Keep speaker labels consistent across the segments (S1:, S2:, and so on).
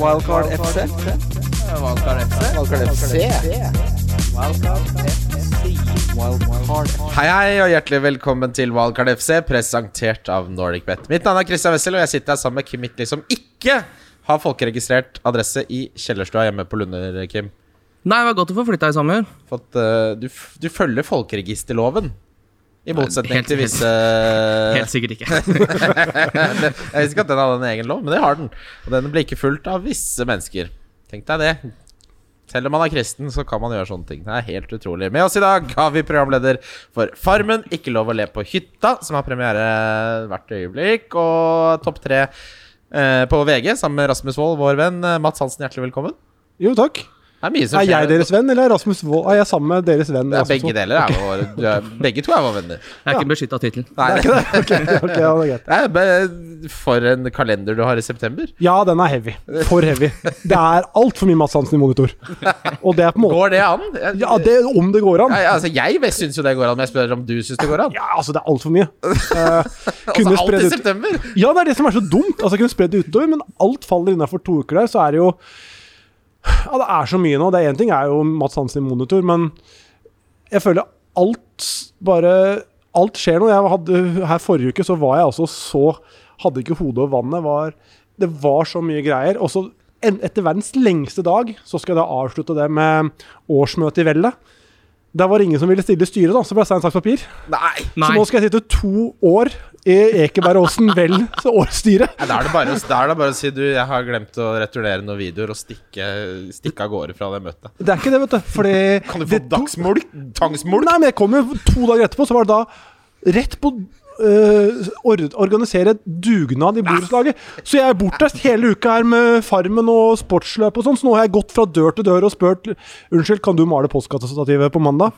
S1: Wildcard FC.
S2: Valgkar FC.
S1: Wildcard FC. Wildcard FC.
S2: Hei, hei, og hjertelig velkommen til Wildcard FC, presentert av NordicBet. Mitt navn er Christian Wessel, og jeg sitter her sammen med Kim Midtly, som ikke har folkeregistrert adresse i kjellerstua hjemme på Lunder, Kim.
S3: Nei, det var godt å få flytta i sommer.
S2: Fått, eh, du, f- du følger folkeregisterloven, i motsetning
S3: helt-
S2: til
S3: helt-
S2: visse Jeg
S3: Helt sikkert ikke.
S2: visste ikke at den hadde en egen lov, men det har den. Og den blir ikke fulgt av visse mennesker. Tenk deg det. Selv om man er kristen, så kan man gjøre sånne ting. Det er helt utrolig. Med oss i dag har vi programleder for Farmen, Ikke lov å le på hytta, som har premiere hvert øyeblikk, og topp tre eh, på VG sammen med Rasmus Wold, vår venn. Eh, Mats Hansen, hjertelig velkommen.
S4: Jo, takk.
S2: Det er mye som
S4: Er jeg
S2: skjer.
S4: deres venn, eller er Rasmus Wold Er jeg sammen med deres venn?
S2: Det er
S4: Rasmus
S2: begge
S4: Wold?
S2: deler. Er våre, du er, begge to er våre venner.
S3: Jeg er ikke en beskytta tittel.
S2: Nei, det er
S4: Ok, ok, ja, det er greit.
S2: be- For en kalender du har i september.
S4: Ja, den er heavy. For heavy. Det er altfor mye Mads Hansen i monitor. Og det er på en måte
S2: Går det an? Jeg-
S4: Ja, det, om det går an.
S2: Nei, altså, jeg syns jo det går an, men jeg spør om du syns det går an.
S4: Ja, altså, det er altfor mye. Eh,
S2: altså,
S4: kunne
S2: alt
S4: spredd
S2: i
S4: ut
S2: september!
S4: Ja, det er det som er så dumt. Altså, jeg kunne spredd det utover, men alt faller innafor to uker der, så er det jo Ja, det er så mye nå. Det er én ting er jo Mads Hansen i monitor, men jeg føler alt bare Alt skjer nå. Jeg hadde, her forrige uke så var jeg altså så Hadde ikke hodet over vannet. Var, det var så mye greier. Og så en, etter verdens lengste dag så skal jeg da avslutte det med årsmøte i Vellet. Der var det ingen som ville stille i styret, da, så ble det stein, saks, papir.
S2: Nei!
S3: Nei.
S4: Så nå skal jeg sitte to år i Ekebergåsen vel årsstyret.
S2: Nei, Da er det bare, å- da er det bare å si du, jeg har glemt å returnere noen videoer og stikke, stikke av gårde fra det møtet.
S4: Det er ikke det, vet du. Fordi
S2: Kan du få
S4: det to-
S2: dagsmulk? Tangsmulk?
S4: Nei, men jeg kom jo to dager etterpå, så var det da rett på øh, or organisere dugnad i borettslaget. Så jeg er bortreist hele uka her med Farmen og sportsløp og sånn, så nå har jeg gått fra dør til dør og spurt Unnskyld, kan du male postkassestativet på mandag?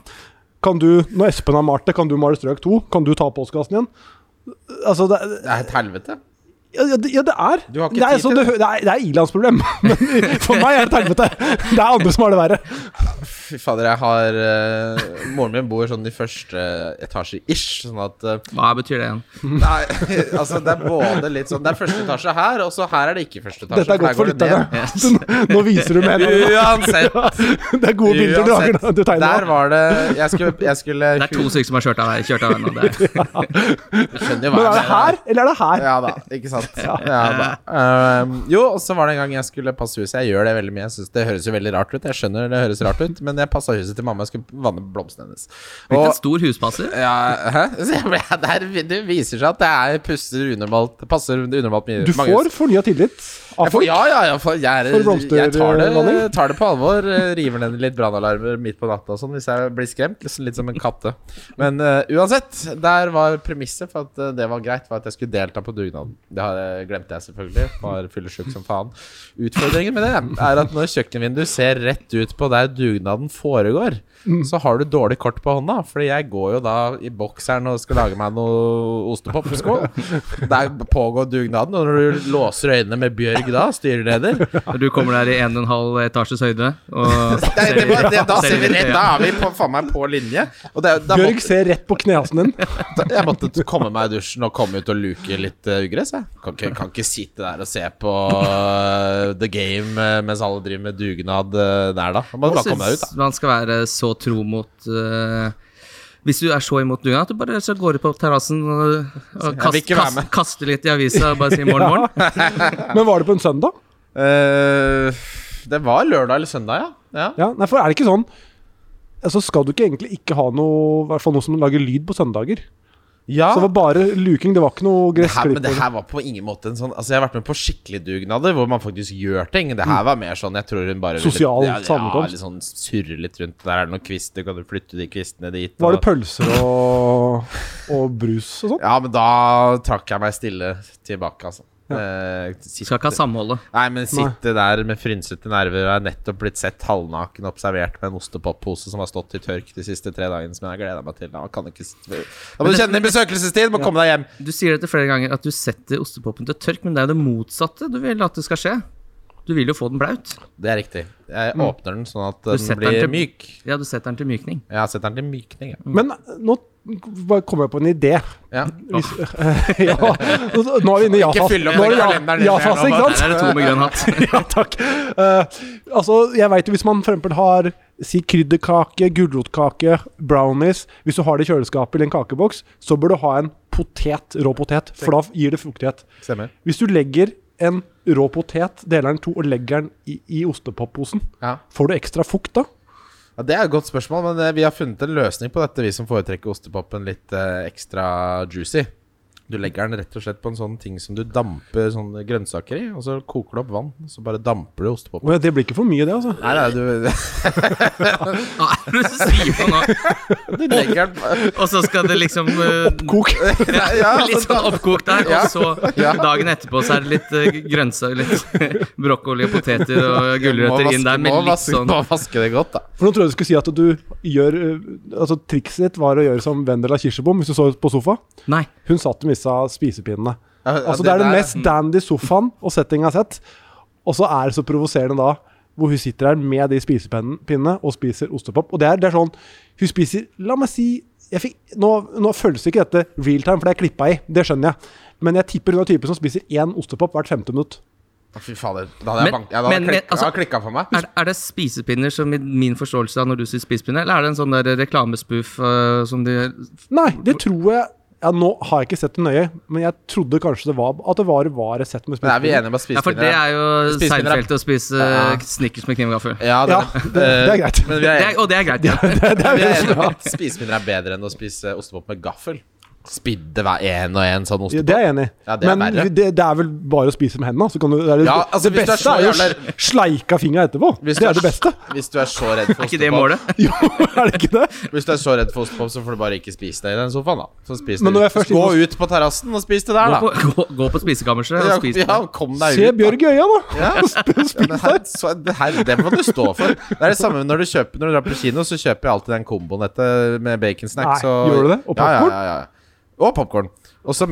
S4: Kan du, når Espen har malt det, kan du male strøk to? Kan du ta postkassen igjen? Altså, det, er-
S2: Det er et helvete.
S4: Ja, ja, det, ja, det er.
S2: Du har ikke
S4: det er,
S2: tid til
S4: det. hø- Det er, det er Ilans problem. Men for meg er det et helvete. Det er andre som har det verre.
S2: Fy fader, jeg har eh, Moren min bor sånn i første etasje-ish, sånn at eh,
S3: Hva betyr det igjen?
S2: Nei, altså det er både litt sånn Det er første etasje her, og så her er det ikke første etasje.
S4: Dette er godt
S2: her går
S4: for
S2: det ned.
S4: lytterne. Nå viser du meg en-
S2: Uansett,
S4: Det er gode bilder du lager nå.
S2: uansett.
S4: Du tegner
S2: Der
S4: nå.
S2: var det Jeg skulle, jeg skulle
S3: Det er to stykker som har kjørt av deg. Kjørt av deg nå. Det er.
S2: Skjønner jo hva
S4: Men er
S2: jeg
S4: det her, eller er det her?
S2: Ja da, ikke sant. Ja da. Ehm, jo, og så var det en gang jeg skulle passe huset. Jeg gjør det veldig mye. Jeg synes Det høres jo veldig rart ut. Jeg skjønner det høres rart ut, men jeg passa huset til mamma. Jeg skulle vanne blomstene hennes.
S3: Blitt en
S2: Og
S3: stor huspasser.
S2: ja, hæ? Så jeg ble, der, det viser seg at det er puster unormalt Det passer unormalt mye.
S4: Du
S2: mange
S4: får
S2: hus.
S4: fornya tillit av
S2: jeg får,
S4: folk.
S2: ja, ja, jeg, får, jeg,
S4: Får
S2: er,
S4: du blomster,
S2: jeg tar, det,
S4: Manning?
S2: tar det på alvor. eh, River ned litt brannalarmer midt på natta og sånn hvis jeg blir skremt. Liksom, litt som en katte. Men eh, uansett, der var premisset for at eh, det var greit, var at jeg skulle delta på dugnaden. Det har, jeg- glemte jeg selvfølgelig. Var fyllesjuk som faen. Utfordringen med det er at når kjøkkenvinduet ser rett ut på der dugnaden foregår, så har du dårlig kort på hånda. Fordi jeg går jo da i bokseren og skal lage meg noe ostepopskål. Der pågår dugnaden, og når du låser øynene med Bjørg da, styreleder
S3: Når du kommer der i en og en halv etasjes høyde og
S2: Nei, det var, det, da ser vi rett, da
S3: av.
S2: er vi på, faen meg på linje. Og det, er- da
S4: Bjørg
S2: måtte,
S4: ser rett på knehasen din.
S2: jeg måtte komme meg i dusjen og komme ut og luke litt eh, ugress. Jeg kan ikke, kan ikke sitte der og se på eh, The Game eh, mens alle driver med dugnad eh, der, da. Man må bare komme deg ut, da.
S3: man skal være så tro mot eh, Hvis du er så imot dugnad at du bare så går ut på terrassen og, og
S2: Jeg vil
S3: kast,
S2: ikke være
S3: kast,
S2: med.
S3: kaster litt i avisa og bare sier morgen, morgen.
S4: Men var det på en søndag?
S2: Eh, det var lørdag eller søndag, ja. ja.
S4: Ja, nei, for er det ikke sånn Altså skal du ikke egentlig ikke ha noe I hvert fall noe som lager lyd på søndager.
S2: ja.
S4: Så det var bare luking, det var ikke noe
S2: det her, men det
S4: gressklipper.
S2: her var på ingen måte en sånn Altså Jeg har vært med på skikkelig dugnader hvor man faktisk gjør ting. Det her var mer sånn Jeg tror hun bare ville-
S4: Sosial
S2: ja,
S4: sammenkomst.
S2: Ja, litt sånn surre litt rundt. Der er det noen kvister, kan du flytte de kvistene dit?
S4: Var det
S2: og-
S4: pølser og, og brus og sånn?
S2: ja, men da trakk jeg meg stille tilbake, altså. Eh,
S3: Skal ikke
S2: sitte,
S3: ha samholdet.
S2: nei, men sitte der med frynsete nerver og er nettopp blitt sett halvnaken og observert med en ostepoppose som har stått i tørk de siste tre dagene, som jeg har gleda meg til. Da kan ikke s- Da må du kjenne din besøkelsestid! Må komme deg hjem!
S3: Du sier dette flere ganger at du setter ostepopen til tørk, men det er jo det motsatte du vil at det skal skje. Du vil jo få den blaut.
S2: Det er riktig. Jeg
S4: Mm.
S2: åpner den sånn at
S3: setter
S2: den
S3: den
S2: blir
S3: til-
S2: myk.
S3: Ja, du setter den til mykning.
S2: Jeg har sett den til mykning. Ja.
S4: Mm. Men eh, nå bare kom jeg på en idé.
S2: Ja.
S4: Hvis, ja. Nå er vi inne i
S2: Ikke
S4: ja-fas.
S2: fylle opp
S4: Nå er det ja-
S2: kalenderen din her
S4: ja-fase,
S2: nå,
S4: ikke
S2: bare.
S4: sant?
S3: Der er det to med grønn hatt.
S4: ja, takk. Eh, altså, jeg vet jo hvis man for eksempel har si krydderkake, gulrotkake, brownies Hvis du har det i kjøleskapet eller en kakeboks, så bør du ha en potet, rå potet, for da gir det fuktighet.
S2: Stemmer.
S4: Hvis du legger en rå potet, deler den i to og legger den i, i ostepopposen,
S2: Ja.
S4: får du ekstra fukt da?
S2: Ja, Det er et godt spørsmål, men eh, vi har funnet en løsning på dette, vi som foretrekker ostepopen litt eh, ekstra juicy. Du legger den rett og slett på en sånn ting som du damper sånne grønnsaker i, og så koker du opp vann, og så bare damper du ostepopen.
S4: Men det blir ikke for mye, det, altså.
S2: Nei, nei, du,
S3: Hva er det du sier for noe?
S2: du legger den på-
S3: Og så skal det liksom eh,
S4: Kok.
S2: Nei, ja, altså,
S3: Litt sånn oppkokt der, og så dagen etterpå så er det litt eh, grønnsaker, litt brokkoli og poteter og gulrøtter inn der med
S2: må
S3: litt
S2: vaske,
S3: sånn
S2: må vaske det godt, da.
S4: For nå trodde jeg du skulle si at du gjør eh, Altså, trikset ditt var å gjøre som Vendela Kirsebom, hvis du så på sofa.
S3: Nei.
S4: Hun satt og missa spisepinnene.
S2: Ja, ja,
S4: Altså, det er den
S2: der-
S4: mest dandy sofaen og settinga jeg har sett. Og så er det så provoserende da, hvor hun sitter her med de spisepinnene og spiser ostepop. Og det er, det er sånn Hun spiser La meg si jeg fikk, nå, nå føles ikke dette real time, for det er klippa i. Det skjønner jeg. Men jeg tipper hun er typen som spiser én ostepop hvert femte minutt.
S2: Å, Fy fader. Da hadde jeg
S3: Men-
S2: bank... Ja, da hadde
S3: men- men,
S2: klikka,
S3: altså-
S2: klikka for meg.
S3: Er, er det spisepinner som i min forståelse av når du sier spisepinner, eller er det en sånn der reklamespoof eh, som de
S4: Nei, det tror jeg ja, Nå har jeg ikke sett det nøye, men jeg trodde kanskje det var at det var, var et sett med
S2: Men er vi enige
S4: spisepinner.
S2: om at
S3: Ja, for det
S2: spisepinner
S3: er jo
S2: Spisepinner er-
S3: Seinfeld å spise
S2: Ja.
S3: eh, Snickers med kniv og gaffel.
S2: Ja,
S4: Ja,
S2: det- Eh,
S4: det, det er greit.
S2: Men vi er,
S3: Det er- Og det er greit. Ja.
S2: vi er enige om at spisepinner er bedre enn å spise ostepop med gaffel. Spidde hver en og en sånn
S4: Ja,
S2: ostepop.
S4: Det er jeg enig i.
S2: Ja, det er
S4: men
S2: verre.
S4: det, det er vel bare å spise med hendene. Så kan du, det, er,
S2: Ja, altså,
S4: det
S2: hvis det er
S4: beste
S2: så
S4: er jo
S2: jævla-
S4: sl- sleika fingra etterpå.
S2: Hvis
S4: det
S2: du
S4: er det beste.
S2: Hvis du er så redd for
S3: Er ikke det
S2: ostepop-
S3: målet?
S4: Jo, er det ikke det?
S2: Hvis du er så redd for ostepop, så får du bare ikke spise det i den sofaen, da. Så spis det
S4: Men
S2: ut.
S4: når jeg først-
S2: Gå ut på terrassen og spis det der,
S3: Gå
S2: da.
S3: på, gå, gå på spisekammerset og
S2: Ja,
S3: spis
S2: ja,
S3: det.
S2: kom deg ut.
S4: Se
S2: da.
S4: Bjørg i øya, da!
S2: Ja. Ja, men her, så, det, her, det må du stå for. Det er det samme når du kjøper Når du drar på kino, så kjøper jeg alltid den komboen etter med baconsnacks
S4: Nei,
S2: og
S4: gjør du det?
S2: Ja,
S4: Og popcorn?
S2: ja, ja, ja. Og popkorn.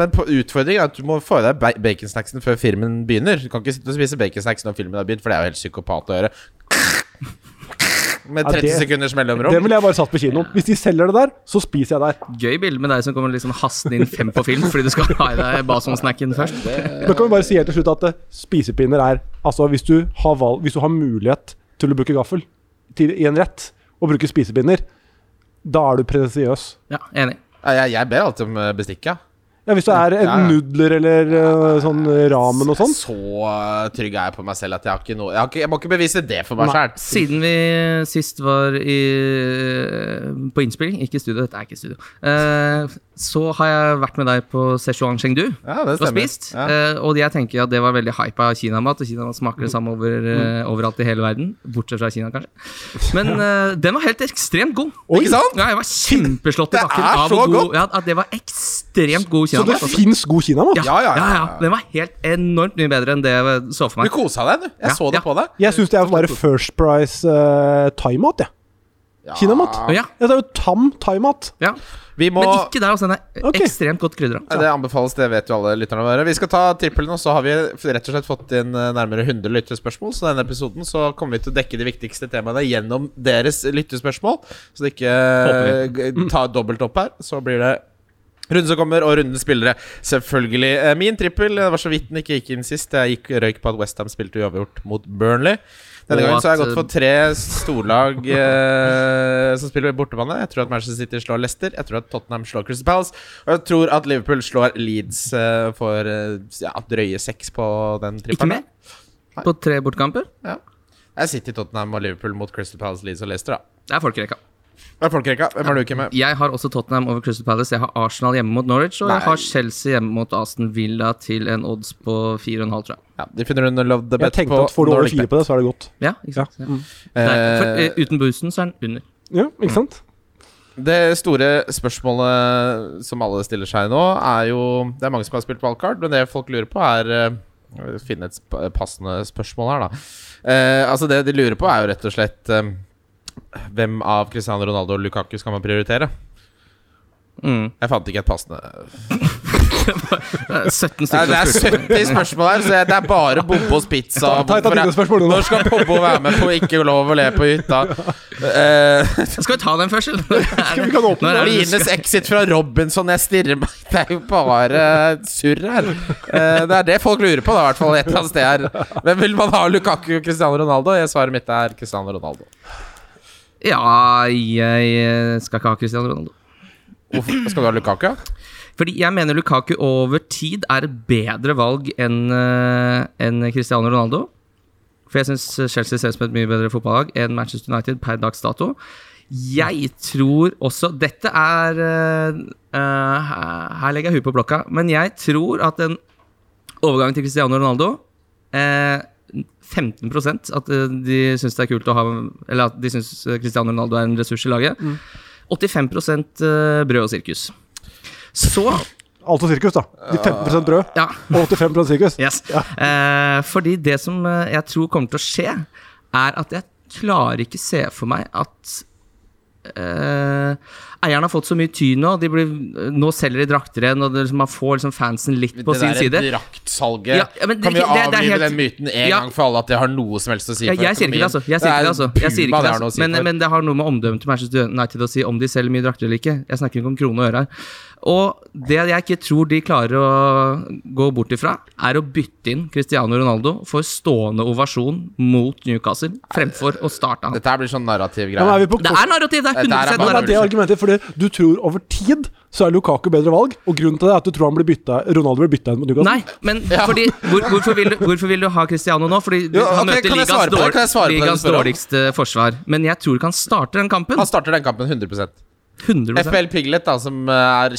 S2: Men på- utfordringen er at du må få i deg ba- baconsnacksen før filmen begynner. Du kan ikke sitte og spise baconsnacks når filmen har begynt, for det er jo helt psykopat å gjøre. Med
S4: Ja,
S2: 30
S4: det-
S2: sekunders mellomrom.
S4: Det ville jeg bare satt på kinoen. Hvis de selger det der, så spiser jeg der.
S3: Gøy bilde med deg som kommer liksom hastende inn fem på film fordi du skal ha i deg Bason-snacken først.
S4: Da kan vi bare si helt til slutt at eh, spisepinner er Altså, hvis du har, valg, hvis du har mulighet til å bruke gaffel til, i en rett, og bruke spisepinner, da er du pretensiøs.
S3: Ja, enig.
S2: Ja, Jeg, jeg ber alltid om eh, bestikk, ja.
S4: Ja, hvis det er eh,
S2: Ja, ja.
S4: nudler eller eh, sånn eh, ramen og sånn.
S2: Så eh, trygg er jeg på meg selv at jeg har ikke noe Jeg, har ikke, jeg må ikke bevise det for meg
S4: Nei.
S2: sjæl.
S3: Siden vi sist var i, eh, på innspilling, ikke i studio, dette er ikke i studio, eh, så har jeg vært med deg på Sichuan Chengdu.
S2: Ja, det
S3: og spist.
S2: Ja.
S3: eh, og jeg tenker at det var veldig hype av kinamat, og kinamat smaker det samme over,
S2: Mm.
S3: eh, overalt i hele verden. Bortsett fra Kina, kanskje. Men eh, den var helt ekstremt god.
S4: Oi.
S2: Ikke sant?
S3: Ja, jeg var kjempeslått i
S2: Det
S3: bakken
S2: er
S3: av
S2: så
S3: hvor god
S2: godt.
S3: ja, at Det var ekstremt god
S4: Så det
S3: kinamat. altså.
S4: fins god kinamat?
S3: Ja, ja, ja, Den var helt enormt mye bedre enn det jeg så for
S2: Du
S3: meg.
S2: kosa deg, du. Jeg
S3: Ja,
S2: så det
S3: ja.
S2: på deg.
S4: Jeg syns det er bare First Price uh, thaimat, jeg.
S2: Ja.
S4: Kinamat.
S3: Ja,
S4: Ja, det er jo tam thaimat.
S3: ja.
S2: Vi må
S3: Men ikke der, altså. Den er
S4: Ok.
S3: ekstremt godt krydra.
S2: Ja, Det anbefales, det vet jo alle lytterne våre. Vi skal ta trippelen, og så har vi rett og slett fått inn eh, nærmere 100 lyttespørsmål. Så denne episoden så kommer vi til å dekke de viktigste temaene gjennom deres lyttespørsmål. Så det ikke eh, g- tar dobbelt opp her. Så blir det runden som kommer, og rundens spillere. Selvfølgelig. Eh, Min trippel eh, var så vidt den ikke gikk inn sist. Jeg gikk røyk på at Westham spilte uavgjort mot Burnley. Denne
S3: Og
S2: gangen så har
S3: at,
S2: jeg gått for tre storlag eh, som spiller bortebane. Jeg tror at Manchester City slår Leicester. Jeg tror at Tottenham slår Crystal Palace. Og jeg tror at Liverpool slår Leeds eh, for eh, ja, drøye seks på den
S3: Ikke
S2: trippelen.
S3: mer? På tre bortekamper?
S2: Ja. Jeg sitter i Tottenham og Liverpool mot Crystal Palace, Leeds og Leicester, da.
S3: Det er folkerekka.
S2: Det er folkerekka. Hvem er du ikke med?
S3: Jeg har også Tottenham over Crystal Palace. Jeg har Arsenal hjemme mot Norwich. Og jeg
S2: Nei.
S3: har Chelsea hjemme mot Aston Villa til en odds på 4,5, tror jeg.
S2: Ja, de finner under Love the
S4: Jeg
S2: Bet
S4: tenkte
S2: på
S4: at får du over
S2: Nordic
S4: fire
S2: Bet.
S4: på det, så er det godt.
S3: Ja, ikke sant? Ja.
S2: Eh,
S3: Nei, for, eh, uten boosten så er den under.
S4: Ja,
S3: Mm.
S4: ikke sant?
S2: Det store spørsmålet som alle stiller seg nå, er jo Det er mange som har spilt wildcard, men det folk lurer på, er eh, Finne et sp- passende spørsmål her, da. Eh, altså Det de lurer på, er jo rett og slett eh, Hvem av Cristiano Ronaldo og Lukaku skal man prioritere?
S3: Mm.
S2: Jeg fant ikke et passende
S3: Eh, 17
S2: Nei,
S3: stykker
S2: det
S3: som
S2: er 70
S3: spurte.
S2: spørsmål her, så jeg- det er bare Bombos pizza.
S4: Ta- ta et av
S2: Hvorfor er-
S4: dine spørsmål nå.
S2: Når skal Bobbo være med på Ikke lov å le på hytta? Eh,
S3: Skal vi ta den først? Skal
S4: vi kan åpne
S3: Når er det du
S2: Lines
S3: skal-
S2: exit fra Robinson, jeg stirrer meg Det er jo bare surr her. Eh, Det er det folk lurer på, da, i hvert fall et eller annet sted her. Hvem vil man ha, Lukaku og Cristiano Ronaldo? Jeg svaret mitt er Cristiano Ronaldo.
S3: Ja, jeg skal ikke ha Cristiano Ronaldo.
S2: Hvorfor skal du ha Lukaku? ja?
S3: Fordi jeg mener Lukaku over tid er et bedre valg enn eh, enn Cristiano Ronaldo. For jeg syns Chelsea ser ut som et mye bedre fotballag enn Manchester United per dags dato. Jeg tror også Dette er eh, eh, her- Her legger jeg huet på blokka, men jeg tror at en overgang til Cristiano Ronaldo eh, 15 at eh, de syns det er kult å ha Eller at de syns eh, Cristiano Ronaldo er en ressurs i laget. 85 eh, brød og sirkus. Så
S4: Altså sirkus, da. De 15 brød
S3: Ja.
S4: og 85 sirkus.
S3: Yes. Eh, fordi det som eh, jeg tror kommer til å skje, er at jeg klarer ikke se for meg at eh, Eierne har fått så mye tyn nå. De blir, eh, nå selger de drakter igjen, og det, liksom, man får liksom fansen litt på
S2: det
S3: sin
S2: der
S3: side.
S2: draktsalget
S3: Ja, ja, men det-
S2: Kan vi
S3: det- det er
S2: avlive
S3: helt-
S2: den myten en
S3: Ja.
S2: gang for alle at det har noe som helst å si
S3: Ja,
S2: for
S3: jeg sier ikke det, altså. Jeg sier ikke det, altså. Jeg sier ikke det, altså. Men, men det har noe med omdømmet til Manchester United å si, om de selger mye drakter eller ikke. Jeg snakker ikke om krone og øre her. Og det jeg ikke tror de klarer å gå bort ifra, er å bytte inn Cristiano Ronaldo for stående ovasjon mot Newcastle, fremfor å starte han.
S2: Dette her blir sånn narrativ
S4: Ja, men er
S2: greie.
S4: vi på
S3: Det
S4: kort-
S3: er narrativ, det er
S2: Dette er
S3: 100
S2: bare
S4: Men det er det
S2: Unnskyld.
S4: argumentet, fordi du tror over tid så er Lukaku bedre valg, og grunnen til det er at du tror han blir bytta, Ronaldo blir bytta inn mot Newcastle.
S3: Nei, men fordi, hvor, hvorfor, vil du, hvorfor vil du ha Cristiano nå? Fordi du-
S2: Jo,
S3: han
S2: ok,
S3: møter
S2: kan jeg svare
S3: ligas,
S2: på det?
S3: dårlig,
S2: Kan jeg svare på det du
S3: ligas
S2: spør om? Altså,
S3: dårligste forsvar. Men jeg tror ikke han starter den kampen.
S2: Han starter den kampen 100
S3: 100
S2: FL Piglet, da, som eh, er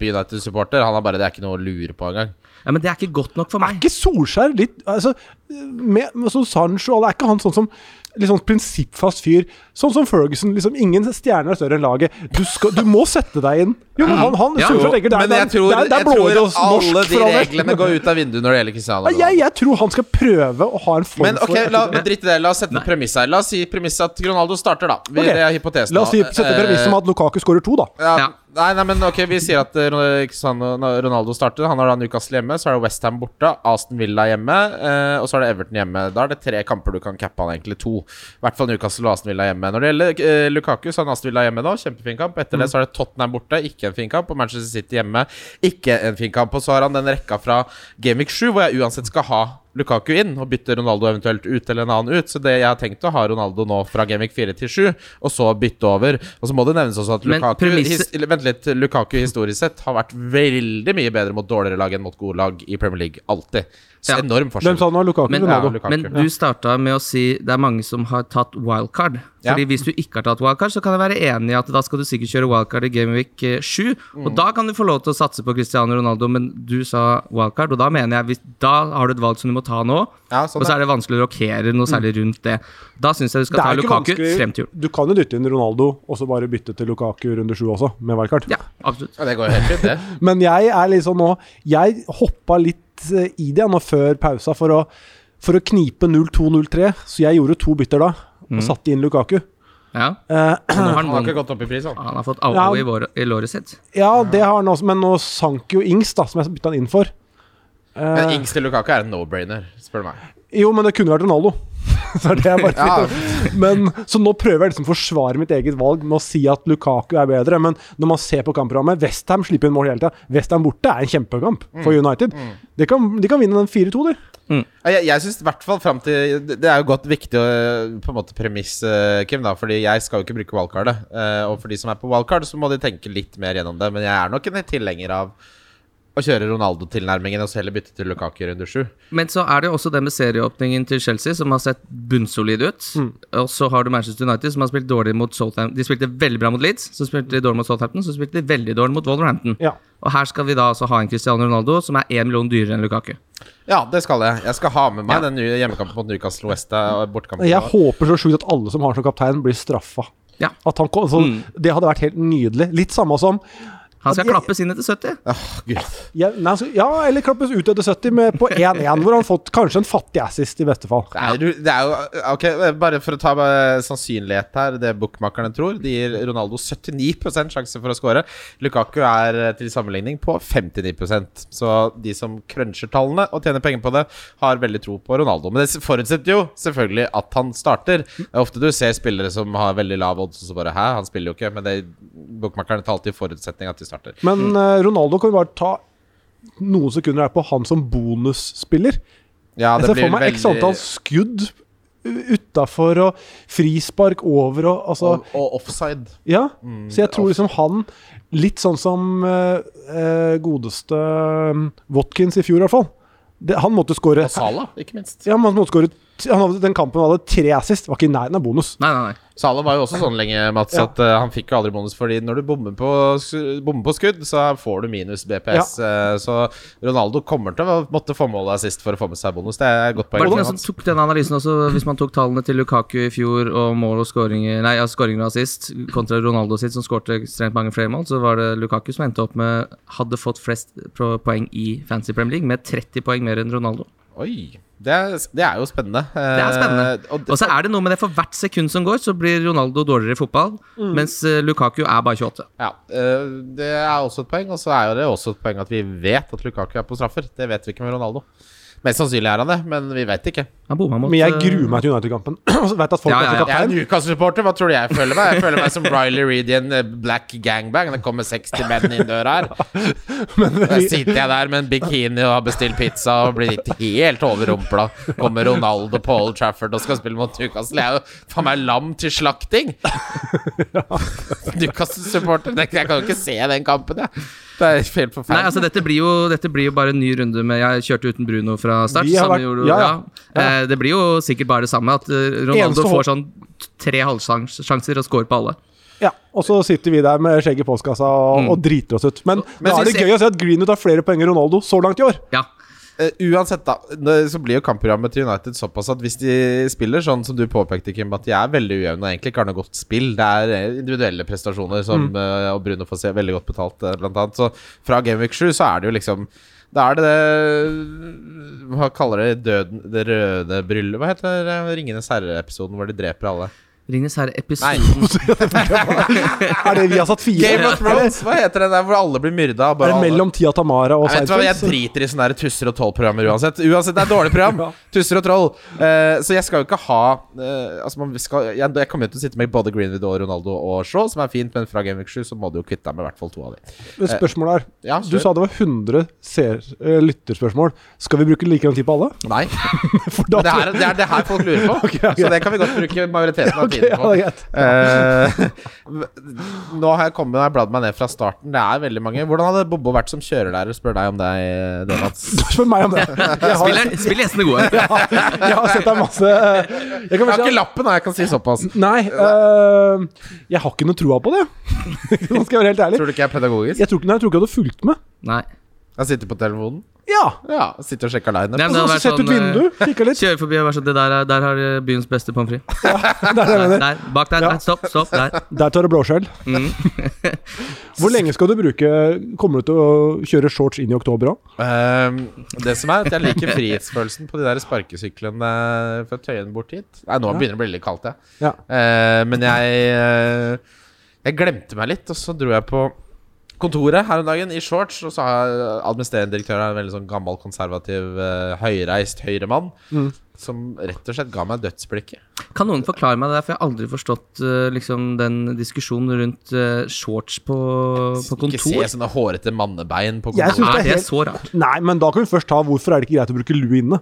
S2: kjempe-United-supporter, han er bare Det er ikke noe å lure på engang.
S3: ja, Men det er ikke godt nok for meg.
S4: ikke Solskjær litt altså, med, med sånn Sancho og alle, Er ikke han sånn som litt sånn prinsippfast fyr? Sånn som Ferguson. liksom Ingen stjerner er større enn laget. Du, skal, du må sette deg inn. Jo, men han, han
S3: Ja,
S4: Solskjær tenker det er,
S2: Men
S4: det
S2: jeg
S4: er-
S2: tror,
S4: det er, det
S2: jeg
S4: er blåøyd og
S2: tror alle
S4: norsk
S2: de
S4: for all del.
S2: reglene går ut av vinduet når det gjelder Cristiano
S4: Nei, jeg,
S2: Ronaldo.
S4: jeg tror han skal prøve å ha en form
S2: Men ok,
S4: for
S2: la, men dritt i det. La oss sette premisset her. La oss si premisset at Ronaldo starter, da. Vi,
S4: Ok,
S2: Det er hypotesen.
S4: La oss si,
S2: da.
S4: sette
S2: Eh,
S4: premisset om at Lukaku skårer to, da.
S2: ja.
S3: Ja.
S2: Nei, nei, men ok, vi sier at eh, Ron- Cristiano Ronaldo starter. Han har da Newcastle hjemme, så er det Westham borte, Aston Villa hjemme, eh, og så er det Everton hjemme. Da er det tre kamper du kan cappe han, egentlig to. I hvert fall Newcastle og Aston Villa hjemme. Når det gjelder eh, Lukaku, så har han Aston Villa hjemme nå, kjempefin kamp. Etter det så er det Tottenham borte, ikke en fin kamp, og Manchester City hjemme, ikke en fin kamp. Og så har han den rekka fra Gameweek 7, hvor jeg uansett skal ha Lukaku inn og bytte Ronaldo eventuelt ut eller en annen ut. Så det jeg har tenkt å ha Ronaldo nå fra Gameweek 4 til 7, og så bytte over. Og så må det nevnes også at
S3: Men
S2: Lukaku,
S3: premisset-
S2: his, eller, vent litt, Lukaku historisk sett har vært veldig mye bedre mot dårligere lag enn mot gode lag i Premier League. Alltid. Så
S3: Ja.
S2: enorm
S4: Hvem
S2: forskjell.
S4: sa han var Lukaku?
S3: Men-
S2: Ja,
S4: Ronaldo.
S2: Lukaku.
S3: Men du starta med å si det er mange som har tatt wildcard. Fordi
S2: Ja.
S3: Hvis du ikke har tatt wildcard, så kan jeg være enig i at da skal du sikkert kjøre wildcard i Gameweek 7. Og da kan du få lov til å satse på Cristiano Ronaldo, men du sa wildcard, og da mener jeg hvis, da har du et valg som du må ta nå.
S2: Ja, sånn
S3: og så
S2: er.
S3: er det vanskelig å rokere noe særlig rundt det. Da syns jeg du skal ta
S4: jo ikke
S3: Lukaku
S4: vanskelig.
S3: frem til jul.
S4: Du kan jo dytte inn Ronaldo, og så bare bytte til Lukaku runde sju også, med wildcard.
S3: Ja, absolutt.
S2: Ja, det går jo helt fint, det.
S4: Men jeg er litt sånn nå Jeg hoppa litt eh, i det nå før pausa for å, for å knipe 0-2-0-3, så jeg gjorde to bytter da, og satte inn Lukaku.
S3: Ja.
S4: Eh,
S3: Nå har han,
S2: Han har ikke
S3: vond-
S2: gått opp i pris, han.
S3: han har fått au
S4: Ja.
S3: i, vår- i låret sitt.
S4: ja, det har han også, men nå sank jo Ings, da, som jeg bytta han inn for. Eh,
S2: Men Ings til Lukaku er en no-brainer, spør du meg.
S4: jo, men det kunne vært Ronaldo. så er det jeg bare
S2: Ja,
S4: men, Så nå prøver jeg liksom å forsvare mitt eget valg med å si at Lukaku er bedre, men når man ser på kampprogrammet Westham slipper inn mål hele tida. Westham borte er en kjempekamp for United. De, kan, de kan vinne den 4-2, de.
S2: Ja, Jeg, jeg synes i hvert fall frem til Det det er jo godt viktig å, på en måte premiss, eh, Kim, da, fordi jeg skal jo ikke bruke wildcardet. Eh, Og for de som er på wildcard, så må de tenke litt mer gjennom det. Men jeg er nok en tilhenger av å kjøre Ronaldo-tilnærmingen og så heller bytte til Lukaku i runde sju.
S3: Men så er det jo også det med serieåpningen til Chelsea, som har sett bunnsolid ut.
S4: Mm.
S3: Og så har du Manchester United, som har spilt dårlig mot Southampton. De spilte veldig bra mot Leeds, så spilte de dårlig mot Southampton, så spilte de veldig dårlig mot Wolverhampton.
S4: Ja.
S3: Og her skal vi da altså ha en Cristiano Ronaldo som er én million dyrere enn Lukaku.
S2: Ja, det skal jeg. Jeg skal ha med meg
S3: Ja.
S2: den nye hjemmekampen mot Newcastle West. eh, og Bortekampen.
S4: Jeg håper så sjukt at alle som har han som kaptein, blir straffa.
S3: Ja.
S4: At han, kom- altså, Det hadde vært helt nydelig. Litt samme som
S3: Han skal
S4: Ja, jeg-
S3: klappes inn etter 70.
S2: Åh, Gud.
S4: Ja, nei, så, ja, eller klappes ut etter 70 med, på 1-1, hvor han fått kanskje en fattig assist i beste fall.
S2: Det er, jo- det er jo Ok, bare for å ta eh, sannsynlighet her, det bookmakerne tror. De gir Ronaldo 79 sjanse for å score. Lukaku er eh, til sammenligning på 59 Så de som cruncher tallene og tjener penger på det, har veldig tro på Ronaldo. Men det forutsetter jo selvfølgelig at han starter. Det er ofte du ser spillere som har veldig lav odds, og så bare Hæ, han spiller jo ikke. Men det, bookmakerne tar alltid forutsetning at de starter.
S4: Men eh, Ronaldo kan vi bare ta noen sekunder her på han som bonusspiller.
S2: Ja,
S4: Jeg ser for meg x antall skudd utafor og frispark over og altså
S2: og, og offside.
S4: Ja.
S2: Mm,
S4: Så jeg tror liksom han Litt sånn som eh, eh, godeste eh, Watkins i fjor, i hvert fall. Det, han måtte skåre
S2: Og Salah, ikke minst.
S4: Ja, men han måtte score t- Han hadde den kampen han hadde tre assist. Var ikke i nærheten av bonus.
S3: Nei, nei, nei.
S2: Salah var jo også sånn lenge, Mats,
S4: Ja.
S2: at eh, han fikk jo aldri bonus. Fordi når du bommer på, sk- bommer på skudd, så får du minus BPS. eh, så Ronaldo kommer til å måtte få målet sist for å få med seg bonus. Det er et godt
S3: Var
S2: poeng.
S3: det noen som
S2: Mats.
S3: tok denne analysen også, hvis man tok tallene til Lukaku i fjor og mål og skåringer Nei, ja, skåringer og assist kontra Ronaldo sitt, som skårte ekstremt mange flere mål, så var det Lukaku som endte opp med Hadde fått flest pro- poeng i Fancy Premier League, med 30 poeng mer enn Ronaldo.
S2: Oi, det er, det er jo spennende.
S3: Det er
S2: Eh, og
S3: spennende.
S2: det-
S3: Og så er det noe med det, for hvert sekund som går, så blir Ronaldo dårligere i fotball,
S4: Mm.
S3: mens eh, Lukaku er bare 28.
S2: ja, eh, det er også et poeng. Og så er jo det også et poeng at vi vet at Lukaku er på straffer. Det vet vi ikke med Ronaldo. Mest sannsynlig er han det, men vi vet ikke.
S3: Han bomma mot
S4: Men jeg
S3: eh,
S4: gruer meg til United-kampen. Og så vet jeg at folk
S3: Ja, ja,
S4: er
S3: ja.
S4: til
S2: Jeg er
S4: kaptein.
S2: Newcastle-supporter. Hva tror du jeg føler meg? Jeg føler meg som Riley Reed i en eh, black gangbang. Det kommer 60 menn inn døra her. Der sitter jeg der med en bikini og har bestilt pizza og blir helt overrumpla. Kommer Ronaldo på Old Trafford og skal spille mot Newcastle. Jeg er jo faen meg lam til slakting! Newcastle-supporter. Det- Jeg kan jo ikke se den kampen, jeg. Det er helt
S3: Nei, altså
S2: forferdelig.
S3: dette blir, jo, dette blir jo bare en ny runde med Jeg kjørte uten Bruno fra start.
S4: Vi har
S3: Samme
S4: vært-
S3: gjorde, ja,
S4: ja, ja.
S3: Eh, Det blir jo sikkert bare det samme, at eh, Ronaldo
S4: Eneste håp-
S3: får sånn t- tre halvsjanser og scorer på alle.
S4: Ja, og så sitter vi der med skjegget i postkassa og, og driter oss ut. Men,
S2: Mm. men
S4: da er det
S3: synes jeg-
S4: gøy å se at Greenwood har flere poeng enn Ronaldo så langt i år.
S3: Ja.
S2: Eh, uansett, da, det- så blir jo kampprogrammet til United såpass at hvis de spiller sånn som du påpekte, Kim, at de er veldig ujevne og egentlig ikke har noe godt spill Det er eh, individuelle prestasjoner, som, eh, og Bruno får se veldig godt betalt, eh, blant annet. Så fra Game Week 7 så er det jo liksom da er det det Hva kaller det døden, det røde bryllet? Hva heter det? Ringenes herre-episoden hvor de dreper alle?
S3: Ringenes
S2: Nei.
S3: herre-episoden
S4: Er det vi har satt fire?
S2: Game of Thrones! Hva heter den der hvor alle blir myrda? og bare
S4: Er
S2: alle-
S4: det mellom Tia Tamara og
S2: Jeg vet du hva, jeg
S4: Seinfeld?
S2: driter i sånne der tusser og troll-programmer uansett. Uansett, Det er et dårlig program. Tusser og troll. Eh, så jeg skal jo ikke ha eh, Altså, man skal, jeg, jeg kommer jo til å sitte med både Greenwood og Ronaldo og Shaw, som er fint, men fra Game Week 7 så må du jo kvitte deg med i hvert fall to av de.
S4: Men Spørsmålet er
S2: Ja,
S4: Du sa det var 100 ser, eh, lytterspørsmål. Skal vi bruke like lang tid på alle?
S2: Nei.
S4: For da
S2: Det, her, det er det her folk lurer på, så det kan vi godt bruke majoriteten av tiden
S4: ja,
S2: på.
S4: det er greit.
S2: Eh, nå har jeg kommet jeg bladd meg ned fra starten. Det er veldig mange. Hvordan hadde Bobo vært som kjørelærer, spør deg om deg, det, Mats?
S4: Spør meg om det. Jeg har,
S3: Spiller, spiller gjestene gode.
S4: jeg har sett deg masse eh,
S2: Jeg
S4: Jeg kan
S2: har
S4: vel
S2: ikke
S4: si
S2: lappen, da. Jeg kan si såpass.
S4: Nei, eh, jeg har ikke noe troa på det. Nå skal jeg være helt ærlig.
S2: Tror du ikke jeg er pedagogisk?
S4: Jeg tror ikke, nei, jeg tror ikke jeg hadde fulgt med.
S3: Nei.
S2: Jeg sitter på telefonen.
S4: Ja.
S2: Ja, sitter og sjekker line.
S3: Nei, men
S4: Og
S3: det
S4: så
S3: hadde vært
S4: sett ut
S3: sånn, eh,
S4: vinduet, kikka litt.
S3: Kjører forbi og vær sånn Det der, er- der har eh, byens beste pommes frites. Der, der, bak der.
S4: Ja.
S3: Nei, stopp, stopp. Der.
S4: Der tar det blåskjell.
S3: Mm.
S4: Hvor lenge skal du bruke Kommer du til å kjøre shorts inn i oktober òg?
S2: Ehm, det som er at Jeg liker frihetsfølelsen på de der sparkesyklene fra Tøyen bort hit. Nei, nå begynner det å bli litt kaldt, jeg.
S4: Ja.
S2: Eh, men jeg eh, Jeg glemte meg litt, og så dro jeg på kontoret her om dagen i shorts. Og så har jeg- administrerende direktør er en veldig sånn gammel, konservativ, eh, høyreist høyremann.
S3: Mm.
S2: Som rett og slett ga meg dødsblikket.
S3: Kan noen forklare meg det der, for jeg har aldri forstått eh, liksom, den diskusjonen rundt eh, shorts på, på
S2: Ikke se
S3: kontor.
S2: sånne hårete mannebein på
S4: Jeg
S2: kontoret.
S4: synes det er
S3: Er det
S4: helt-
S3: så rart?
S4: Nei, men da kan vi først ta hvorfor er det ikke greit å bruke lue inne.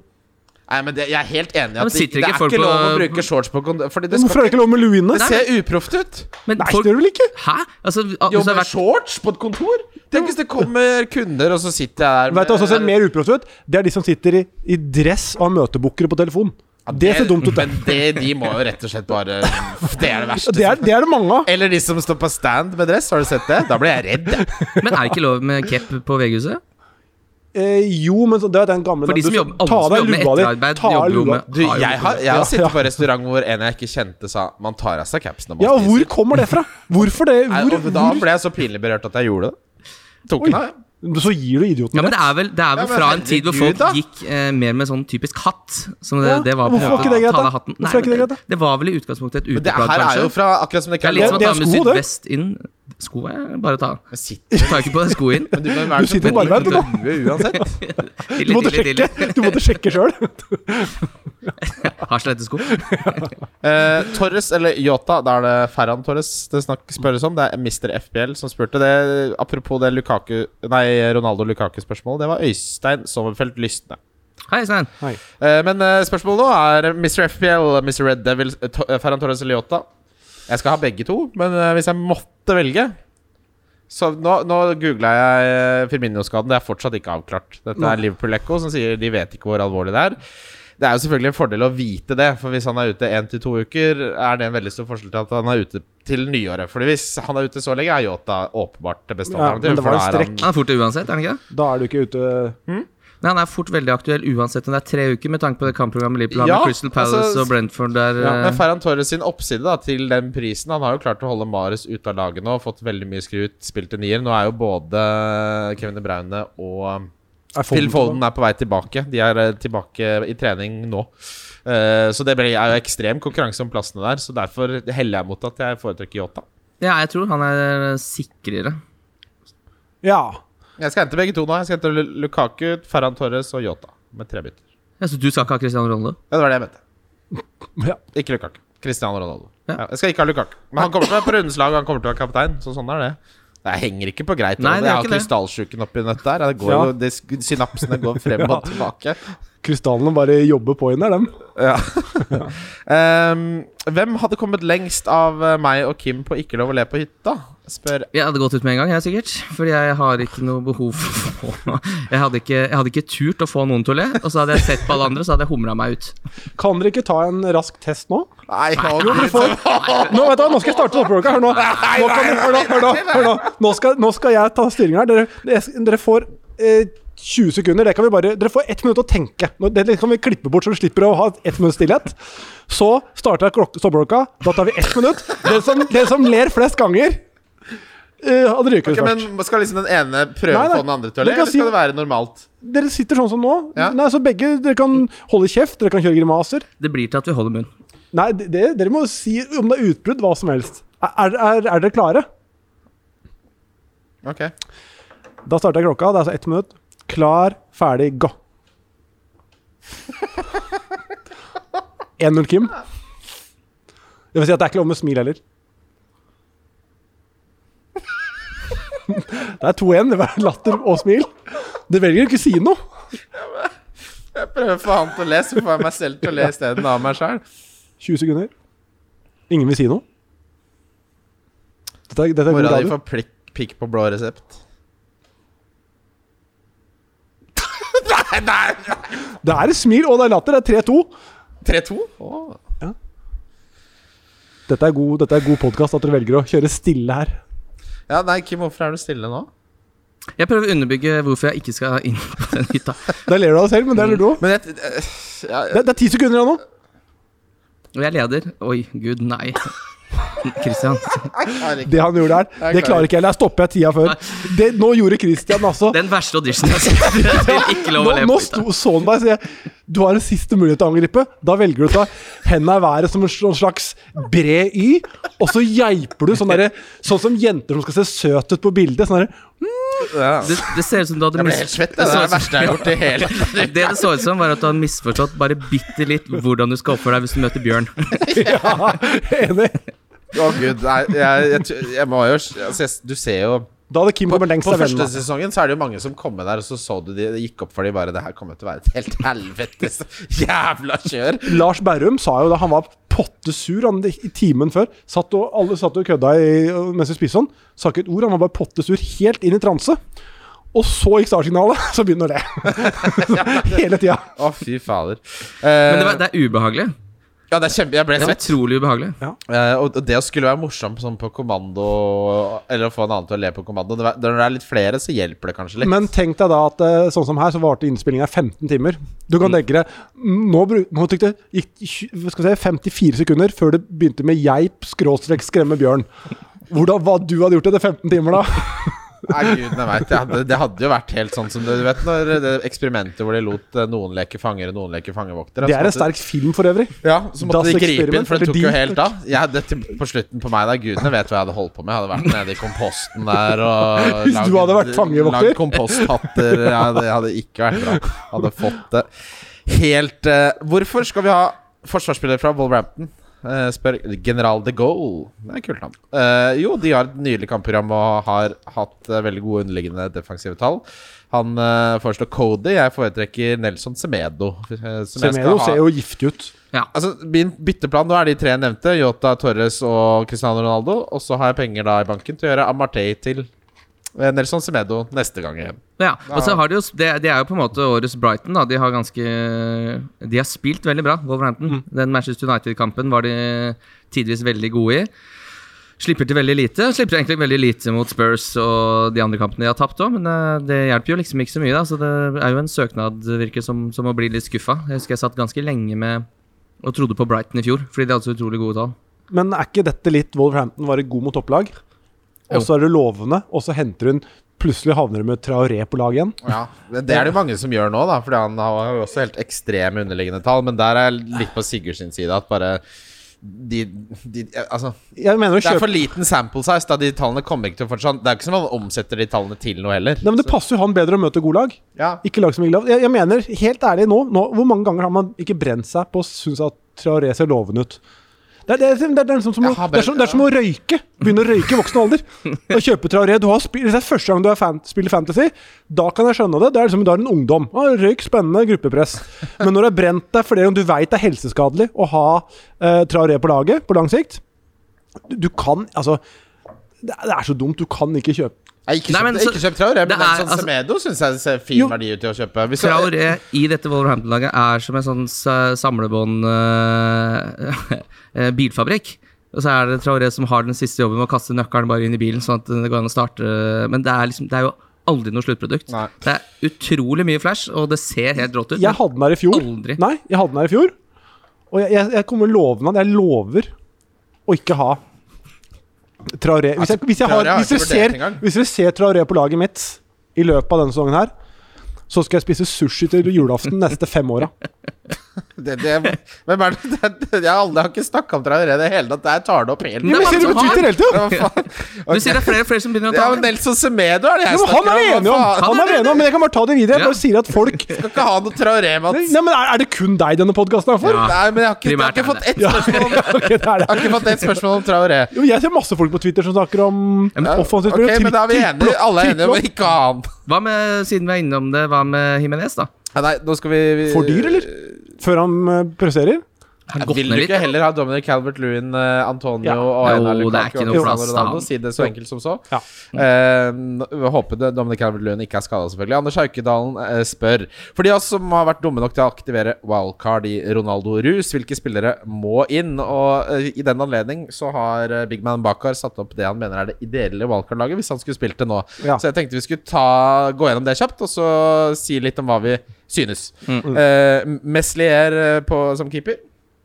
S2: Nei, men det, Jeg er helt enig i
S3: men
S2: at det,
S3: sitter
S2: det
S3: ikke
S2: er
S3: folk
S2: ikke lov å
S3: på-
S2: bruke shorts på kontoret. Fordi det,
S4: Hvorfor er
S2: skal,
S4: det ikke lov med lue inne?
S2: det ser uproft ut.
S3: Men
S4: Nei,
S3: folk
S4: det gjør det vel ikke?
S3: Hæ? Altså,
S2: Jo,
S3: altså, det har
S2: med
S3: vært
S2: shorts på et kontor? Tenk hvis det kommer kunder, og så sitter jeg der med
S4: Vet du hva som ser mer uproft ut? Det er de som sitter i, i dress og har møtebukkere på telefon. Det ser dumt ut. det.
S2: Men det, de må jo rett og slett bare Det er det verste.
S4: Det er det, er det mange av.
S2: Eller de som står på stand med dress, har du sett det? Da blir jeg redd. jeg.
S3: Men er det ikke lov med cap på VG-huset?
S4: Eh, jo, men så, det er den gamle
S3: For de som
S4: du-
S3: jobber- alle
S4: ta
S3: som
S4: av deg
S3: jobber med
S4: lua di,
S3: etterarbeid,
S4: ta av
S3: jobber jo
S4: lua.
S3: med-
S2: Du,
S3: Har jo
S2: jeg har,
S3: ikke-
S2: jeg har
S4: Ja,
S2: sittet
S4: ja.
S2: på restaurant hvor en jeg ikke kjente, sa man tar av seg capsen når man
S4: Ja, og
S2: spiser».
S4: hvor kommer det fra? Hvorfor det?
S2: Nei,
S4: Hvor,
S2: og Da
S4: hvor?
S2: ble jeg så pinlig berørt at jeg gjorde det. Tok
S4: Oi.
S2: den av, ja.
S4: Så gir du idioten
S3: Ja, men det er vel, det er vel
S2: Ja, men
S3: fra en tid hvor
S2: herregud,
S3: folk
S2: da.
S3: gikk eh, mer med sånn typisk hatt. Som det,
S4: Ja,
S3: det var på en
S4: hvorfor var
S3: måte
S4: ikke det greit,
S3: ta
S4: da?
S3: av hatten.
S4: Hvorfor er ikke det greit,
S3: men
S4: da?
S3: det, det var vel i utgangspunktet et
S2: Men det
S3: uteplagg,
S2: her er jo
S3: kanskje.
S2: fra akkurat som det
S3: Det er litt som å
S4: det
S3: ta
S4: er
S3: med
S4: sko, det.
S3: sydvest inn. Sko er bare å ta av.
S2: Men sitter
S3: Du tar ikke på deg sko inn.
S2: Men du kan være
S4: Du sitter
S2: så
S4: bare
S2: bedre
S4: der, du,
S2: til å dø uansett.
S4: Du
S3: Tidlig,
S4: måtte
S3: tidlig,
S4: sjekke,
S3: tidlig.
S4: du måtte sjekke sjøl.
S3: Har slettesko.
S2: Eh, Torres, eller Yota, da er det Ferran Torres det snak, spørres om. Det er Mr. FBL som spurte. Det, apropos det Lukaku, nei, Ronaldo Lukaku-spørsmålet, det var Øystein Sommerfelt Lystne.
S3: Hei, Svein.
S2: Eh, men eh, spørsmålet nå er Mr. FBL, Mr. Red Devil, eh, to, eh, Ferran Torres eller Yota. Jeg skal ha begge to, men eh, hvis jeg måtte velge så Nå, nå googla jeg eh, Firmino-skaden. Det er fortsatt ikke avklart. Dette er Liverpool-ekko som sier de vet ikke hvor alvorlig det er. Det er jo selvfølgelig en fordel å vite det, for hvis han er ute én til to uker, er det en veldig stor forskjell til at han er ute til nyåret. Fordi hvis han er ute så lenge, er Yota åpenbart det beste
S4: Ja, men
S2: alternativet.
S4: det
S2: for
S4: var
S2: da
S4: en
S2: er han-
S3: Han er fort ute uansett, er han ikke det?
S4: Da er du ikke ute
S3: Nei, Han er fort veldig aktuell uansett om det er tre uker, med tanke på det kampprogrammet Liverpool har
S2: Ja,
S3: med Crystal Palace
S2: altså-
S3: og Brentford der.
S2: Ja, men
S3: eh,
S2: Ferran Torres sin oppside da, til den prisen Han har jo klart å holde Mares ute av laget nå, fått veldig mye skryt, spilt til nier. Nå er jo både Kevin De Bruyne og
S4: er
S2: Phil Foden er på vei tilbake. De er eh, tilbake i trening nå. Eh, så det blir- er jo ekstrem konkurranse om plassene der, så derfor heller jeg mot at jeg foretrekker Yota.
S3: Ja, jeg tror han er eh, sikrere.
S4: Ja.
S2: Jeg skal hente begge to nå. Jeg skal hente Lu- Lukaku, Ferran Torres og Yota med tre bytter.
S3: Ja, så du skal ikke ha Cristiano Ronaldo?
S2: Ja, det var det jeg mente.
S4: ja.
S2: Ikke Lukaku. Cristiano Ronaldo.
S3: Ja.
S2: Ja, jeg skal ikke ha Lukaku. Men han kommer til å være på rundens lag, og han kommer til å være kaptein. Så sånn er det. Det henger ikke på greit.
S3: Nei,
S2: jeg
S3: det er
S2: har
S3: ikke det.
S2: krystallsjuken oppi nøttet her. Det går
S4: Ja.
S2: jo, det, sk- synapsene går frem
S4: Ja.
S2: og tilbake.
S4: Krystallene bare jobber på inn der, dem.
S2: Ja. Ehm, hvem hadde kommet lengst av eh, meg og Kim på ikke lov å le på hytta? Spør
S3: Jeg hadde gått ut med en gang, jeg sikkert. Fordi jeg har ikke noe behov for jeg hadde, ikke, jeg hadde ikke turt å få noen til å le, og så hadde jeg sett på alle andre, så hadde jeg humra meg ut.
S4: Kan dere ikke ta en rask test nå?
S2: Nei,
S4: Jo, dere får
S2: sånn.
S4: Nå, vet du, hva, nå skal jeg starte oppblokka. Hør nå. Nå, kan dere, hør nå, hør nå, hør nå. Nå, skal, nå skal jeg ta styringa her. Dere, jeg- dere får eh, 20 sekunder. Det kan vi bare, dere får ett minutt å tenke. Nå, det kan vi klippe bort, så vi slipper å ha ett minutts stillhet. Så starter jeg klok- stoppeklokka. Da tar vi ett minutt. Den som, den som ler flest ganger, eh, han ryker
S2: Ok,
S4: ut først.
S2: men Skal liksom den ene prøve
S4: Nei,
S2: å
S4: nei.
S2: få den andre til å
S4: Du
S2: le,
S4: kan
S2: eller
S4: si-
S2: skal det være normalt?
S4: Dere sitter sånn som nå.
S2: Ja. Mm.
S4: Nei, så begge, Dere kan holde kjeft, dere kan kjøre grimaser.
S3: Det blir til at vi holder munn.
S4: Nei, det- det, dere må si om det er utbrudd, hva som helst. Er, er, er dere klare?
S2: Ok
S4: Da starter jeg klokka. Det er altså ett minutt. Klar, ferdig, gå. 1-0 Kim. Det vil si at det er ikke lov med smil heller. Det er 2-1. Det var latter og smil. Du velger å ikke si noe.
S2: Jeg prøver å få han til å le, så får jeg meg selv til å le isteden av meg sjøl.
S4: 20 sekunder. Ingen vil si noe. Dette er, dette er god
S2: Mora di
S4: radio.
S2: får plikk, pikk på blå resept. nei, nei!
S4: Det er et smil, og det er latter. Det er 3-2.
S2: 3-2?
S4: Dette er god, dette er god podkast, at dere velger å kjøre stille her.
S2: Ja, nei, Kim, hvorfor er du stille nå?
S3: Jeg prøver å underbygge hvorfor jeg ikke skal inn på den hytta.
S4: Der ler du av deg selv, men det er du òg.
S2: Men jeg eh, ja,
S4: Det, det er 10 sekunder igjen nå.
S3: Og jeg leder. Oi, gud, nei. Christian.
S2: herregud.
S4: Det han gjorde her,
S2: Jeg
S4: det klarer ikke jeg. Der stopper jeg tida før. Det, nå gjorde Christian altså
S3: Den verste auditionen jeg har sett. Det er Ikke lov
S4: Nå,
S3: å le
S4: nå
S3: på hytta.
S4: sto, så han meg og sier du har en siste mulighet til å angripe. Da velger du å ta henda i været som en sl- slags bred Y, og så geiper du sånn derre Sånn som jenter som skal se søt ut på bildet. Sånn derre
S2: Ja.
S3: Det, det ser ut som du hadde
S2: Jeg ble
S3: mis-
S2: helt svett. Det, det er det verste jeg har gjort i hele
S3: Det det så ut som, var at du hadde misforstått bare bitte litt hvordan du skal oppføre deg hvis du møter bjørn.
S4: Ja, enig.
S2: Å, gud. Nei, jeg, jeg, tr- jeg må jo altså, jeg, Du ser jo
S4: Da hadde Kim
S2: på,
S4: kommet lengst
S2: på
S4: av
S2: første
S4: vennene.
S2: sesongen så er det jo mange som kom med der, og så så du de, det gikk opp for de bare Det her kommer til å være et helt helvetes jævla kjør.
S4: Lars Berrum sa jo da han var pottesur han, i timen før satt og, Alle satt og kødda i, mens vi spiste sånn. Sa ikke et ord. Han var bare pottesur helt inn i transe. Og så gikk startsignalet, så begynner han å le. Hele tida.
S2: Å, fy fader.
S3: Men det,
S2: Eh,
S3: var, det er ubehagelig.
S2: ja, det er kjempe... Jeg ble
S3: Det er
S2: svett.
S3: utrolig ubehagelig.
S2: Eh, og og det å skulle være morsom sånn på kommando, eller å få en annen til å le på kommando det var- Når det er litt flere, så hjelper det kanskje litt.
S4: Men tenk deg da at eh, sånn som her, så varte innspillinga 15 timer. Du kan tenke deg mm, Nå, bru- nå tok det gikk tj- hva skal jeg si, 54 sekunder før det begynte med geip, skråstrek, skremme bjørn. Hvordan hva du hadde gjort etter 15 timer, da?
S2: Nei, gudene vet, det, hadde, det hadde jo vært helt sånn som det, du vet når det eksperimentet hvor de lot eh, noen leke fanger og noen leke fangevoktere.
S4: Det
S2: så
S4: er en
S2: måtte-
S4: sterk film for øvrig.
S2: Ja, så måtte
S4: Das
S2: de gripe inn, for det
S4: Experiment,
S2: tok jo
S4: eller
S2: helt
S4: Die.
S2: av. Jeg hadde til, på slutten på meg der, gudene vet hva jeg hadde holdt på med. Jeg hadde vært nede i komposten der og
S4: Hvis du hadde vært fangevokter.
S2: lagd komposthatter. Jeg hadde, jeg hadde ikke vært bra. Hadde fått det helt eh, Hvorfor skal vi ha forsvarsspiller fra Wolverhampton? Eh, spør General De Gaulle. Det er et kult navn. Eh, jo, de har et nydelig kampprogram og har hatt eh, veldig gode underliggende defensive tall. Han eh, foreslår Cody. Jeg foretrekker Nelson Semedo. eh, som jeg skal
S4: Semedo
S2: ha-
S4: ser jo giftig ut.
S2: Altså, Min bytteplan nå er de tre jeg nevnte. Yota, Torres og Cristiano Ronaldo. Og så har jeg penger da i banken til å gjøre Amartey til eh, Nelson Semedo neste gang igjen.
S3: Ja, og så har de jo, det, det er jo på en måte årets Brighton. da De har ganske De har spilt veldig bra, Wolverhampton. Den Manchester United-kampen var de tidvis veldig gode i. Slipper til veldig lite. Slipper egentlig veldig lite mot Spurs og de andre kampene de har tapt òg, men eh, det hjelper jo liksom ikke så mye. da Så det er jo en søknad, virker som, som å bli litt skuffa. Jeg husker jeg satt ganske lenge med og trodde på Brighton i fjor, fordi de hadde så utrolig gode tall.
S4: Men er ikke dette litt Wolverhampton være god mot topplag?
S3: Jo.
S4: Og så er det lovende, og så henter hun Plutselig havner hun med Traoré på lag igjen.
S2: Ja, Det det er det jo mange som gjør nå, da Fordi han har jo også helt ekstreme underliggende tall. Men der er jeg litt på Sigurd sin side. At bare de, de Altså,
S4: Jeg mener å
S2: det er
S4: kjøpe
S2: for liten sample size. Da De tallene kommer ikke til å fortsatt Det er ikke som om han omsetter de tallene til noe heller.
S4: Nei, men Det passer jo han bedre å møte gode lag.
S2: Ja,
S4: Ikke lag som ikke lag. Jeg, jeg mener, helt ærlig nå, nå Hvor mange ganger har man ikke brent seg på å synes at Traoré ser lovende ut? Det er, det, er, det, er, det, er liksom som å,
S2: Jeg har
S4: det, er som, det er som å røyke. Begynne å røyke i voksen alder. Å kjøpe Traoré du har spill, Hvis det er første gang du er fan, spiller Fantasy, da kan jeg skjønne det. Det er liksom, Da er du en ungdom. Å, røyk, spennende, gruppepress. Men når du har brent deg fordi du veit det er helseskadelig å ha eh, Traoré på laget på lang sikt Du, du kan Altså det er, det er så dumt. Du kan ikke kjøpe
S2: jeg har ikke
S3: Nei, men
S2: kjøpt, jeg har ikke
S3: så-
S2: kjøpt Traoré, men
S3: det er-
S2: Nelson
S3: altså-
S2: Semedo syns jeg ser fin
S4: Jo.
S2: verdi ut til å kjøpe. Hvis-
S3: Traoré i dette Wolverhampton-laget er som en sånn sa- samlebånd eh, eh, bilfabrikk. Og så er det Traoré som har den siste jobben med å kaste nøkkelen bare inn i bilen. sånn at det går an å starte. Men det er, liksom, det er jo aldri noe sluttprodukt.
S2: Nei.
S3: Det er utrolig mye flash, og det ser helt rått ut.
S4: Jeg hadde den her i fjor.
S3: Aldri.
S4: Nei, jeg hadde den her i fjor. Og jeg, jeg, jeg kommer lovende at jeg lover å ikke ha Traoré. Hvis, jeg, hvis, jeg har,
S2: Traoré har
S4: hvis,
S2: ikke
S4: dere
S2: vurdert
S4: ser,
S2: engang.
S4: hvis dere ser Traoré på laget mitt i løpet av denne sesongen her, så skal jeg spise sushi til julaften neste fem åra.
S2: Det, det, hvem er det? det, det jeg har aldri jeg har ikke snakka om Traoré i det hele tatt. Jeg tar det opp helt
S3: Men
S4: Men
S3: det er
S4: ser du på
S3: mange som har-
S4: Twitter hele tida?
S2: Hva faen?
S3: Du sier det er flere og flere som begynner å
S2: Ja,
S3: ta
S2: men Nelson Semedo er det
S4: Ja,
S2: jeg
S4: men han er vi
S2: snakker om.
S4: enige om!
S2: Hva faen?
S4: Han er vi enige om, Men jeg kan bare ta det videre. Jeg bare sier at folk
S2: Skal ikke ha noe Traoré, Mats.
S4: Nei, men Er, er det kun deg denne podkasten er for?
S3: Ja.
S2: Nei, men jeg har ikke, jeg har
S3: Primært
S2: ikke
S3: er
S2: fått ett spørsmål om,
S4: Ok, det er
S2: jeg har
S4: det.
S2: ikke fått ett spørsmål om Traoré.
S4: Jo, jeg ser masse folk på Twitter som snakker om
S3: men-
S4: offensivt
S2: Ok, men da er vi enige. Alle er enige om å ikke ha han.
S3: Hva med, siden vi er innom det, hva med Jimenez, da?
S2: Ja, Nei, nå skal vi, vi
S4: For dyr, eller? Før han eh, presterer?
S3: Han gått
S2: Vil
S3: ned
S2: du
S3: litt.
S2: ikke heller ha Dominic Calvert Lewin, eh, Antonio
S4: Ja.
S2: og
S3: Jo,
S2: Einar
S3: det er
S2: Lukaku?
S3: ikke
S2: og
S3: noe
S2: Cristiano
S3: plass, Mm. da.
S2: Ronaldo? Si det så enkelt som så.
S4: Ja.
S2: Eh, nå- vi håper det, Dominic Calvert-Lewin ikke er skada, selvfølgelig. Anders Haukedalen eh, spør For de av oss som har vært dumme nok til å aktivere wildcard i Ronaldo Rus, hvilke spillere må inn? Og eh, i den anledning så har eh, Big Man Bakar satt opp det han mener er det ideelle wildcard-laget, hvis han skulle spilt det nå.
S4: Ja.
S2: Så jeg tenkte vi skulle ta, gå gjennom det kjapt, og så si litt om hva vi synes.
S3: Mm.
S4: Mm.
S2: Eh, Meslier eh, på, som keeper.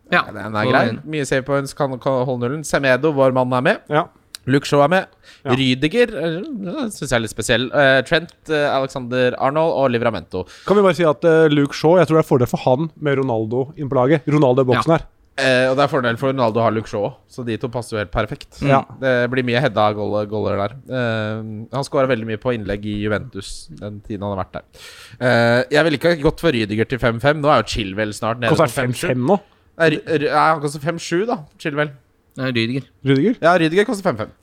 S3: Ja,
S2: Ja, Den er grei. Mye save points kan, kan holde nullen. Semedo, vår mann, er med.
S4: Ja.
S2: Luke Shaw er med.
S4: Ja.
S2: Rydiger eh, syns jeg er litt spesiell. Eh, Trent, eh, Alexander Arnold og Livramento.
S4: Kan vi bare si at eh, Luke Shaw Jeg tror det er fordel for han med Ronaldo inn på laget. Ronaldo i boksen her.
S2: Eh, og det er fordel for Ronaldo å ha Luke Shaw òg, så de to passer jo helt perfekt.
S4: Ja.
S2: Det blir mye hedda goller, goller der. Eh, han skåra veldig mye på innlegg i Juventus den tiden han har vært der. Eh, jeg ville ikke ha gått for Rydiger til 5-5. Nå er sånn jo Chilwell snart nede
S4: Koster
S2: på Eh,
S4: han
S2: 5-7.
S4: 5-5 nå,
S2: Nei, Ry- Ry- nei, han koster 5-7, da. Chilwell.
S3: Rydiger.
S4: Rudiger?
S2: Ja, Rydiger koster 5-5.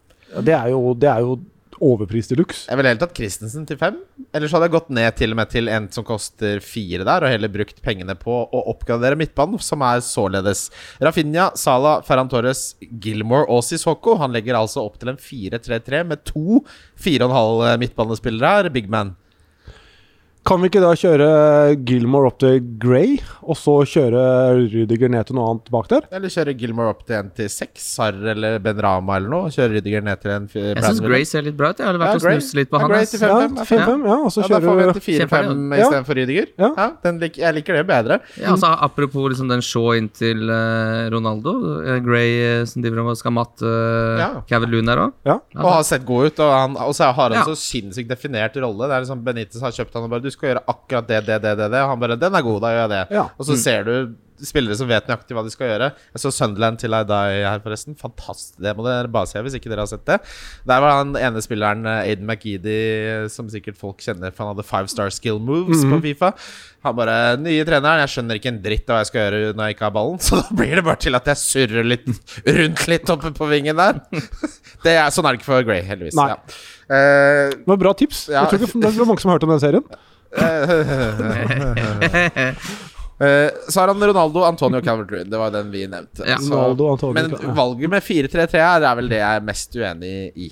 S4: Det er jo, det er jo overpris de luxe.
S2: Jeg ville heller tatt Christensen til fem. Eller så hadde jeg gått ned til og med til en som koster fire der, og heller brukt pengene på å oppgradere midtbanen, som er således Rafinha, Salah, Ferran Torres, Gilmore og Sissoko. Han legger altså opp til en eh, 4-3-3 med to 4,5 midtbanespillere her, big man.
S4: Kan vi ikke da kjøre Gilmore opp til Gray, og så kjøre Rudiger ned til noe annet bak der?
S2: Eller kjøre Gilmore opp til en til seks, Sarr eller Ben Rama eller noe. og Kjøre Rydiger ned til en
S3: Jeg syns Gray ser litt bra ut. Jeg har
S2: Ja,
S3: vært og
S2: Gray.
S3: snust litt på
S2: Ja,
S3: han.
S2: Gray
S3: ass.
S2: til
S4: Ja,
S2: Fem, fem, ja.
S4: 5-5, ja. Og så
S2: Ja, da får vi
S4: kjører
S2: en til fire-fem
S3: Kjempeferdig,
S4: ja.
S2: istedenfor Rydiger.
S4: Ja.
S2: Ja, den lik, jeg liker det bedre.
S3: Ja, altså, apropos liksom den show inntil eh, Ronaldo. eh, Gray eh, som driver og skal matte eh,
S2: Ja.
S3: Kevin Loon der òg.
S4: Ja.
S3: Ja,
S2: og har sett god ut. Og, han, og så har han
S3: Ja.
S2: så sinnssykt definert rolle. Det er liksom Benitez har kjøpt han og bare 'Du skal gjøre akkurat det, det, det, det.' det. Og han bare 'Den er god, da gjør jeg det'.
S4: Ja.
S2: Og så ser du spillere som vet nøyaktig hva de skal gjøre. Jeg så Sunderland til I Die her, forresten. Fantastisk. Det må dere bare se hvis ikke dere har sett det. Der var han ene spilleren, eh, Aiden McGeady, som sikkert folk kjenner, for han hadde five star skill moves på Fifa. Han bare 'Nye treneren, jeg skjønner ikke en dritt av hva jeg skal gjøre når jeg ikke har ballen', så da blir det bare til at jeg surrer litt rundt litt oppe på vingen der. Det er, sånn er det ikke for Grey, heldigvis.
S4: Nei.
S2: Ja. Eh,
S4: Det var bra tips.
S2: Ja.
S4: Jeg tror ikke det var mange som har hørt om den serien.
S2: eh, så har han Ronaldo, Antonio Calvert-Lewin. Det var den vi nevnte.
S3: Ja.
S2: Så-
S4: Ronaldo, Antonio
S2: men
S4: Calvert-Lewin.
S2: valget med 4-3-3 her er vel det jeg er mest uenig i.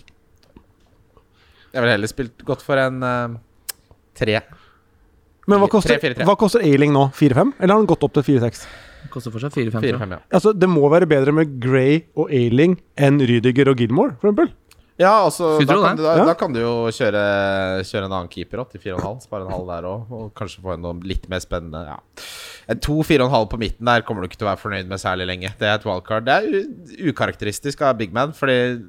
S2: Jeg ville heller spilt godt for en eh, tre.
S4: Men hva koster,
S2: 3-4-3.
S4: hva koster Ailing nå? 4-5? Eller har han gått opp til 4-6?
S3: Koster fortsatt 4-5. tror jeg.
S2: 4-5, ja.
S4: Altså, det må være bedre med Gray og Ailing enn Rydiger og Gilmore, for eksempel.
S2: Ja, altså,
S3: Skulle
S2: da,
S3: tro
S2: kan
S3: det.
S2: du, da,
S4: Ja.
S2: da kan du jo kjøre, kjøre en annen keeper opp til 4,5. Spare en halv der òg, og kanskje få en noe litt mer spennende. Ja. En 2-4,5 på midten der kommer du ikke til å være fornøyd med særlig lenge. Det er et wildcard. Det er u ukarakteristisk av Big Man, fordi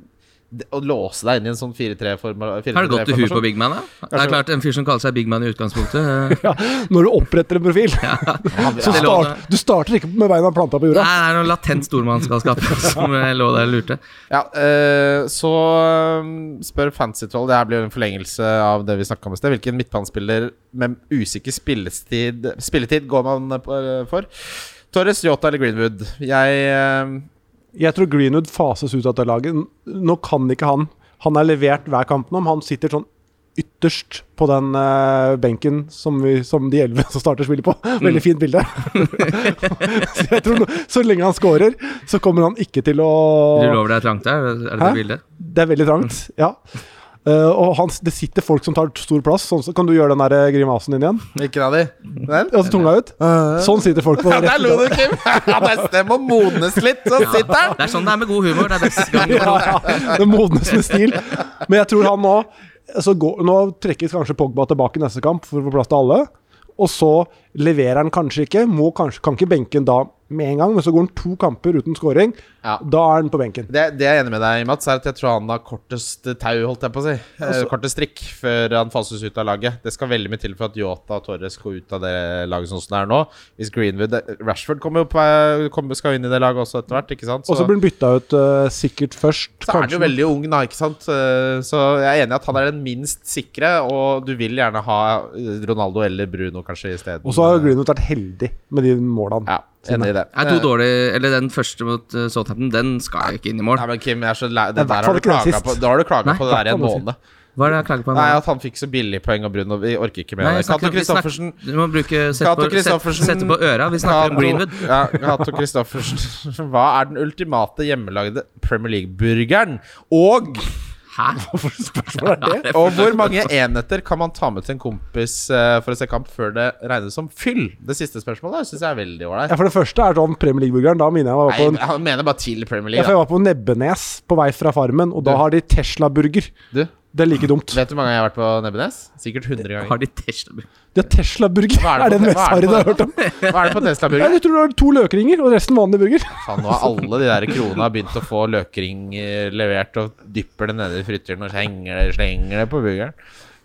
S2: det, å låse deg inn i en sånn 4-3-form
S3: Har det gått til huet på Big Man? Da? Det er klart, En fyr som kaller seg Big Man i utgangspunktet eh,
S4: Når du oppretter en profil. Så
S3: det
S4: start,
S3: lånet-
S4: du starter ikke med beina planta på jorda.
S3: Nei, det er noe latent stormannsgalskap som eh, lå der og lurte.
S2: Ja, eh, så um, spør Fancytroll Det her blir jo en forlengelse av det vi snakka om i sted. Hvilken midtbanespiller med usikker spilletid, spilletid går man eh, på- eh, for? Torres, Jota eller Greenwood? Jeg eh,
S4: Jeg tror Greenwood fases ut av det laget. Nå kan ikke han Han er levert hver kamp nå, men han sitter sånn ytterst på den eh, benken som, vi, som de elleve som starter spillet på.
S3: Mm.
S4: Veldig fint bilde. så jeg tror nå, så lenge han scorer, så kommer han ikke til å
S3: Ruller over deg trangt der, er det det
S4: Hæ?
S3: bildet? Mm.
S4: Det er veldig trangt, ja. Eh, og han, det sitter folk som tar stor plass. Sånn, så kan du gjøre den der grimasen din igjen?
S2: Hvilken av de? Den?
S4: Altså tunga ut?
S3: Eh.
S4: Sånn sitter folk på
S2: Ja, der
S4: rett
S2: lo du, Kim! Ja, det- Det må modnes litt, så sitter den!
S3: Det er sånn det er med god humor. Det er best gang
S4: ja, ja. Det modnes med stil. Men jeg tror han nå så går, Nå trekkes kanskje Pogba tilbake i neste kamp for å få plass til alle. Og så leverer han kanskje ikke. Må kanskje, kan ikke benken da med en gang, men så går han to kamper uten scoring.
S2: Ja.
S4: Da er han på benken.
S2: Det, det jeg er enig med deg i, Mats, er at jeg tror han har kortest tau, holdt jeg på å si. Eh,
S4: Altså-
S2: kortest strikk før han fases ut av laget. Det skal veldig mye til for at Yota og Torres går ut av det laget sånn som det er nå. Hvis Greenwood eh, Rashford kommer jo på, eh, kommer, skal jo inn i det laget også etter hvert, ikke sant?
S4: Og så blir han bytta ut eh, sikkert først,
S2: så er han jo veldig ung, da, ikke sant? Eh, Så jeg er enig i at han er den minst sikre, og du vil gjerne ha eh, Ronaldo eller Bruno kanskje isteden.
S4: Og så har Greenwood vært heldig med de målene.
S2: Ja, enig i det.
S3: Er to dårlige, eller Den første mot eh, Southampton, den skal jo ikke inn i mål.
S2: Nei, men Kim, jeg er så lei. Det
S4: i hvert
S2: der
S4: fall
S2: har du
S4: ikke den
S2: klaga
S4: sist.
S2: på, da har du klaga
S3: Nei,
S2: på det der i en
S4: hvertfall den
S2: måned.
S3: Hva er det jeg klager på? nå?
S2: Nei, at han fikk så billig poeng av Bruno. Vi orker ikke mer
S3: Nei,
S2: av det.
S3: jeg
S2: Cato
S3: snakker- vi snakker-
S2: Christoffersen.
S3: Du må bruke sette
S2: Cato
S3: på, sette,
S2: Christoffersen-
S3: sette på øra. Vi snakker om
S2: Cato-
S3: Greenwood.
S2: Ja, Cato Christoffersen. Hva er den ultimate hjemmelagde Premier League-burgeren? Og,
S3: Hæ?
S4: Hva er det?
S2: og hvor mange enheter kan man ta med til en kompis eh, for å se kamp før det regnes som fyll? Det siste spørsmålet der syns jeg er veldig ålreit.
S4: Ja, for det første er sånn Premier League-burgeren. Da minner jeg meg
S2: Nei,
S4: på en
S2: Han mener bare til Premier
S4: ja,
S2: League.
S4: for jeg var på Nebbenes på vei fra Farmen, og da
S2: Du.
S4: har de Tesla-burger.
S2: Da. Du,
S4: Det er like dumt.
S2: vet du hvor mange ganger jeg har vært på Nebbenes? Sikkert 100
S3: Har
S2: ganger.
S3: de Tesla-burger?
S4: De har Tesla-burger!
S2: Hva
S4: Er
S2: er det på-
S4: det den mest
S2: hva er det
S4: harry du
S2: på-
S4: har hørt om?
S2: Hva er det på Tesla
S4: Ja,
S2: Burger?
S4: Jeg tror du har to løkringer og resten vanlige burger.
S2: Faen, nå har alle de der krona begynt å få løkring eh, levert, og dypper det nede i frityrene og slenger det, slenger det på burgeren.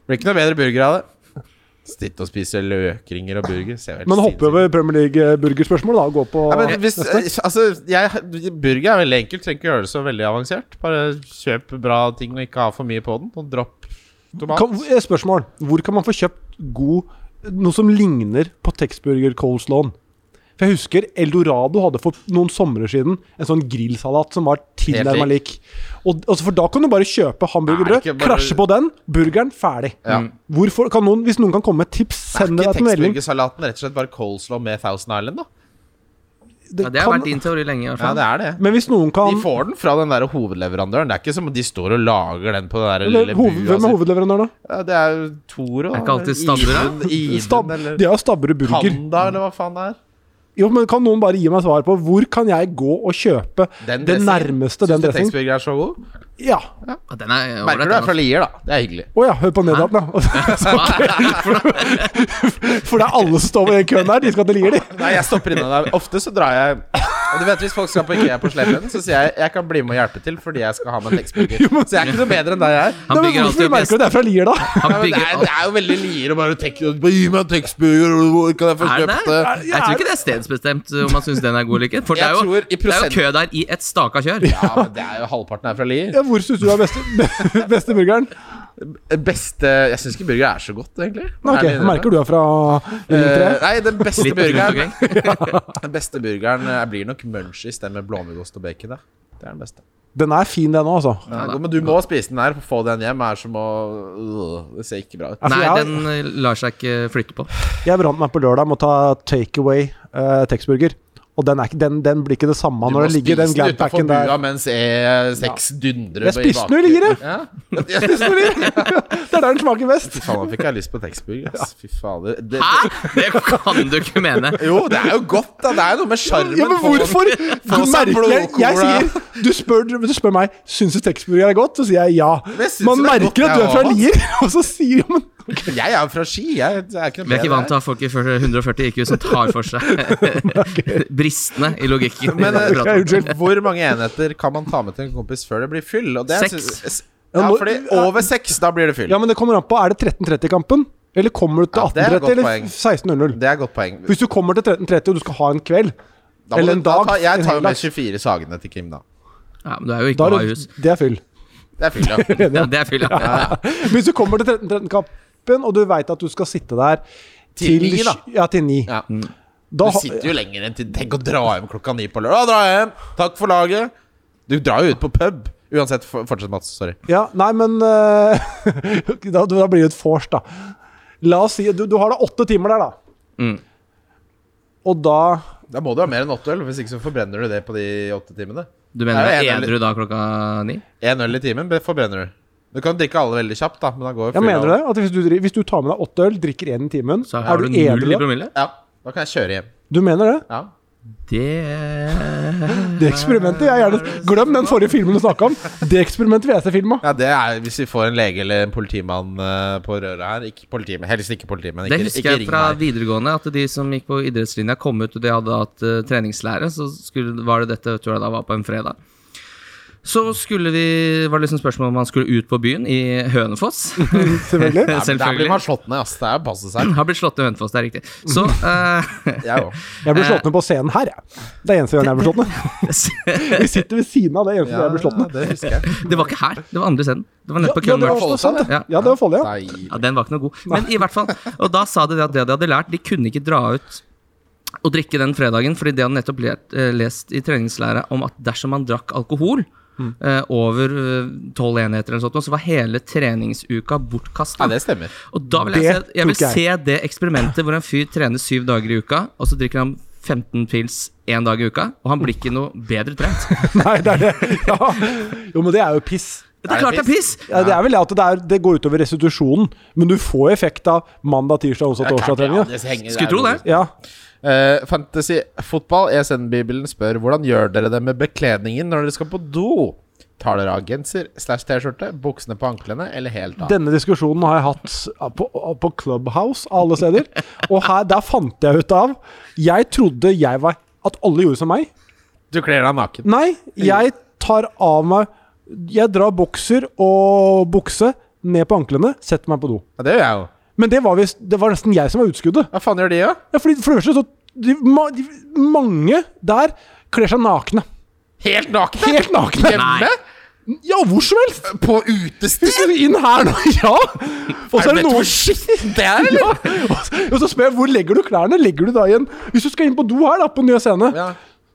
S2: Blir ikke noe bedre burger av det. Sitte og spise løkringer og burger. Ser
S4: Men hopper over Premier League-burgerspørsmålet, da. Og går på
S2: ja, men hvis, eh, altså, jeg, Burger er veldig enkelt, trenger ikke gjøre det så veldig avansert. Bare kjøp bra ting og ikke ha for mye på den, og dropp tomat.
S4: kan, eh, Spørsmål. Hvor kan man få kjøpt god Noe som ligner på Texburger Coleslaw? For jeg husker Eldorado hadde for noen somre siden en sånn grillsalat som var tilnærma
S2: Helt
S4: lik. Og, altså for da kan du bare kjøpe hamburgerbrød,
S2: Nei, ikke bare-
S4: krasje på den, burgeren ferdig.
S2: Ja.
S4: Hvorfor, kan noen, hvis noen kan komme med et tips, send
S2: er ikke
S4: det deg en melding.
S2: Texburger-salaten rett og slett bare coleslaw med Thousand Island, da?
S4: det
S3: Ja, det har
S4: kan,
S3: vært din teori lenge, i hvert
S2: Ja,
S3: fall.
S2: det er det.
S4: men hvis noen kan
S2: De får den fra den der hovedleverandøren. Det er ikke som om de står og lager den på den der
S4: eller,
S2: lille altså.
S4: hoved,
S2: bua
S4: Hvem er
S2: si.
S4: hovedleverandøren, da?
S2: Ja, det er jo Toro.
S3: Er ikke alltid Stabburet?
S4: Stab,
S2: Iden,
S4: de
S2: eller
S4: har Stabburud Burger.
S2: Panda, eller hva faen det er.
S4: Jo, men Kan noen bare gi meg svar på hvor kan jeg gå og kjøpe
S2: Den
S4: det
S2: dressingen.
S4: nærmeste
S2: Syns
S4: den
S2: du
S4: dressingen?
S2: Texburger er så god?
S4: Ja.
S3: Ja, den er
S2: Merker
S3: ålreit,
S2: du
S3: den,
S2: er fra Lier, da. Det er hyggelig.
S4: Å ja, hør på nedaten, da.
S3: altså.
S4: For det er alle som står i den køen der. De skal til Lier, de.
S2: Nei, jeg stopper innom deg. Ofte så drar jeg Og du vet Hvis folk skal på IKEA på slepen, så sier jeg jeg kan bli med og hjelpe til fordi jeg skal ha med en Texburger. Så jeg er ikke noe bedre enn deg, jeg. er.
S4: Nei,
S3: Han
S4: men
S3: bygger
S4: hvorfor
S3: alltid opp
S4: merker du det er fra Lier, da?
S2: Nei,
S3: Han
S2: men det,
S3: bygger
S2: er,
S3: alt.
S2: det er jo veldig Lier å bare tenke Bare gi meg en Texburger, og hvor kan jeg få
S3: Er det?
S2: kjøpt det?
S4: Er-
S3: Jeg tror ikke det er stedsbestemt om man syns den er god eller ikke. For det
S2: Jeg
S3: er, jo,
S2: tror i
S3: det er jo
S2: prosent-
S3: kø der i et staka kjør.
S2: Ja, men det er jo halvparten er fra Lier.
S4: Ja, hvor syns du er beste, beste burgeren?
S2: Beste Jeg syns ikke burger er så godt, egentlig.
S4: Nei, ok, Merker du er fra Ring 3?
S2: Eh, nei, den beste
S3: Litt rundt
S2: burgeren
S3: omkring.
S2: Den beste burgeren eh, blir nok munchies, den med blåmuggost og bacon. Da. Det er den beste.
S4: Den er fin, den òg, altså.
S2: Den
S3: Ja,
S2: er
S3: da.
S2: god, men du må spise den her. for å Få den hjem er som å øh, Det ser ikke bra ut.
S4: for
S3: Nei,
S4: jeg-
S3: den eh, lar seg ikke flytte på.
S4: Jeg brant meg på lørdag med å ta takeaway uh, Texburger. Og den, er ikke, den, den blir ikke det samme
S2: Du må
S4: når det ligger den
S2: spise den utenfor
S4: gladpacken der.
S2: bua mens E6 dundrer
S4: Jeg
S2: i
S4: spiste
S2: bakgrunnen.
S4: den jo liggere.
S2: Ja.
S4: Det er der den smaker best.
S2: Fy faen, nå fikk jeg lyst på Texburger. ass. Fy fader. Det, det,
S3: Hæ?! Det kan du ikke mene!
S2: jo, det er jo godt, da. Det er jo noe med sjarmen.
S4: Ja, men
S2: på den.
S4: hvorfor? Du
S2: Få seg
S4: merker jeg, jeg
S2: blodcola.
S4: sier, du spør, du spør meg Syns du Texburger er godt, så sier jeg ja.
S2: jeg syns
S4: Man
S2: det er godt,
S4: merker at du
S2: jeg
S4: er fra
S2: også.
S4: Lier, og så sier jo men
S2: Jeg er jo fra Ski. Jeg, jeg er ikke noe
S3: Vi er ikke
S2: bedre
S3: vant til å ha folk i 40 140 IQ som tar for seg bristene i logikken.
S2: Men
S3: i det
S2: eh,
S3: vi prater om.
S2: unnskyld, hvor mange enheter kan man ta med til en kompis før det blir fyll? Og det,
S3: Seks.
S2: synes- s-
S4: Ja,
S2: Ja,
S4: nå-
S2: fordi over seks, da blir det fyll.
S4: Ja, men det kommer an på. Er det 13.30-kampen? Eller kommer du til
S2: Ja, det er et
S4: 18.30
S2: godt
S4: eller
S2: poeng.
S4: 16.00?
S2: Det er et godt poeng.
S4: Hvis du kommer til 13.30 og du skal ha en kveld,
S2: Da må
S4: eller
S2: du-
S4: en
S2: da
S4: dag,
S2: tar-
S4: en
S2: Jeg tar jo
S4: hel
S2: med
S4: dag.
S2: 24 sagene til Kim, da.
S3: Ja, men du er jo
S4: da
S3: ikke
S4: er
S3: bra i
S4: det,
S3: hus.
S4: det er fyll.
S2: Det er fyll, ja.
S3: Ja, det er fyll, ja.
S4: Hvis du kommer til 13.13-kampen, og du veit at du skal sitte der
S2: Til
S4: til
S2: ni, da.
S4: sj- Ja, til ni.
S2: ja. Du
S4: Da Mm. ha-
S2: sitter jo lenger enn til Tenk å dra hjem klokka ni på lørdag. Dra hjem! Takk for laget! Du drar jo ut på pub. Uansett, for- fortsett, Mats. Sorry.
S4: ja, nei, men eh, da, da blir det et vors, da. La oss si du, du har da åtte timer der, da.
S3: Mm.
S4: Og da
S2: Da må du ha mer enn åtte øl, hvis ikke så forbrenner du det på de åtte timene.
S3: Du mener
S2: Jeg er
S3: du er
S2: enig.
S3: edru da klokka ni?
S2: Én øl i timen be- forbrenner du. Du kan drikke alle veldig kjapt, da, men da går jo
S4: Jeg
S2: fylla
S4: mener
S2: over.
S4: det. At hvis du, dri- hvis du tar med deg åtte øl, drikker én i timen,
S3: Så
S4: er
S3: har
S4: du
S3: du null
S4: edru
S3: i
S4: da?
S3: promille?
S2: Ja, da kan jeg kjøre hjem.
S4: Du mener det?
S2: Ja
S3: Det
S4: Det eksperimentet jeg gjerne Glem den forrige filmen du snakka om. Det eksperimentet vil jeg se film av.
S2: Ja, det er hvis vi får en lege eller en politimann eh, på røret her. Ikke politimann, helst ikke politimann. Ikke,
S3: Det husker
S2: ikke
S3: jeg
S2: ring
S3: fra
S2: meg.
S3: videregående, at de som gikk på idrettslinja, kom ut og de hadde hatt eh, treningslære. Så skulle, var det dette, tror jeg da var på en fredag. Så skulle vi, var det liksom spørsmål om man skulle ut på byen i Hønefoss.
S4: Selvfølgelig.
S2: Ja, men Der blir
S3: Selvfølgelig.
S2: man slått ned, ass. Det er å passe seg.
S3: Har blitt slått ned i Hønefoss, det er riktig. Så eh,
S2: Jeg òg.
S4: Jeg ble slått ned på scenen her, jeg. Det er eneste gangen jeg ble slått ned. Vi sitter ved siden av det eneste
S2: Ja,
S4: jeg ble slått ned.
S2: det husker jeg.
S3: Det var ikke her, det var andre scenen. Det var nede
S4: Ja,
S3: på
S4: det
S3: Køllner.
S4: var også sant, det.
S3: Ja.
S4: Ja, det var Follia.
S2: Deilig.
S3: Ja, den var ikke noe god. Men i hvert fall, og da sa de det at det de hadde lært, de kunne ikke dra ut og drikke den fredagen, fordi det hadde nettopp lert, eh, lest i treningslære om at dersom man drakk alkohol eh, over tolv enheter eller sånt, noe, så var hele treningsuka bortkasta.
S2: Ja, det stemmer.
S3: og da vil jeg,
S4: Det
S3: se, jeg vil
S4: tok jeg.
S3: se det eksperimentet hvor en fyr trener syv dager i uka, og så drikker han 15 pils én dag i uka, og han blir ikke noe bedre trent.
S4: Nei, det er det. Ja. Jo, men det er jo piss.
S3: Det er klart det er piss!
S4: Ja, det er vel det at det, er, det går utover restitusjonen, men du får effekt av mandag, tirsdag, onsdag, torsdag treninga.
S3: Skulle tro det.
S4: Ja.
S2: Uh, fantasy fotball, ESN-bibelen spør hvordan gjør dere det med bekledningen når dere skal på do? Tar dere av genser slash T-skjorte, buksene på anklene eller helt av?
S4: Denne diskusjonen har jeg hatt ja, på, ah, på Clubhouse av alle steder, og her, der fant jeg ut av Jeg trodde jeg var At alle gjorde som meg.
S2: Du kler deg naken.
S4: Nei, jeg tar av meg Jeg drar bokser og bukse ned på anklene, setter meg på do.
S2: Ja, det gjør jeg jo.
S4: Men det var, visst, det var nesten jeg som var utskuddet.
S2: Hva faen gjør de, da?
S4: Ja, fordi for det første så de, ma, de, Mange der kler seg nakne.
S2: Helt nakne?
S4: Helt nakne!
S2: Hjemme?
S4: Ja, hvor som helst!
S2: På utested?
S4: Hvis du inn her nå, ja! Og så
S2: Er det
S4: er det noe
S2: hvor skitten det er, eller?
S4: ja. og, så, og så spør jeg hvor legger du klærne? Legger du da igjen Hvis du skal inn på do her, da, på Nye Scene,
S2: Ja.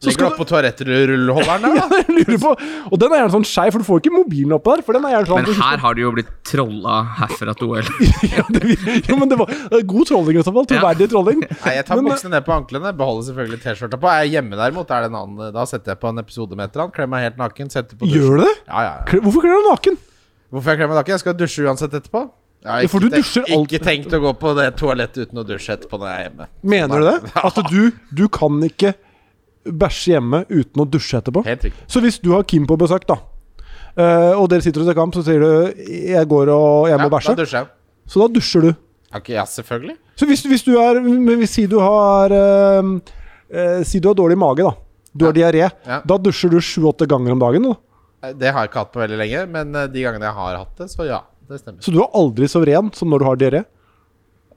S2: Ligger du oppå toalettrulleholderen der, da?
S4: Jeg lurer på Og den er gjerne sånn skeiv, for du får ikke mobilen oppå der. For den er gjerne sånn
S3: Men her har du jo blitt trolla herfra til OL.
S4: ja, det, jo, men det var det er god trolling i så fall. Troverdig trolling.
S2: Nei, jeg tar
S4: Men- eh,
S2: buksene ned på anklene, beholder selvfølgelig T-skjorta på. Er jeg hjemme derimot, er det en annen eh, Da setter jeg på en episode med et eller annet. Kler meg helt naken, setter på dusj.
S4: Gjør du det?
S2: Ja, ja, ja.
S4: Kle- Hvorfor kler du deg naken?
S2: Hvorfor jeg kler meg naken? Jeg skal dusje uansett etterpå. Jeg har
S4: Ja, for du
S2: tenkt-
S4: dusjer alt-
S2: ikke tenkt å gå på det toalettet uten å dusje etterpå når jeg er hjemme.
S4: Mener du det? At du, du kan ikke bæsje hjemme uten å dusje etterpå?
S2: Helt riktig.
S4: Så hvis du har Kim på besøk, da, eh, og dere sitter og ser kamp, så sier du 'jeg går og jeg
S2: Ja,
S4: må
S2: da
S4: bæsje',
S2: dusjer jeg.
S4: så da dusjer du.
S2: Ja, ikke- ja, selvfølgelig.
S4: Så hvis, hvis du er men hvis, Si du har eh, eh, Si du har dårlig mage, da. Du har diaré.
S2: Ja.
S4: Da dusjer du sju-åtte ganger om dagen. Da.
S2: Eh, Det har jeg ikke hatt på veldig lenge, men eh, de gangene jeg har hatt det, så ja. Det stemmer.
S4: Så du er aldri så ren som når du har diaré.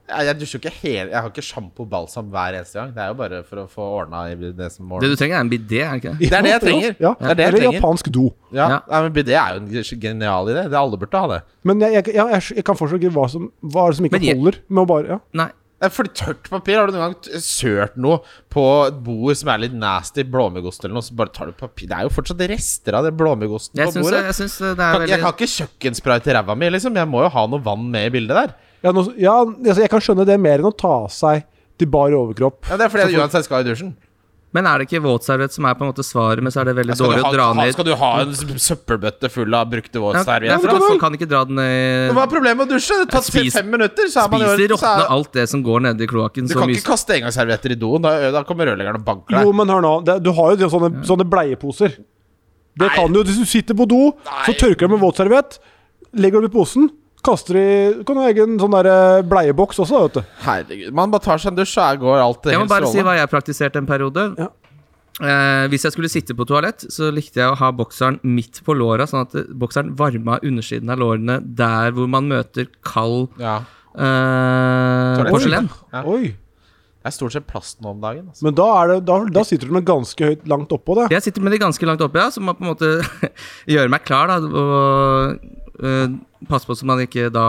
S2: Jeg, jeg dusjer jo ikke hele Jeg har ikke sjampo og balsam hver eneste gang. Det er jo bare for å få ordna i det som
S3: Det
S2: ordner.
S3: du trenger, er en bidé, er det ikke det?
S2: Det er det jeg trenger.
S4: Ja.
S2: Det er det jeg
S4: Eller
S2: trenger.
S4: japansk do.
S2: Ja,
S3: Ja.
S2: Nei, men Det er jo en genial idé. Det alle burde ha det.
S4: Men jeg, jeg, jeg, jeg kan fortsatt ikke hva som, hva er det som ikke
S3: Men jeg-
S4: holder med å bare ja.
S3: Nei.
S2: Nei, Fordi tørt papir Har du noen gang t- sørt noe på et bord som er litt nasty, blåmuggost eller noe, så bare tar du papir Det er jo fortsatt rester av det blåmuggosten
S3: Jeg
S2: på
S3: syns,
S2: bordet.
S3: jeg syns det er
S2: Kan, jeg
S3: veldig
S2: kan ikke kjøkkenspray til ræva mi, liksom. Jeg må jo ha noe vann med i bildet der.
S4: Ja, nå, ja altså, Jeg kan skjønne det mer enn å ta av seg til bar overkropp.
S2: Ja, det er fordi jeg uansett skal i dusjen.
S3: Men er det ikke våtserviett som er på en måte svaret, men så er det veldig
S2: Skal du,
S3: dårlig å
S2: ha, ha,
S3: dra ned
S2: skal du ha en s- søppelbøtte full av brukte
S3: Ja, ja,
S2: våtservietter?
S3: for
S2: da?
S3: at folk kan ikke dra den ned
S2: Hva er problemet med å dusje? Det tar
S3: Jeg spiser-
S2: fem minutter, så er man i
S3: Spiser
S2: orden, så
S3: råtne
S2: er-
S3: alt det som går nedi kloakken.
S2: Du
S3: så
S2: kan
S3: mye-
S2: ikke kaste engangsservietter i doen. Da, da kommer rørleggeren og banker deg.
S4: Jo, men hør nå. Det, du har jo de- sånne, sånne bleieposer.
S2: Mm.
S4: Det
S2: Nei.
S4: kan du. Hvis du sitter på do,
S2: Nei.
S4: så tørker du med våtserviett, legger du i posen, kaster i Du kan ha egen sånn der eh, bleieboks også, da, vet du.
S2: Herregud. Man bare tar seg en dusj, så er- går alt
S3: Jeg må
S2: helt
S3: bare si
S2: strålende.
S3: hva jeg praktiserte en periode.
S4: Ja.
S3: Eh, hvis jeg skulle sitte på toalett, så likte jeg å ha bokseren midt på låra, sånn at eh, bokseren varma undersiden av lårene der hvor man møter kald
S2: ja.
S3: eh,
S2: Toalett.
S3: porselen.
S2: Ja.
S4: Oi.
S2: Det er stort sett plast nå om dagen. Altså.
S4: Men da, er det, da, da sitter du med ganske høyt langt oppå det.
S3: Jeg sitter med de ganske langt oppe, ja, så må på en måte gjøre meg klar, da, og eh, passe på så man ikke da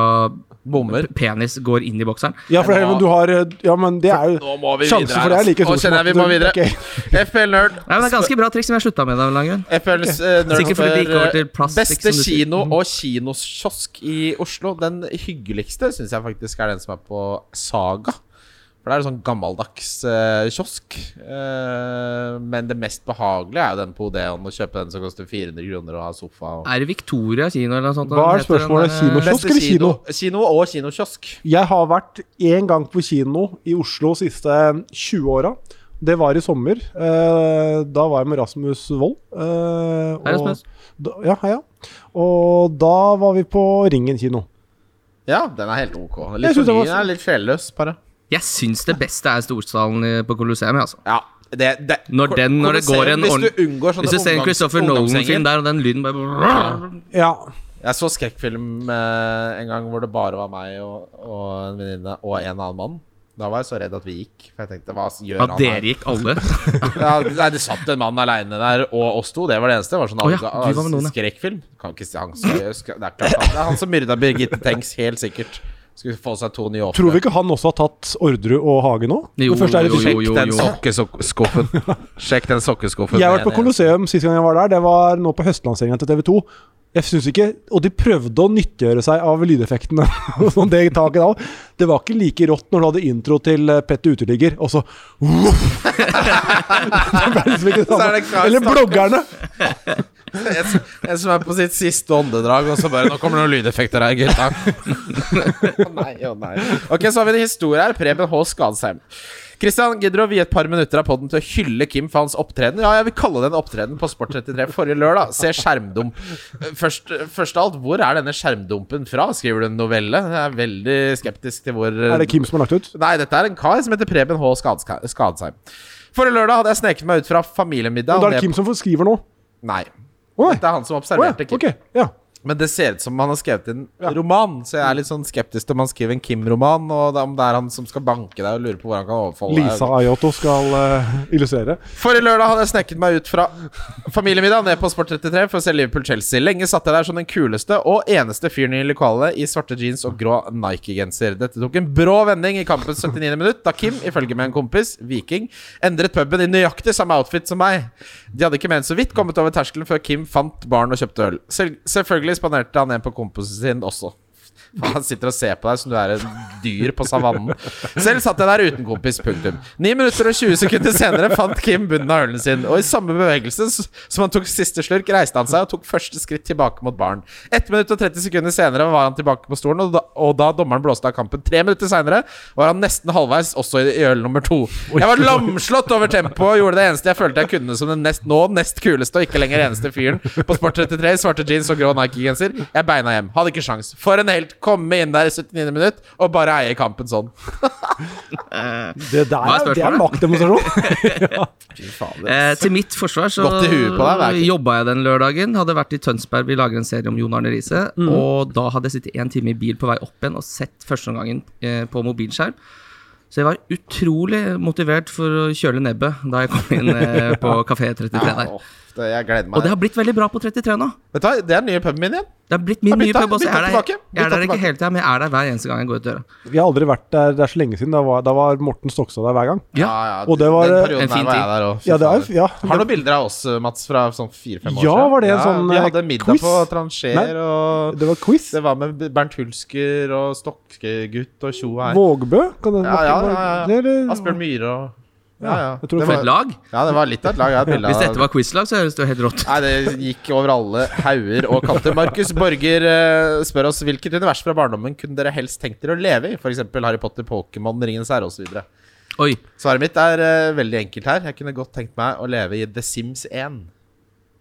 S2: Bommer.
S3: penis går inn i bokseren.
S4: Ja, for det, men du har eh, Ja, men det er jo
S2: Nå må vi
S4: Sjansen
S2: videre. altså.
S4: for det er like stor
S2: Nå kjenner jeg vi
S4: som-
S2: må videre.
S4: Ok.
S2: FPL Nerd.
S3: Nei, men Det er ganske bra triks som jeg slutta med. Da, av en eller annen grunn.
S2: FPLs eh, Nerd
S3: Sikkert fordi det gikk over til
S2: for eh,
S3: plastikk,
S2: beste
S3: som du sier. Mm.
S2: kino og kinoskiosk i Oslo. Den hyggeligste syns jeg faktisk er den som er på Saga. For det er en sånn gammeldags eh, kiosk. Eh, men det mest behagelige er jo den på Odeon. Å kjøpe den som koster 400 kroner og ha sofa og
S3: Er det Victoria kino eller noe sånt?
S4: Hva er
S3: den heter, den
S4: spørsmålet?
S3: der,
S4: Kino-
S3: eh,
S4: Kiosk
S2: Beste
S4: eller kino?
S2: Kino og kinokiosk.
S4: Jeg har vært én gang på kino i Oslo de siste 20 åra. Det var i sommer. Eh, da var jeg med Rasmus Wold. Eh,
S3: Hei,
S4: og-
S3: Rasmus.
S4: Da, ja, hei, ja. Og da var vi på Ringen kino.
S2: Ja, den er helt ok.
S4: Jeg
S2: Litt
S4: synes
S2: for
S4: det var
S2: ny, den er litt sjelløs, bare.
S3: Jeg syns det beste er Storsalen i- på Colosseum. jeg, Altså.
S2: Ja, det, det,
S3: Når den- når det går en
S2: Hvis du
S3: ordentlig-
S2: unngår sånne
S3: Hvis du ser en
S2: omgangs-
S3: Christopher
S2: ungdomsgjenger-
S3: Nolan-film der, og den lyden bare
S4: Ja.
S2: Jeg så skrekkfilm eh, en gang hvor det bare var meg og, og en venninne og en annen mann. Da var jeg så redd at vi gikk. For jeg tenkte, hva gjør
S3: Ja,
S2: han
S3: dere
S2: her?
S3: gikk alle.
S2: Ja, nei, det satt en mann aleine der, og oss to. Det var det eneste. Det var sånn
S3: Å ja,
S2: alga-
S3: du var med noen, ja.
S2: skrekkfilm. Kan ikke si han skal, skal, det, er klart, han, det er han som myrda Birgitte Tengs, helt sikkert. Skulle få seg to nye
S4: Tror vi
S2: åpne.
S4: ikke han også har tatt Orderud og Hage nå?
S3: Jo,
S4: det første er i
S3: jo,
S4: Tyskland.
S2: Sjekk den sokkeskuffen. Sjekk den sokkeskuffen.
S4: Jeg har vært på Colosseum sist gang jeg var der. Det var nå på høstlanseringen til TV 2. Jeg synes ikke, Og de prøvde å nyttiggjøre seg av lydeffektene. og sånn det taket da. Det var ikke like rått når du hadde intro til eh, Petter Uteligger, og så Voff! Det ble liksom ikke det
S2: Så er det
S4: samme.
S2: klar-
S4: Eller bloggerne!
S2: En som- en som er på sitt siste åndedrag, og så bare Nå kommer det noen lydeffekter her, gutta. Å nei, å nei. Ok, så har vi en historie her. Preben H. Skadsheim. Kristian, gidder du å vie et par minutter av podden til å hylle Kim for hans opptreden? Ja, jeg vil kalle det en opptreden på Sport33 forrige lørdag. Se skjermdump. Først, først av alt, hvor er denne skjermdumpen fra? Skriver du en novelle? Jeg er veldig skeptisk til hvor
S4: Er det Kim som har lagt ut?
S2: Nei, dette er en kar som heter Preben H. Skadska- Skadsheim. Forrige lørdag hadde jeg sneket meg ut fra familiemiddag.
S4: Men da er
S2: og
S4: det
S2: ned-
S4: Kim som får- skriver nå.
S2: Nei.
S4: Å nei.
S2: Dette er han som
S4: Å ja.
S2: observerte Kim.
S4: Ok. Ja.
S2: Men det ser ut som han har skrevet en
S4: Ja. Mm.
S2: roman, så jeg er litt sånn skeptisk til om han skriver en Kim-roman, og da- om det er han som skal banke deg og lure på hvor han kan overfalle
S4: Lisa
S2: deg.
S4: Ayoto skal eh, illustrere.
S2: Forrige lørdag hadde jeg sneket meg ut fra familiemiddag ned på Sport 33 for å se Liverpool-Chelsea. Lenge satt jeg der som den kuleste og eneste fyren i lokalet i svarte jeans og grå Nike-genser. Dette tok en brå vending i kampens 79. minutt, da Kim, ifølge med en kompis, viking, endret puben i nøyaktig samme outfit som meg. De hadde ikke ment så vidt kommet over terskelen før Kim fant baren og kjøpte øl. Sel selvfølgelig spanderte han en på kompisen sin også. Han sitter og ser på deg som du er en dyr på savannen. Selv satt jeg der uten kompis. Punktum. 9 minutter og 20 sekunder senere fant Kim bunnen av ølen sin, og i samme bevegelse s- som han tok siste slurk, reiste han seg og tok første skritt tilbake mot baren. 1 minutt og 30 sekunder senere var han tilbake på stolen, og da, og da dommeren blåste av kampen tre minutter senere, var han nesten halvveis også i, i øl nummer to. Jeg var lamslått over tempoet og gjorde det eneste jeg følte jeg kunne som den nest, nå nest kuleste og ikke lenger eneste fyren på Sport 33 i svarte jeans og grå Nike-genser. Jeg beina hjem. Hadde ikke sjans. For en helt. Komme inn der i 79. minutt og bare eie kampen sånn.
S4: Det der
S3: Hva er
S4: er- det er
S3: spørsmålet?
S4: maktdemonstrasjon!
S3: Eh, til mitt forsvar så
S2: Godt i huet på deg, det er ikke-
S3: jobba jeg den lørdagen. Hadde vært i Tønsberg, vi lager en serie om Jon Arne Riise.
S2: Mm.
S3: Og da hadde jeg sittet en time i bil på vei opp igjen og sett førsteomgangen eh, på mobilskjerm. Så jeg var utrolig motivert for å kjøle nebbet da jeg kom inn eh, på Kafé 33 der.
S2: åh, det, jeg gleder
S3: Og
S2: meg.
S3: det har blitt veldig bra på 33 nå.
S2: Vet du hva, det er den nye puben min igjen.
S3: Det har blitt min
S2: Ja,
S3: nye
S2: bytta-
S3: pub. også. Jeg
S2: bytta
S3: er
S2: tilbake,
S3: der, jeg
S2: bytta
S3: er der ikke
S2: tilbake.
S3: hele tida, men jeg er der hver eneste gang jeg går ut døra.
S4: Vi har aldri vært der, det er så lenge siden. Da var, da var Morten Stokstad der hver gang.
S3: Ja.
S4: Og det var,
S2: den
S4: eh,
S2: perioden
S3: en fin
S2: der var jeg der også, fy
S4: Ja, det er,
S2: fader.
S4: ja,
S2: Har du noen bilder av oss, Mats, fra sånn fire-fem år
S4: Ja,
S2: siden?
S4: var det en sånn,
S2: Vi
S4: eh,
S2: hadde middag
S4: quiz?
S2: på Trancher og
S4: det var quiz.
S2: Det var med Bernt Hulsker og Stokkegutt og tjo og hei.
S4: Vågbø? Kan det,
S2: Ja, ja, ja, ja.
S4: Det, eller-
S2: Asbjørn Myhre og Ja, ja.
S4: jeg tror
S2: det
S3: For et
S2: var,
S3: lag.
S2: ja, det var litt av et lag. Jeg har et bilde
S3: Hvis dette
S2: av
S3: var quizlag, så høres det jo helt rått ut.
S2: Nei, det gikk over alle hauger og kanter. Markus Borger eh, spør oss hvilket univers fra barndommen kunne dere helst tenkt dere å leve i? F.eks. Harry Potter, Pokémon, Ringenes herre osv.
S3: Oi.
S2: Svaret mitt er eh, veldig enkelt her. Jeg kunne godt tenkt meg å leve i The Sims 1.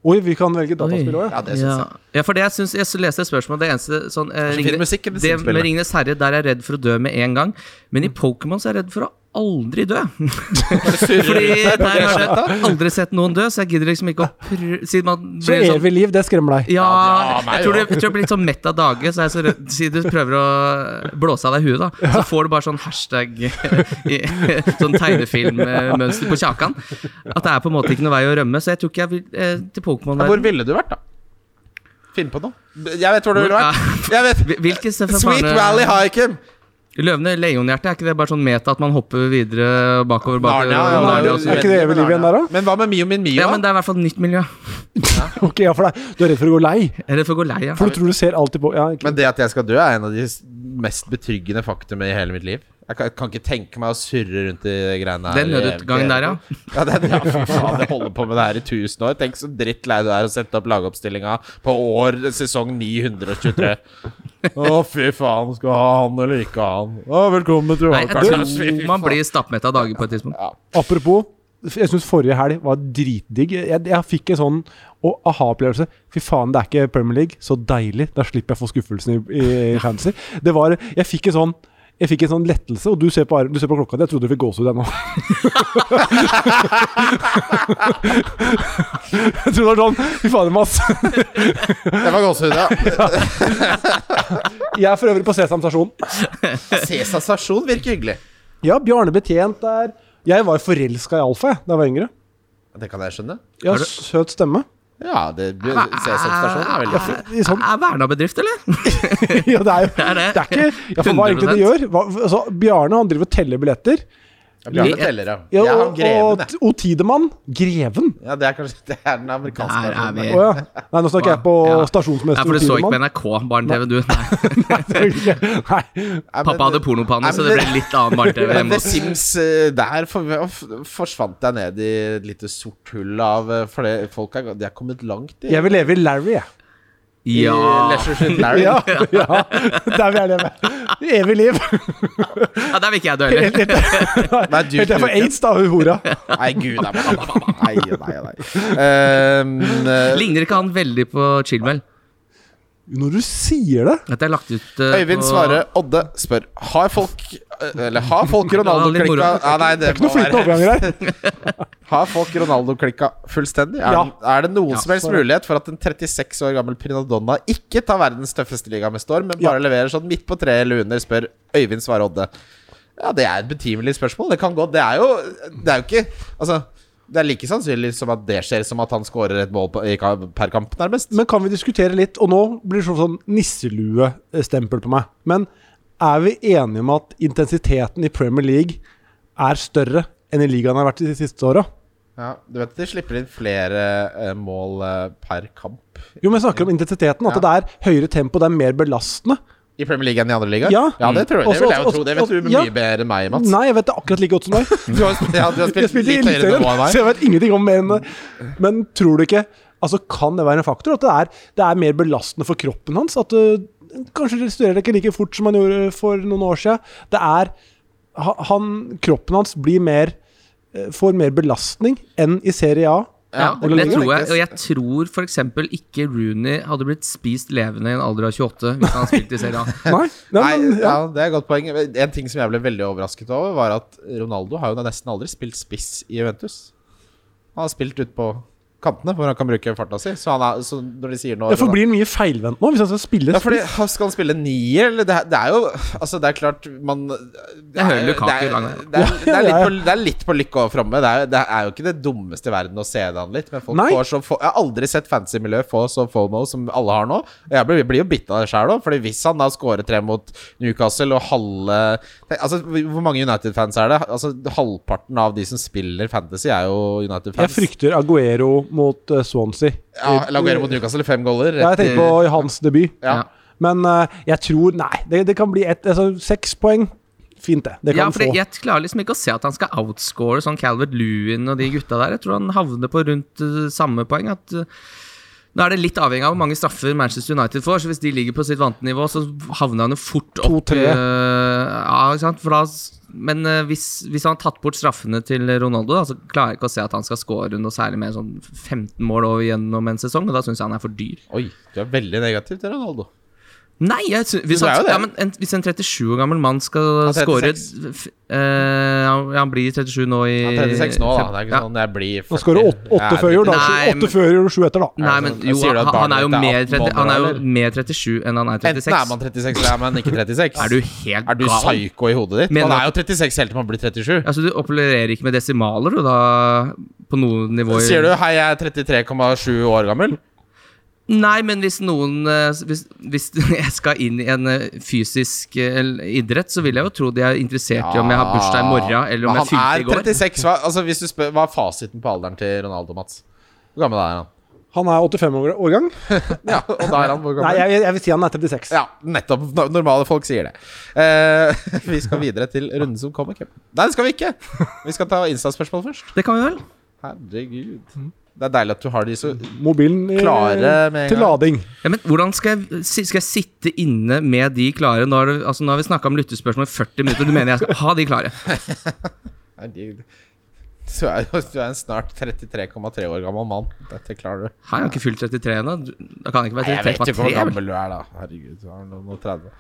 S4: Oi, vi kan velge dataspill òg, ja.
S2: Ja, det syns
S3: ja. Ja, for det jeg syns Jeg så leste et spørsmål Det eneste sånn eh,
S2: så fin
S3: Ringenes-
S2: musikk i det
S3: det
S2: Sims-spillet.
S3: med Ringenes herre, der er jeg redd for å dø med en gang. Men i Pokémon så er jeg redd for å aldri dø. Fordi der har jeg aldri sett noen dø, så jeg gidder liksom ikke å prø... Siden man
S4: Så
S3: blir sånn
S4: evig liv, det skremmer deg.
S3: ja,
S2: Ja, det- ja, meg
S3: jeg tror, det,
S2: også.
S3: jeg tror jeg blir litt sånn mett av dage. Så er jeg så redd, siden du prøver å blåse av deg huet, da, så får du bare sånn hashtag i- Sånn tegnefilmmønster på kjakan. At det er på en måte ikke noe vei å rømme. Så jeg tror ikke jeg vil eh, til Pokémon.
S2: Hvor ville du vært, da? Finn på noe. Jeg vet hvor du ville vært. Jeg vet.
S3: Hvilke Stefan
S2: Sweet
S3: Farne-
S2: Valley Highcam!
S3: Løvene Leonhjerte, er ikke det bare sånn meta at man hopper videre bakover? bakover
S2: Narnia, ja,
S3: og
S2: Narnia
S3: Narnia og
S2: også.
S3: så videre?
S4: ikke det evig liv igjen der, da?
S2: Men hva med Mio min Mio?
S3: ja, men det er i hvert fall nytt miljø.
S4: Ok, ja, for deg. Du er redd for å gå lei?
S3: Eller for å gå lei, ja.
S4: For du tror du ser alltid på ja, ikke.
S2: Men det at jeg skal dø, er en av de s- mest betryggende faktum i hele mitt liv. Jeg kan, jeg kan ikke tenke meg å surre rundt i de greiene her.
S3: Den nødutgangen der, ja.
S2: Ja, det, ja fy faen, jeg holder på med det her i 1000 år. Tenk så drittlei du er å sette opp lagoppstillinga på år sesong 923. Å, fy faen. Skal ha han eller ikke ha han? Å, velkommen til
S3: Nei, jeg
S2: Valkart.
S3: tror man blir stappmett av dager på et tidspunkt.
S4: Apropos, jeg syns forrige helg var dritdigg. Jeg, jeg fikk en sånn å, aha-opplevelse. Fy faen, det er ikke Premier League. Så deilig. Da slipper jeg å få skuffelsen i, i fantasy. Det var Jeg fikk en sånn jeg fikk en sånn lettelse, og du ser på, arm- du ser på klokka di. Jeg trodde du fikk gåsehud ennå. jeg trodde det var sånn Fy fader, Mads.
S2: Det var gåsehud, ja.
S4: Jeg er for øvrig på Sesam stasjon.
S2: Sesam stasjon virker hyggelig.
S4: Ja, Bjarne Betjent der. Jeg var forelska i Alfa jeg, da jeg var yngre.
S2: Det kan jeg skjønne.
S4: Jeg
S3: Har
S4: har
S3: du-
S4: søt stemme.
S2: Ja, det,
S3: Ah,
S2: Sesam stasjon er veldig fint.
S4: I sånn,
S3: Er Verna bedrift, eller?
S4: ja, det er jo
S3: Det er det.
S4: det er ikke, ja, for Hva er egentlig det gjør? Hva, altså, Bjarne han driver og teller billetter.
S2: Bjarne teller, ja.
S4: Ja,
S2: Jeg har
S4: og,
S2: greven,
S4: og,
S2: jeg.
S4: og Tidemann. Greven?
S2: Ja, det er kanskje det er den amerikanske
S3: Der er
S2: versjonen.
S4: Å
S3: vi.
S4: ja. Nei, nå snakker jeg på
S3: Ja. Nei,
S4: stasjonsmester
S3: for du så ikke på
S4: Tidemann.
S3: NRK, barne-TV, du. Nei,
S4: Nei,
S2: Nei, men-
S3: pappa hadde pornopanne,
S2: Nei,
S3: så
S2: men
S3: det
S2: det-
S3: ble litt annen barne-TV
S2: Men
S3: hjemme
S2: The
S3: hos
S2: Sims eh, der for, f- forsvant jeg ned i et lite sort hull av eh, For det, folk er, de er kommet langt i
S4: jeg vil leve i Larry, jeg.
S2: i
S3: Ja.
S2: Leisure Suit Larry.
S4: Ja, ja, der vil jeg leve. Evig liv.
S3: ja, Der vil ikke jeg dø heller.
S4: Helt til
S2: Nei, du,
S4: helt til jeg får aids, da, hun hora.
S2: Nei, gud, nei, nei, nei, nei. nei. Ehm, eh,
S3: Ligner ikke han veldig på Chilwell?
S4: Når du sier det
S3: Dette er lagt ut eh,
S2: Øyvind
S3: på-
S2: Svare Odde spør Har folk eh, Eller har folk
S3: Det var litt
S2: Ronaldo-klikka
S3: moro.
S2: ja, Nei, det
S4: Ikke
S2: må
S4: noe
S2: være
S4: flytende overganger her.
S2: Har folk Ronaldo-klikka fullstendig? Er,
S4: Ja.
S2: er det noen
S3: Ja,
S2: som helst
S4: så er det.
S2: mulighet for at en 36 år gammel Prinadonna ikke tar verdens tøffeste liga med storm, men
S4: Ja.
S2: bare leverer sånn midt på treet eller under, spør Øyvind Svare Odde? Ja, det er et betimelig spørsmål. Det kan godt Det er jo Det er jo ikke Altså, det er like sannsynlig som at det skjer, som at han scorer et mål på, i kamp- per kamp, nærmest.
S4: Men kan vi diskutere litt? Og nå blir det sånn, sånn nisseluestempel på meg. Men er vi enige om at intensiteten i Premier League er større enn i ligaen har vært de siste åra?
S2: Ja, du vet at de slipper inn flere eh, mål eh, per kamp
S4: Jo, men jeg snakker om intensiteten. At
S2: Ja.
S4: det er høyere tempo, det er mer belastende.
S2: i Premier League enn i andre ligaer?
S4: Ja.
S2: det tror jeg. det
S4: Også-
S2: vil jeg jo
S4: også-
S2: tro. Det vet
S4: også-
S2: du mye
S4: ja.
S2: bedre enn meg, Mats.
S4: Nei, jeg vet det akkurat like godt som deg.
S2: Du har, ja, du har
S4: Jeg
S2: spilt
S4: spilte i
S2: litt høyere
S4: Eliteserien,
S2: nivå enn meg.
S4: så jeg vet ingenting om mer enn det. Men tror du ikke Altså, kan det være en faktor? At det er, det er mer belastende for kroppen hans? At du kanskje restaurerer ikke like fort som han gjorde for noen år siden? Det er ha- han, Kroppen hans blir mer eh, Får mer belastning enn i Serie A.
S3: Ja,
S2: Ja,
S4: det kan
S3: det tror jeg.
S2: tenkes.
S3: Og jeg tror f.eks. ikke Rooney hadde blitt spist levende i en alder av 28 hvis han hadde spilt i Serie A.
S4: Nei, nei,
S2: Nei,
S4: men,
S2: ja, det er et godt poeng. En ting som jeg ble veldig overrasket over, var at Ronaldo har jo nesten aldri spilt spiss i Juventus. Han har spilt ut på kantene, hvor han kan bruke farta si. Så, han er, så når de sier nå
S4: ja, for blir han mye feilvendt nå, hvis han skal spille
S2: ja, fordi,
S4: spiss?
S2: han Skal han spille nier, eller? Det, er- det er jo Altså, det er klart man Det
S3: hører
S2: jo- det
S3: Lukaku
S2: er-
S3: lang vei.
S2: det er- det er litt
S4: Ja, ja, ja.
S2: på- det er litt på lykke og framme. Det, er- det er jo ikke det dummeste i verden å se det an litt. Men folk
S4: Nei.
S2: får så få, jeg har aldri sett fancy-miljø få så FOMO som alle har nå. Og jeg blir, blir jo bitt av det sjæl òg, Fordi hvis han da scorer tre mot Newcastle og halve tenk, Altså, hvor mange United-fans er det? Altså, Halvparten av de som spiller fantasy, er jo
S4: Jeg
S2: United-fans.
S4: frykter Aguero mot eh, Swansea.
S2: Ja, eller Aguero mot Newcastle, fem goaler.
S4: Ja, jeg tenker på hans debut.
S2: Ja.
S4: Men eh, jeg tror Nei, det, det kan bli ett altså, Seks poeng. Fint, det. Det
S3: Ja,
S4: kan
S3: for
S4: få.
S3: Jeg klarer liksom ikke å se at han skal outscore sånn Calvert Lewin og de gutta der. Jeg tror han havner på rundt eh, samme poeng. At eh, Nå er det litt avhengig av hvor mange straffer Manchester United får. Så Hvis de ligger på sitt vante nivå, så havner han jo fort opp
S4: 2-3.
S3: eh, ja, ikke sant? For da, s- men eh, hvis, hvis han har tatt bort straffene til Ronaldo, da, så klarer jeg ikke å se at han skal score noe særlig mer sånn 15 mål over gjennom en sesong. Og da syns jeg han er for dyr.
S2: Oi, du er veldig negativ til Ronaldo.
S3: Nei, jeg sy- hvis,
S2: Du er
S3: han,
S2: jo det.
S3: ja, men en, hvis en 37 år gammel mann skal
S2: Han er
S3: score
S2: 36.
S3: f- eh, han- Han blir 37 nå i
S2: Han er 36 nå, da.
S3: fem-
S2: Det er ikke
S3: ja.
S2: sånn jeg blir 40.
S4: Han skårer åtte, åtte før jul, da.
S2: Nei,
S3: Nei,
S4: Åtte
S3: men-
S4: før jul og sju etter, da.
S3: Nei,
S2: Er det
S3: men
S2: sånn-
S3: jo,
S2: sier du at
S3: han, han, er jo
S2: barnet ditt er
S3: mer
S2: 18
S3: 30, han er jo
S2: eller?
S3: mer 37 enn han er
S2: Enten er
S3: 36.
S2: man 36 eller er man ikke 36.
S3: Er du helt
S2: er du
S3: gal?
S2: psyko i hodet ditt?
S3: Mener
S2: Man
S3: du-
S2: er jo 36 helt til man blir 37.
S3: Altså, du opererer ikke med desimaler, du, da? På noen nivåer?
S2: Sier du 'hei, jeg er 33,7 år gammel'?
S3: Nei, men hvis noen eh, Hvis, hvis jeg skal inn i en eh, fysisk eh, idrett, så vil jeg jo tro de er interessert i om jeg har bursdag i morgen, eller om
S2: Men
S3: jeg fylte i
S2: Han er
S3: går.
S2: 36, hva, altså, hvis du spør, hva er fasiten på alderen til Ronaldo, Mats? Hvor gammel er han?
S4: Han er 85-årgang.
S2: Ja, og da er han hvor
S4: Nei,
S2: gammel?
S4: jeg, jeg vil si han er 36.
S2: Ja, nettopp. No- Normale folk sier det. Eh, vi skal videre til runden som kommer. Kim. Nei, det skal vi ikke. Vi skal ta Insta-spørsmål først.
S3: Det kan vi vel?
S2: Herregud.
S4: Mm.
S2: Det er deilig at du har de så
S4: Mobilen i,
S2: Klare med en
S4: til
S2: gang.
S4: lading.
S3: Ja, men hvordan skal jeg, si- skal jeg sitte inne med de klare? Nå har, du, altså, nå har vi snakka om lyttespørsmål i 40 minutter, du mener jeg skal ha de klare?
S2: Herregud. Du er, jo- du er en snart 33,3 år gammel mann. Dette klarer du.
S3: Her har jeg ikke fylt 33 ennå. du- Da kan jeg ikke
S2: Nei,
S3: være
S2: jeg vet ikke
S3: 33,3.
S2: hvor
S3: jeg vel?
S2: gammel du er, da. Herregud, du er nå nå 30.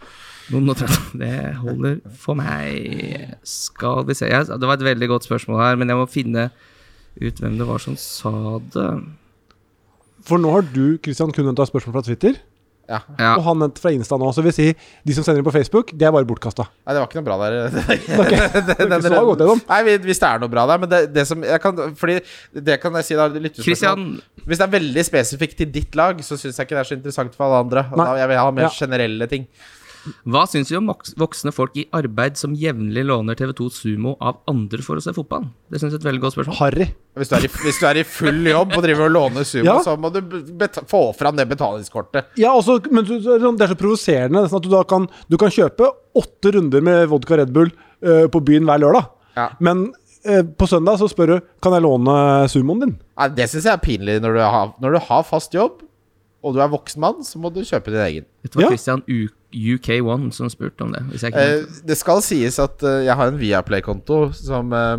S3: Noen og tretti. Det holder for meg. Skal vi se jeg, Det var et veldig godt spørsmål her, men jeg må finne ut hvem det var som sa det.
S4: For nå har du Christian, kun hentet spørsmål fra Twitter,
S2: Ja.
S3: Ja,
S4: og han hentet fra Insta nå. Så vil si, de som sender det på Facebook, det er bare bortkasta.
S2: Nei, det var ikke noe bra der. Det-
S4: ikke
S2: det-
S4: så jeg har gått gjennom.
S2: Nei, vi- Hvis det er noe bra der. Men det, det som jeg kan Fordi det kan jeg si da lyttespørsmål.
S3: Christian,
S2: Hvis det er veldig spesifikt til ditt lag, så syns jeg ikke det er så interessant for alle andre. Og
S4: Nei.
S2: Da, jeg vil ha mer
S4: Ja.
S2: generelle ting.
S3: hva syns vi om voks- voksne folk i arbeid som jevnlig låner TV2 Sumo av andre for å se fotball? Det syns jeg er et veldig godt spørsmål.
S4: Harry.
S2: Hvis du er i, hvis du er i full jobb og driver og låner sumo,
S4: Ja.
S2: så må du beta få fram det betalingskortet.
S4: Ja, også, men du, du- det er så provoserende nesten at du da kan, du kan kjøpe åtte runder med vodka Red Bull eh, på byen hver lørdag.
S2: Ja.
S4: Men eh, på søndag så spør du kan jeg låne sumoen din.
S2: Nei, det syns jeg er pinlig. Når du, har, når du har fast jobb, og du er voksen mann, så må du kjøpe din egen.
S3: Dette var
S4: Ja.
S3: Christian U- UK1 som spurte om det. Hvis jeg ikke
S2: Eh, det skal sies at eh, jeg har en Viaplay-konto som eh,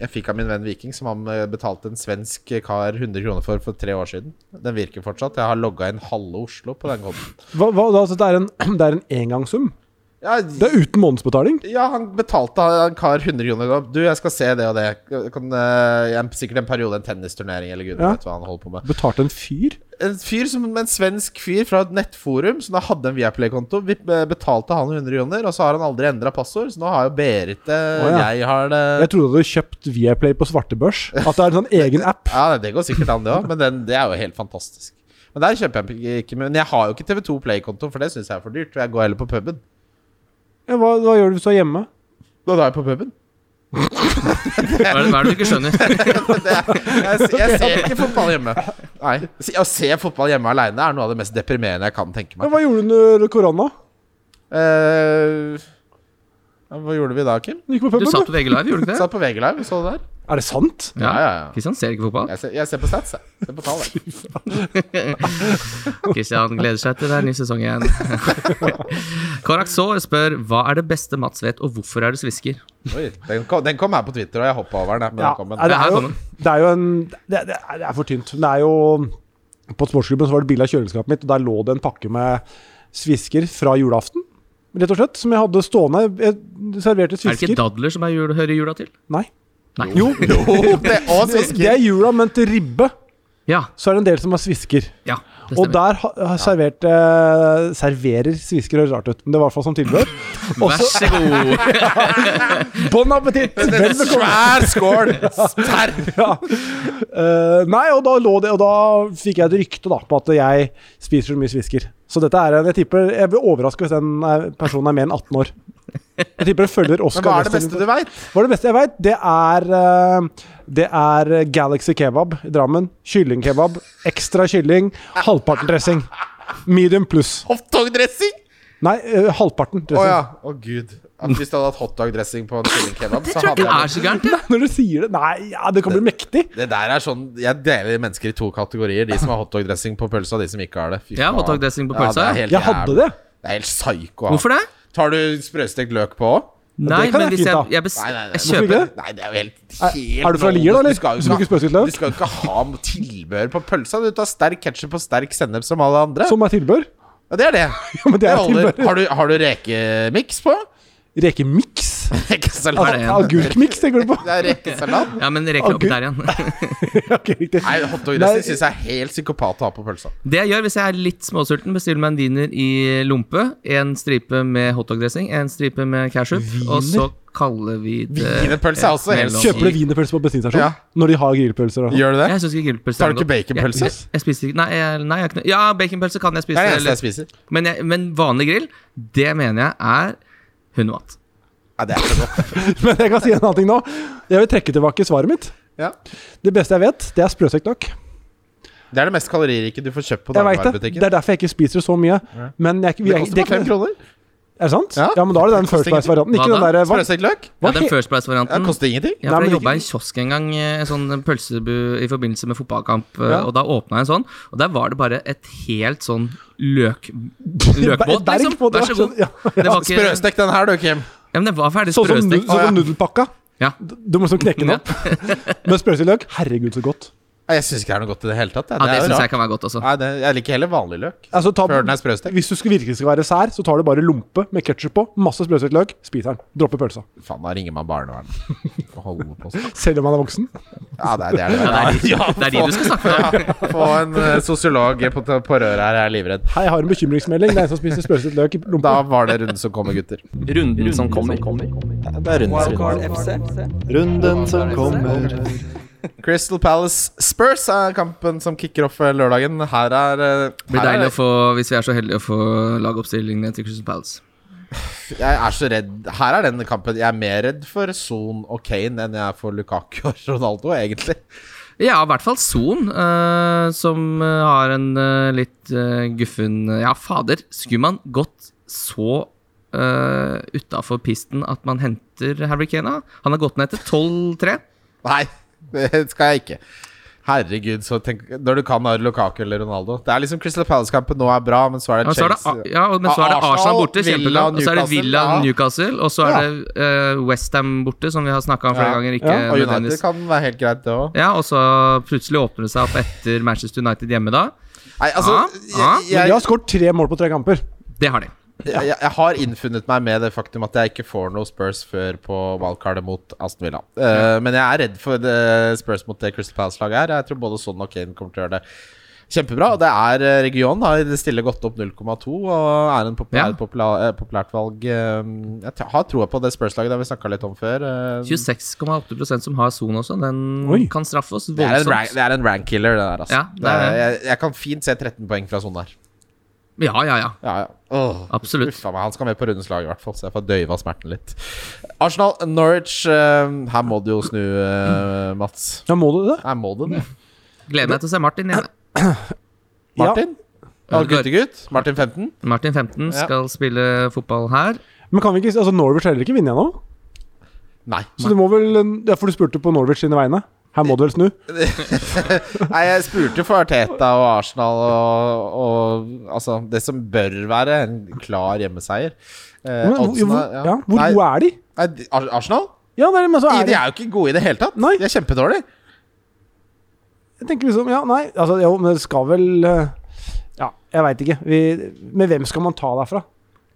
S2: jeg fikk av min venn Viking, som han eh, betalte en svensk kar 100 kroner for for tre år siden. Den virker fortsatt. Jeg har logga inn halve Oslo på den konten.
S4: Hva, hva, altså, det, er en, det er en engangssum?
S2: Ja,
S4: Det er uten månedsbetaling?
S2: ja, han betalte en kar 100 kroner. og, Du, jeg skal se det og det. Jeg Kan, eh, jeg- sikkert en periode en tennisturnering eller gud
S4: Ja.
S2: vet hva han holder på med.
S4: Betalte en fyr?
S2: En fyr som en svensk fyr fra et nettforum som da hadde en Viaplay-konto, vi- eh, betalte han 100 kroner, og så har han aldri endra passord, så nå har jo Berit det,
S4: Å, ja.
S2: jeg har det
S4: Jeg trodde du hadde kjøpt Viaplay på svartebørs. At det er en sånn egen app.
S2: Ja, nei, det går sikkert an, det òg, men den, det er jo helt fantastisk. Men der kjøper jeg ikke Men jeg har jo ikke TV2 Play-konto, for det syns jeg er for dyrt. Og jeg går heller på puben.
S4: Ja, hva, hva gjør du hvis du er hjemme?
S2: Da drar jeg på puben.
S3: Hva er det, hva er det du ikke skjønner?
S2: Det er, jeg, jeg ser ikke fotball hjemme. Nei. Se- Å se fotball hjemme aleine er noe av det mest deprimerende jeg kan tenke
S4: Ja,
S2: meg.
S4: hva gjorde du under korona?
S2: Eh, hva gjorde vi da, Kim?
S4: Du gikk på
S3: Du
S4: puben,
S3: satt
S4: du?
S3: på VG Live, gjorde du ikke det?
S2: Satt på VG Live, så du der?
S4: Er det sant?
S2: Ja, ja, ja.
S3: Kristian ser ikke fotball.
S2: Jeg ser, jeg ser på stats, jeg. Ser på tall, jeg.
S3: Kristian gleder seg til det er ny sesong igjen. Karak Saar spør hva er det beste Mats vet, og hvorfor er du svisker?
S2: Oi, den, kom, den kom her på Twitter, og jeg hoppa over den. jeg, Men
S4: Ja,
S2: den kom,
S4: nei,
S2: men.
S4: det, er jo,
S3: Ja, her kommer
S4: det er jo en det, det, er, det er for tynt. Men Det er jo På sportsklubben så var det bilde av kjøleskapet mitt, og der lå det en pakke med svisker fra julaften. Rett og slett. Som jeg hadde stående. Jeg serverte
S3: Er det
S4: svisker.
S3: ikke dadler som er jul, hører jula til?
S4: Nei.
S3: Nei.
S4: Jo,
S2: Jo, det, og
S4: det
S2: svisker.
S4: er jula, men til ribbe
S3: Ja,
S4: så er det en del som har svisker.
S3: ja det
S4: Og
S3: stemmer.
S4: der ha, har servert eh, serverer svisker høres rart ut, men det var i hvert fall som tilbehør. Og
S3: Vær så god.
S4: bon appétit! Vel bekomme!
S2: Svær skål! Sterk!
S4: Ja. Eh, nei, og da lå det Og da fikk jeg et rykte da på at jeg spiser så mye svisker. Så dette er en Jeg tipper Jeg blir overraska hvis den eh, personen er mer enn 18 år. Jeg tipper den følger
S2: Men
S4: Oscar
S2: hva er det beste
S4: Westerlin.
S2: du veit?
S4: Hva er det beste jeg veit? Det er eh, Det er Galaxy kebab i Drammen. Kyllingkebab. Ekstra kylling. Halvparten dressing. Medium pluss.
S2: Hotdog-dressing!
S4: Nei, eh, halvparten
S2: Å
S4: dressing.
S2: ja. Å gud. At hvis du hadde hatt hotdog-dressing på en kyllingkebab, så
S3: Tror ikke
S2: hadde
S3: det er
S2: jeg
S3: så gærent, det.
S4: Når du sier det Nei, ja, det kan bli mektig.
S2: det der er sånn Jeg deler mennesker i to kategorier. De som har hotdog-dressing på pølsa, og de som ikke har det. Fy
S3: Ja,
S2: faen.
S3: hotdog-dressing på
S2: Ja, det er
S3: pølsa, ja.
S2: helt
S4: Jeg hadde
S2: jævlig.
S4: det.
S2: Det er helt psyko. å ha.
S3: Hvorfor det?
S2: Tar du sprøstekt løk på òg?
S3: Nei,
S4: kan jeg
S3: men hvis
S4: fint
S3: jeg,
S4: ta.
S3: jeg, bes-
S2: Nei, nei, nei.
S3: jeg
S2: Hvorfor
S3: kjøper
S4: ikke?
S2: Nei, det er jo helt
S4: Er-
S2: helt
S4: er du fra Lier, da, eller?
S2: Du skal jo
S4: Du bruker
S2: ikke,
S4: sprøstekt
S2: ha-
S4: løk?
S2: du skal jo ikke ha tilbehør på pølsa. Du tar sterk ketsjup og sterk sennep som alle andre.
S4: Som er tilbehør.
S2: Ja, det er det.
S4: men det er
S2: holder.
S4: tilbehør.
S2: har, du, har du rekemiks på?
S4: Rekemiks?
S2: Rekesalat.
S3: Hva er det
S4: Altså,
S3: igjen?
S4: Agurkmiks, tenker du på?
S2: Det er rekesalat.
S3: Ja, men rekker opp
S4: Agurk.
S3: der igjen.
S4: Ok, riktig.
S2: Nei, hotdog-dressing syns jeg er helt psykopat å ha på pølsa.
S3: Det jeg gjør hvis jeg er litt småsulten, bestiller meg en wiener i lompe. En stripe med hotdog-dressing, en stripe med cashew. Og så kaller vi det
S2: Wienerpølse er også helt
S4: Kjøper du
S3: vin?
S4: wienerpølse på bensinstasjon?
S2: Ja.
S4: Når de har grillpølser? Og.
S2: Gjør du det?
S3: Jeg syns ikke grillpølse
S2: Tar du
S3: er
S2: ikke
S3: noe godt.
S2: baconpølse?
S3: Jeg, jeg, jeg spiser ikke Nei, jeg, nei jeg har ikke noe Ja, baconpølse kan jeg
S2: Det
S3: spise.
S2: er det eneste
S3: eller-
S2: jeg spiser.
S3: men, jeg, men vanlig grill, det mener jeg er hundemat.
S2: Nei, det er ikke godt.
S4: Men jeg kan si en annen ting nå. Jeg vil trekke tilbake svaret mitt.
S2: Ja.
S4: Det beste jeg vet, det er sprøstekt løk.
S2: Det er det mest kaloririke du får kjøpt på
S4: Jeg vet det.
S2: dagligvarebutikken.
S4: det er derfor jeg ikke spiser så mye. Men jeg, vi,
S2: Det
S4: er-
S2: koster bare fem kroner.
S4: Er det sant?
S2: Ja.
S4: Ja, men da er det den First
S2: koster ingenting.
S4: Price-varianten. Ikke
S3: Hva
S4: den
S3: da?
S4: derre hva-
S2: Sprøstekt løk?
S3: Ja,
S4: hva
S3: den
S4: he-
S3: First
S2: Det
S3: Price-varianten.
S2: koster ingenting.
S4: Nei,
S3: Ja, for
S4: men
S3: Jeg
S4: det-
S3: jobba i en kiosk en gang, eh, sånn pølsebu i forbindelse med fotballkamp. eh,
S4: Ja.
S3: Og da åpna jeg en sånn, og der var det bare et helt sånn løk, løkbåt,
S4: Berg
S3: liksom.
S4: på det, sånn-
S3: Vær så god.
S4: ja.
S3: Det var ikke,
S2: Sprøstek den her, du, Kim.
S3: ja, men det var ferdig
S4: Sånn som, nu-
S3: sprøstekt.
S4: sånn som nudelpakka.
S3: Ja.
S4: Du må liksom knekke den
S3: Ja.
S4: opp. Men sprøstekt løk, herregud, så godt.
S2: Nei, Jeg syns ikke det er noe godt i det hele tatt. jeg.
S3: Ja,
S2: Det
S3: det
S2: er jo
S3: syns jeg
S2: rart.
S3: kan være godt også.
S2: Nei, det, jeg liker heller vanlig løk.
S4: Altså, ta,
S2: Før den er sprøstekt.
S4: Hvis du skal virkelig skal være sær, så tar du bare lompe med ketsjup på, masse sprøstekt løk, spiser den. Dropper pølsa.
S2: Faen, da ringer man barnevernet. Og holder på sånn.
S4: Selv om man er voksen.
S2: Ja, det er det. er det.
S3: Ja, det er de-
S2: Ja,
S3: det er de
S2: få-
S3: du skal snakke med.
S2: Ja, få en eh, sosiolog på, på røret her, jeg er livredd.
S4: Hei, jeg har en bekymringsmelding. Det er en som spiser sprøstekt løk i lompe.
S2: Da var det runden som kommer, gutter.
S3: Runden som kommer.
S5: Det er runden som
S1: Wildcard
S5: kommer.
S1: FC.
S5: Runden som kommer.
S2: Crystal Palace Spurs er kampen som kicker off eh, lørdagen. Her er eh,
S3: Blir
S2: her er-
S3: deilig å få, hvis vi er så heldige, å få lagoppstillingene til Crystal Palace.
S2: Jeg er så redd Her er den kampen Jeg er mer redd for Son og Kane enn jeg er for Lukaku og Ronaldo, egentlig.
S3: Ja, i hvert fall Son, eh, som eh, har en eh, litt eh, guffen Ja, fader, skulle man gått så uh, utafor pisten at man henter Harry Kane? da? Han har gått ned til 12-3.
S2: Nei, det skal jeg ikke. Herregud, så tenk når du kan ha Lukaku eller Ronaldo. Det er liksom Crystal Palace-kampen nå er bra, men så er
S3: Ja,
S2: det
S3: så er det,
S2: Chelsea.
S3: ja, men så er det
S2: Arsenal,
S3: Arsenal borte,
S2: Villa,
S3: kjempekamp. Og så er
S2: Newcastle,
S3: det Villa
S2: ja.
S3: Newcastle, og så er
S2: Ja.
S3: det eh, West Westham borte, som vi har snakka om flere
S2: Ja.
S3: ganger. Ikke
S4: Ja,
S2: og United
S3: nødvendigvis.
S2: kan være helt greit, det òg.
S3: Ja, og så plutselig åpner det seg opp etter Manchester United hjemme da.
S2: Nei, altså
S3: Ja, ja.
S2: jeg,
S4: Men
S2: jeg,
S4: de har skåret tre mål på tre kamper.
S3: Det har de.
S2: jeg, jeg har innfunnet meg med det faktum at jeg ikke får noe Spurs før på wildcardet mot Aston Villa. Eh, men jeg er redd for det Spurs mot det Crystal Palace-laget her. Jeg tror både Son og Kane kommer til å gjøre det kjempebra. Og det er eh, region har i det stille gått opp 0,2 og er en populær,
S3: Ja.
S2: popula- eh, populært valg. Eh, Jeg t- har troa på det Spurs-laget, det har vi snakka litt om før. Eh,
S3: 26,8 som har Son også. Den
S4: Oi.
S3: kan straffe oss
S2: Det er, en rank,
S3: voldsomt.
S2: det er en rank killer, det der, altså.
S3: sånn Ja, det er det.
S2: Jeg, jeg kan fint se 13 poeng fra sånn der.
S3: Ja, ja, ja.
S2: Ja, ja. Åh,
S3: Absolutt.
S2: uffa meg. Han skal med på rundens lag, i hvert fall, så jeg får døyva smerten litt. Arsenal, Norwich eh, Her må du jo snu, eh, Mats.
S4: Ja, må du det?
S2: Her må du det.
S3: Gleder meg til å se Martin igjen.
S2: Martin? Ja. Guttegutt? Martin 15?
S3: Martin 15
S2: Ja.
S3: skal spille fotball her.
S4: Ja. Men kan vi ikke Altså, Norwich har heller ikke vunnet ennå.
S2: Nei.
S4: Så du må vel eh, Ja, for du spurte på Norwich sine vegne. Her må du vel snu.
S2: Nei, jeg spurte for Arteta og Arsenal og, og Altså, det som bør være en klar hjemmeseier. Eh,
S4: Men, hvor,
S2: oddsen er-
S4: hvor- ja, hvor
S2: Nei,
S4: gode er de?
S2: nei, de- Ar- Arsenal?
S4: Ja, nei, men så
S2: De,
S4: er
S2: de
S4: de
S2: er jo ikke gode i det hele tatt.
S4: Nei.
S2: De er kjempedårlige.
S4: Jeg tenker liksom Ja, nei, altså Jo, men det skal vel eh, Ja, jeg veit ikke. Vi, men hvem skal man ta derfra?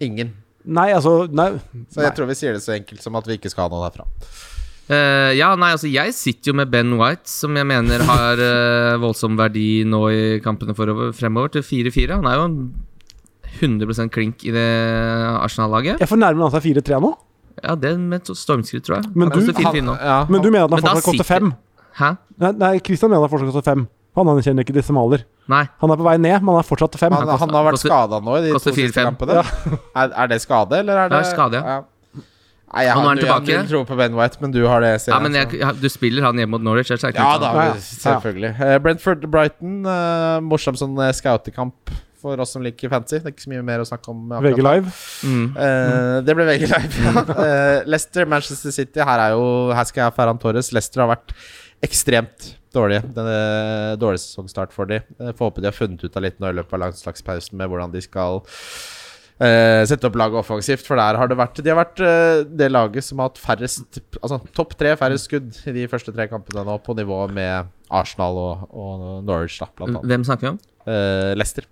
S2: Ingen.
S4: Nei, altså Nei.
S2: Så jeg tror vi sier det så enkelt som at vi ikke skal ha noe derfra.
S3: Eh, ja, nei, altså Jeg sitter jo med Ben White, som jeg mener har eh, voldsom verdi nå i kampene forover, fremover, til 4-4. Han er jo en 100 klink i det Arsenal-laget.
S4: Jeg fornærmer han seg 4-3 nå,
S3: Ja, det med et stormskritt, tror jeg.
S4: Men
S3: Han
S4: du-
S3: koster 4-4 nå.
S2: ja,
S4: men du mener at han
S3: men da
S4: fortsatt koster
S3: sitter-
S4: 5?
S3: Hæ?
S4: Nei, nei, Christian mener han fortsatt koster 5. Han anerkjenner ikke desimaler.
S3: Nei.
S4: Han er på vei ned, men han er fortsatt til 5.
S2: han, han har vært
S3: koster-
S2: skada nå i de to
S3: koster
S2: siste
S3: 4-5.
S2: kampene. Er, er det skade, eller er det
S3: Det er skade, ja.
S2: Nei, jeg
S3: Og nå
S2: har,
S3: er han
S2: jeg har
S3: tilbake.
S2: null tro på Ben White, men du har det. ser
S3: Ja, men
S2: så-
S3: jeg, ja, Du spiller han hjemme mot Norwich? Jeg skal ikke
S2: ja
S3: ta
S2: da,
S3: han.
S4: Ja, ja.
S2: selvfølgelig. Eh, Brentford-Brighton, eh, morsom sånn eh, scoutekamp for oss som liker fancy. Det er ikke så mye mer å snakke om. akkurat
S4: VG
S2: nå.
S4: Live.
S3: Mm.
S2: Eh, det ble VG Live, ja. Eh, Leicester, Manchester City. Her, er jo, her skal jeg ha Ferran Torres. Leicester har vært ekstremt dårlige. Denne dårlig sesongstart for de Eh, Får håpe de har funnet ut av litt nå i løpet av landslagspausen med hvordan de skal eh, sette opp laget offensivt, for der har det vært De har vært eh, det laget som har hatt færrest Altså topp tre færrest skudd i de første tre kampene nå, på nivå med Arsenal og, og Norwich, da, blant annet.
S3: Hvem snakker vi om?
S2: Eh, Leicester.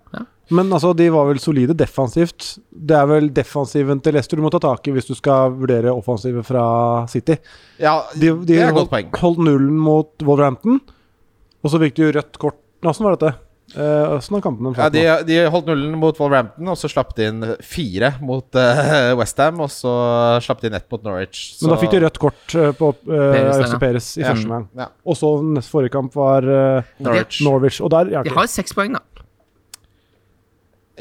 S4: Men altså, de var vel solide defensivt. Det er vel defensiven til Leicester du må ta tak i hvis du skal vurdere offensivet fra City.
S2: Ja,
S4: De, de
S2: det er et godt
S4: holdt,
S2: poeng.
S4: holdt nullen mot Wolverhampton, og så fikk de jo rødt kort Åssen var dette? Eh, Åssen har kampene
S2: Ja,
S4: falt nå?
S2: de, de holdt nullen mot Wolverhampton, og så slapp de inn fire mot eh, West Westham. Og så slapp de inn ett mot Norwich. Så,
S4: Men da fikk de rødt kort eh, på
S3: Perez der,
S4: Øystein
S3: ja.
S4: Perez i
S2: Ja.
S4: første omgang.
S2: Ja.
S4: Og så neste forrige kamp var eh,
S2: Norwich.
S4: Norwich. Og der ja,
S3: De
S4: ok.
S3: har seks poeng da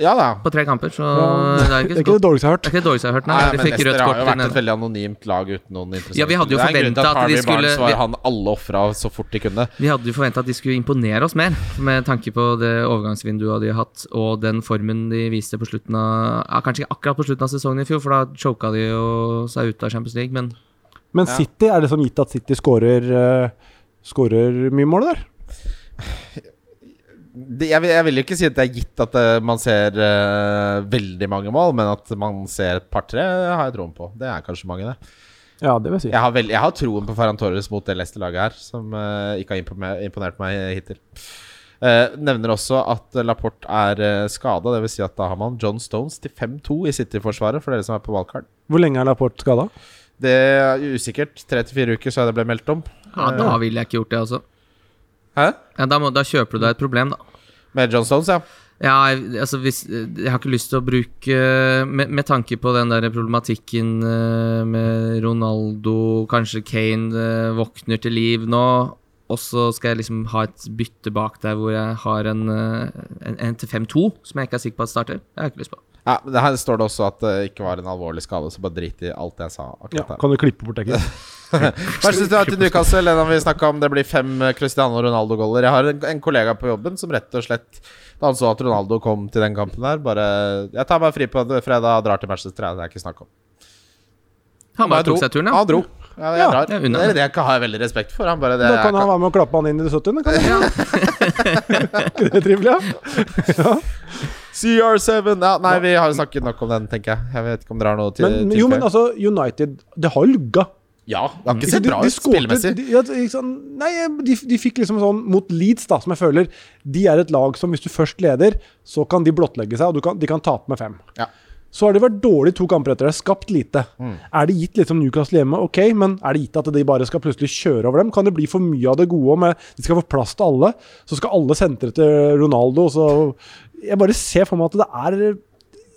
S2: Ja da.
S3: på tre kamper, så
S4: Ja,
S3: det er
S4: Det er
S3: ikke så
S4: ikke det
S3: godt.
S4: dårligste jeg har hørt.
S3: Det er ikke det dårligste jeg har hørt. Nei,
S2: Nei,
S3: de
S2: men
S3: fikk rødt
S2: Leicester har
S3: kort.
S2: jo
S3: i
S2: vært
S3: den-
S2: et veldig anonymt lag uten noen interessante
S3: Ja, vi hadde jo
S2: Det er en grunn
S3: forventet
S2: til
S3: at de
S2: Harvey
S3: skulle-
S2: Barnes var
S3: vi-
S2: han alle ofra så fort de kunne.
S3: Vi hadde jo forventa at de skulle imponere oss mer, med tanke på det overgangsvinduet de har hatt, og den formen de viste på slutten av ja, Kanskje ikke akkurat på slutten av sesongen i fjor, for da choka de jo seg ut av Champions League, men
S4: Men
S2: Ja.
S4: City, er det sånn gitt at City skårer eh, Skårer mye mål der?
S2: Det, jeg, vil- jeg vil jo ikke si at det er gitt at eh, man ser eh, veldig mange mål, men at man ser et par-tre, har jeg troen på. Det er kanskje mange, det.
S4: Ja, det vil jeg si.
S2: Jeg har, vel, jeg har troen på Ferran Torres mot det Leicester-laget her, som eh, ikke har imponert, imponert meg hittil. Eh, nevner også at Laporte er uh, skada, dvs. Si at da har man John Stones til 5-2 i City-forsvaret, for dere som er på valgkart.
S4: Hvor lenge er Laporte skada?
S2: Det er usikkert. Tre til fire uker, så er det ble meldt om.
S3: ja, da ville jeg ikke gjort det, altså.
S2: Hæ?
S3: Ja, da, må, da kjøper du deg et problem, da.
S2: Med John Stones, ja.
S3: Ja, jeg- altså hvis Jeg har ikke lyst til å bruke Med, med tanke på den der problematikken eh, med Ronaldo, kanskje Kane eh, våkner til liv nå, og så skal jeg liksom ha et bytte bak der hvor jeg har en, eh, en, en til 5-2, som jeg ikke er sikker på at starter. Det har jeg ikke lyst på.
S2: ja men det her står det også at det ikke var en alvorlig skade, så bare drit i alt jeg sa
S4: Ja,
S2: akkurat der.
S4: kan du klippe bort det? ikke?
S2: Manchester United Newcastle, den har vi snakket om. Det blir fem eh, Cristiano Ronaldo-goller. Jeg har en, en kollega på jobben som rett og slett Da han så at Ronaldo kom til den kampen der, bare Jeg tar meg fri på det fredag og drar til Manchester. Det er ikke snakk om.
S3: Han bare
S2: dro.
S3: tok seg turen, ja.
S2: Han dro. Ja, jeg
S4: Ja,
S2: drar.
S3: ja, unna.
S2: det er det jeg ikke har veldig respekt for. Han bare det,
S4: Da
S2: er
S4: kan han
S2: ikke-
S4: være med og klappe han inn i det 70. Kan han? ikke det trivelig? Ja?
S2: CR7! Ja, nei, vi har jo snakket nok om den, tenker jeg. Jeg vet ikke om dere har noe til
S4: Men, jo,
S2: tilføye.
S4: men altså, United Det har lugga.
S2: Ja, det har ikke
S4: Ikke sant?
S2: sett bra
S4: de
S2: ut
S4: skårte-
S2: spillemessig.
S4: de- ja, ikke sant? nei, de, de fikk liksom sånn mot Leeds, da, som jeg føler De er et lag som hvis du først leder, så kan de blottlegge seg, og du kan, de kan tape med fem.
S2: Ja.
S4: Så har de vært dårlige to kamper etter det, skapt lite.
S2: Mm.
S4: Er det gitt liksom Newcastle hjemme, ok, men er det gitt at de bare skal plutselig kjøre over dem? Kan det bli for mye av det gode med De skal få plass til alle, så skal alle sentre til Ronaldo, og så Jeg bare ser for meg at det er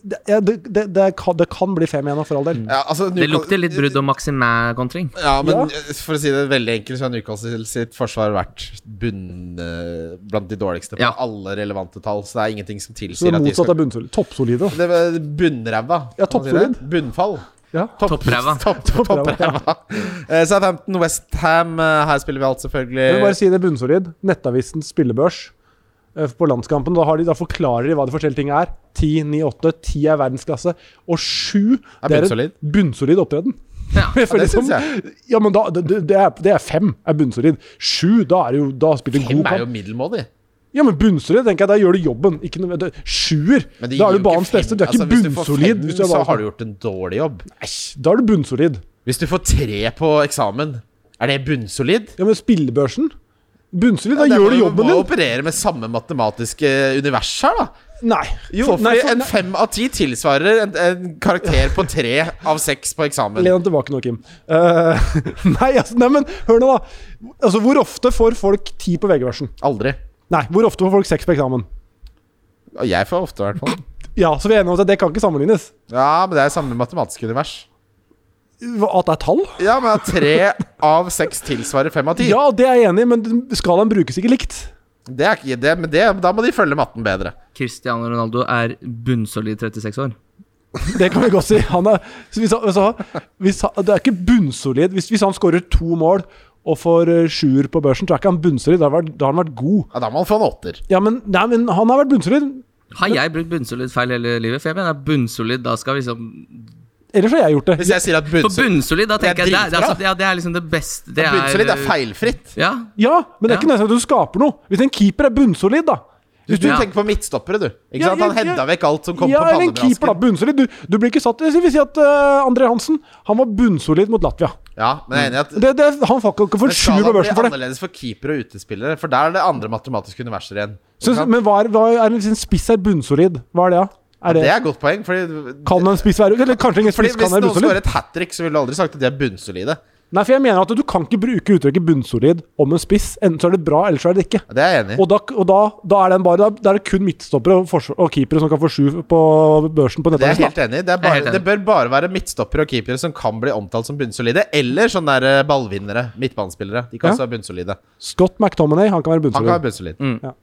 S4: det, ja, det, det, det, kan, det kan bli 5-1 for all del.
S2: Ja, altså,
S3: Det
S2: Newcastle-
S3: lukter litt brudd og maximae-kontring.
S2: Ja, men
S4: Ja.
S2: eh, for å si det veldig enkelt, så har Newcastle sitt forsvar vært bunn, eh, blant de dårligste på
S3: Ja.
S2: alle relevante tall, så det er ingenting som
S4: Så
S2: tilsier
S4: det
S2: at de
S4: motsatte
S2: skal
S4: er bunnsolid. Toppsolide.
S2: det var Bunnræva.
S4: Ja,
S2: kan man si det?
S4: toppsolid.
S2: Bunnfall.
S4: Ja.
S2: Topp-
S3: Toppræva.
S2: Topp- Toppræva. Eh, Southampton, Westham. Her spiller vi alt, selvfølgelig.
S4: Jeg vil bare si det er bunnsolid. Nettavisens spillebørs eh, på landskampen. Da, har de, da forklarer de hva de forskjellige ting er. 10, 9, 8. 10 er verdensklasse. Og 7
S2: Er
S4: det er
S2: bunnsolid.
S4: en bunnsolid opptreden.
S3: Ja.
S4: Jeg føler
S2: det
S4: som-
S2: synes
S4: Ja, men da, det, det, er, det er fem er bunnsolid. Sju, da, er det jo, da spiller du
S2: Kim
S4: god
S2: er jo
S4: kamp.
S2: middelmådig.
S4: Ja, men bunnsolid, tenker jeg, da gjør du jobben. Ikke noe, det, sjuer,
S2: Men det
S4: da
S2: gir
S4: er
S2: jo
S4: du banens
S2: fem-
S4: beste. Du er ikke
S2: altså, hvis får
S4: bunnsolid.
S2: fem,
S4: hvis du er
S2: så
S4: banens-
S2: har du gjort en dårlig jobb.
S4: Eish, da er du bunnsolid.
S2: Hvis du får tre på eksamen, er det bunnsolid?
S4: Ja, men spillebørsen Bunnsolid, da
S2: Det er
S4: gjør
S2: bare-
S4: du jobben
S2: Du må
S4: din.
S2: operere med samme matematiske univers her, da.
S4: Nei.
S2: Jo,
S4: nei,
S2: fordi en fem av ti tilsvarer en, en karakter på tre av seks på eksamen.
S4: Len deg tilbake nå, Kim. Eh, nei, altså, nei, men hør nå, da. Altså, Hvor ofte får folk ti på VG-versen?
S2: Aldri.
S4: Nei, hvor ofte får folk seks på eksamen?
S2: Og Jeg får ofte, i hvert fall.
S4: Ja, så vi er enige om at det kan ikke sammenlignes.
S2: Ja, men det er samme matematiske univers.
S4: Hva- At det er tall?
S2: Ja, men at tre av seks tilsvarer fem av ti.
S4: Ja, det er jeg enig i, men den- skalaen brukes ikke likt.
S2: Det er ikke det, men det, da må de følge matten bedre.
S3: Cristiano Ronaldo er bunnsolid 36 år.
S4: Det kan vi godt si. Han er, så hvis, han- hvis, han- hvis, han- det er ikke bunnsolid. Hvis, hvis han scorer to mål og får eh, sjuer på børsen, så er ikke han bunnsolid. Da har han vært, da har han vært god.
S2: Ja, Da må han få en åtter.
S4: Ja, men, nei, men han har vært bunnsolid.
S3: Har jeg brukt bunnsolid feil hele livet? For jeg mener bunnsolid, da skal vi liksom
S4: Ellers har jeg gjort det.
S2: Hvis jeg sier at
S3: For
S2: bunnsolid,
S3: bunnsolid, da
S2: Det er
S3: tenker jeg det er, det er,
S2: dritbra.
S3: altså, ja, det er liksom det beste Det er
S2: bunnsolid er feilfritt
S3: Ja.
S4: Ja, men det er
S3: Ja.
S4: ikke nesten at du skaper noe. Hvis en keeper er bunnsolid, da
S2: Hvis du
S3: Ja.
S2: tenker på midtstoppere, du. Ikke
S4: Ja,
S2: sant? Han
S4: ja, ja.
S2: hedda vekk alt som kom
S4: ja,
S2: på
S4: eller en keeper, da.
S2: palleblasken.
S4: Bunnsolid. Du, du blir ikke satt Jeg vil si at eh, André Hansen Han var bunnsolid mot Latvia.
S2: Ja, men jeg er enig i at
S4: Det, det, han får ikke
S2: Men
S4: for sju
S2: skalaen
S4: på
S2: blir
S4: børsen for det.
S2: annerledes for keepere og utespillere, for der er det andre matematiske universer igjen.
S4: Så,
S2: Ikke sant?
S4: men hva er, hva er liksom spiss er bunnsolid? Hva er det, da? Er
S2: det
S4: det,
S2: er et godt poeng, fordi,
S4: kan en spiss være Eller kanskje ingen
S2: fordi
S4: spiss
S2: hvis
S4: kan være
S2: noen skårer
S4: bunnsolid?
S2: et hat trick, så ville du aldri sagt at de er bunnsolide.
S4: Nei, for jeg mener at du kan ikke bruke uttrykket bunnsolid om en spiss. Enten så er det bra, eller så er det ikke.
S2: Ja, Det er jeg enig i.
S4: Og da, og da, da er den bare, da, da er det kun midtstoppere og, forsvar- og keepere som kan få sju på børsen på
S2: Det er jeg
S4: nettavisen. da.
S2: helt enig i. Det, er
S3: Jeg er
S2: bare-
S3: helt enig.
S2: det bør bare være midtstoppere og keepere som kan bli omtalt som bunnsolide, eller sånne der eh, ballvinnere, midtbanespillere. De kan
S4: Ja.
S2: også være bunnsolide.
S4: Scott McTominay, han kan være
S2: Han kan være
S4: bunnsolid.
S2: bunnsolid.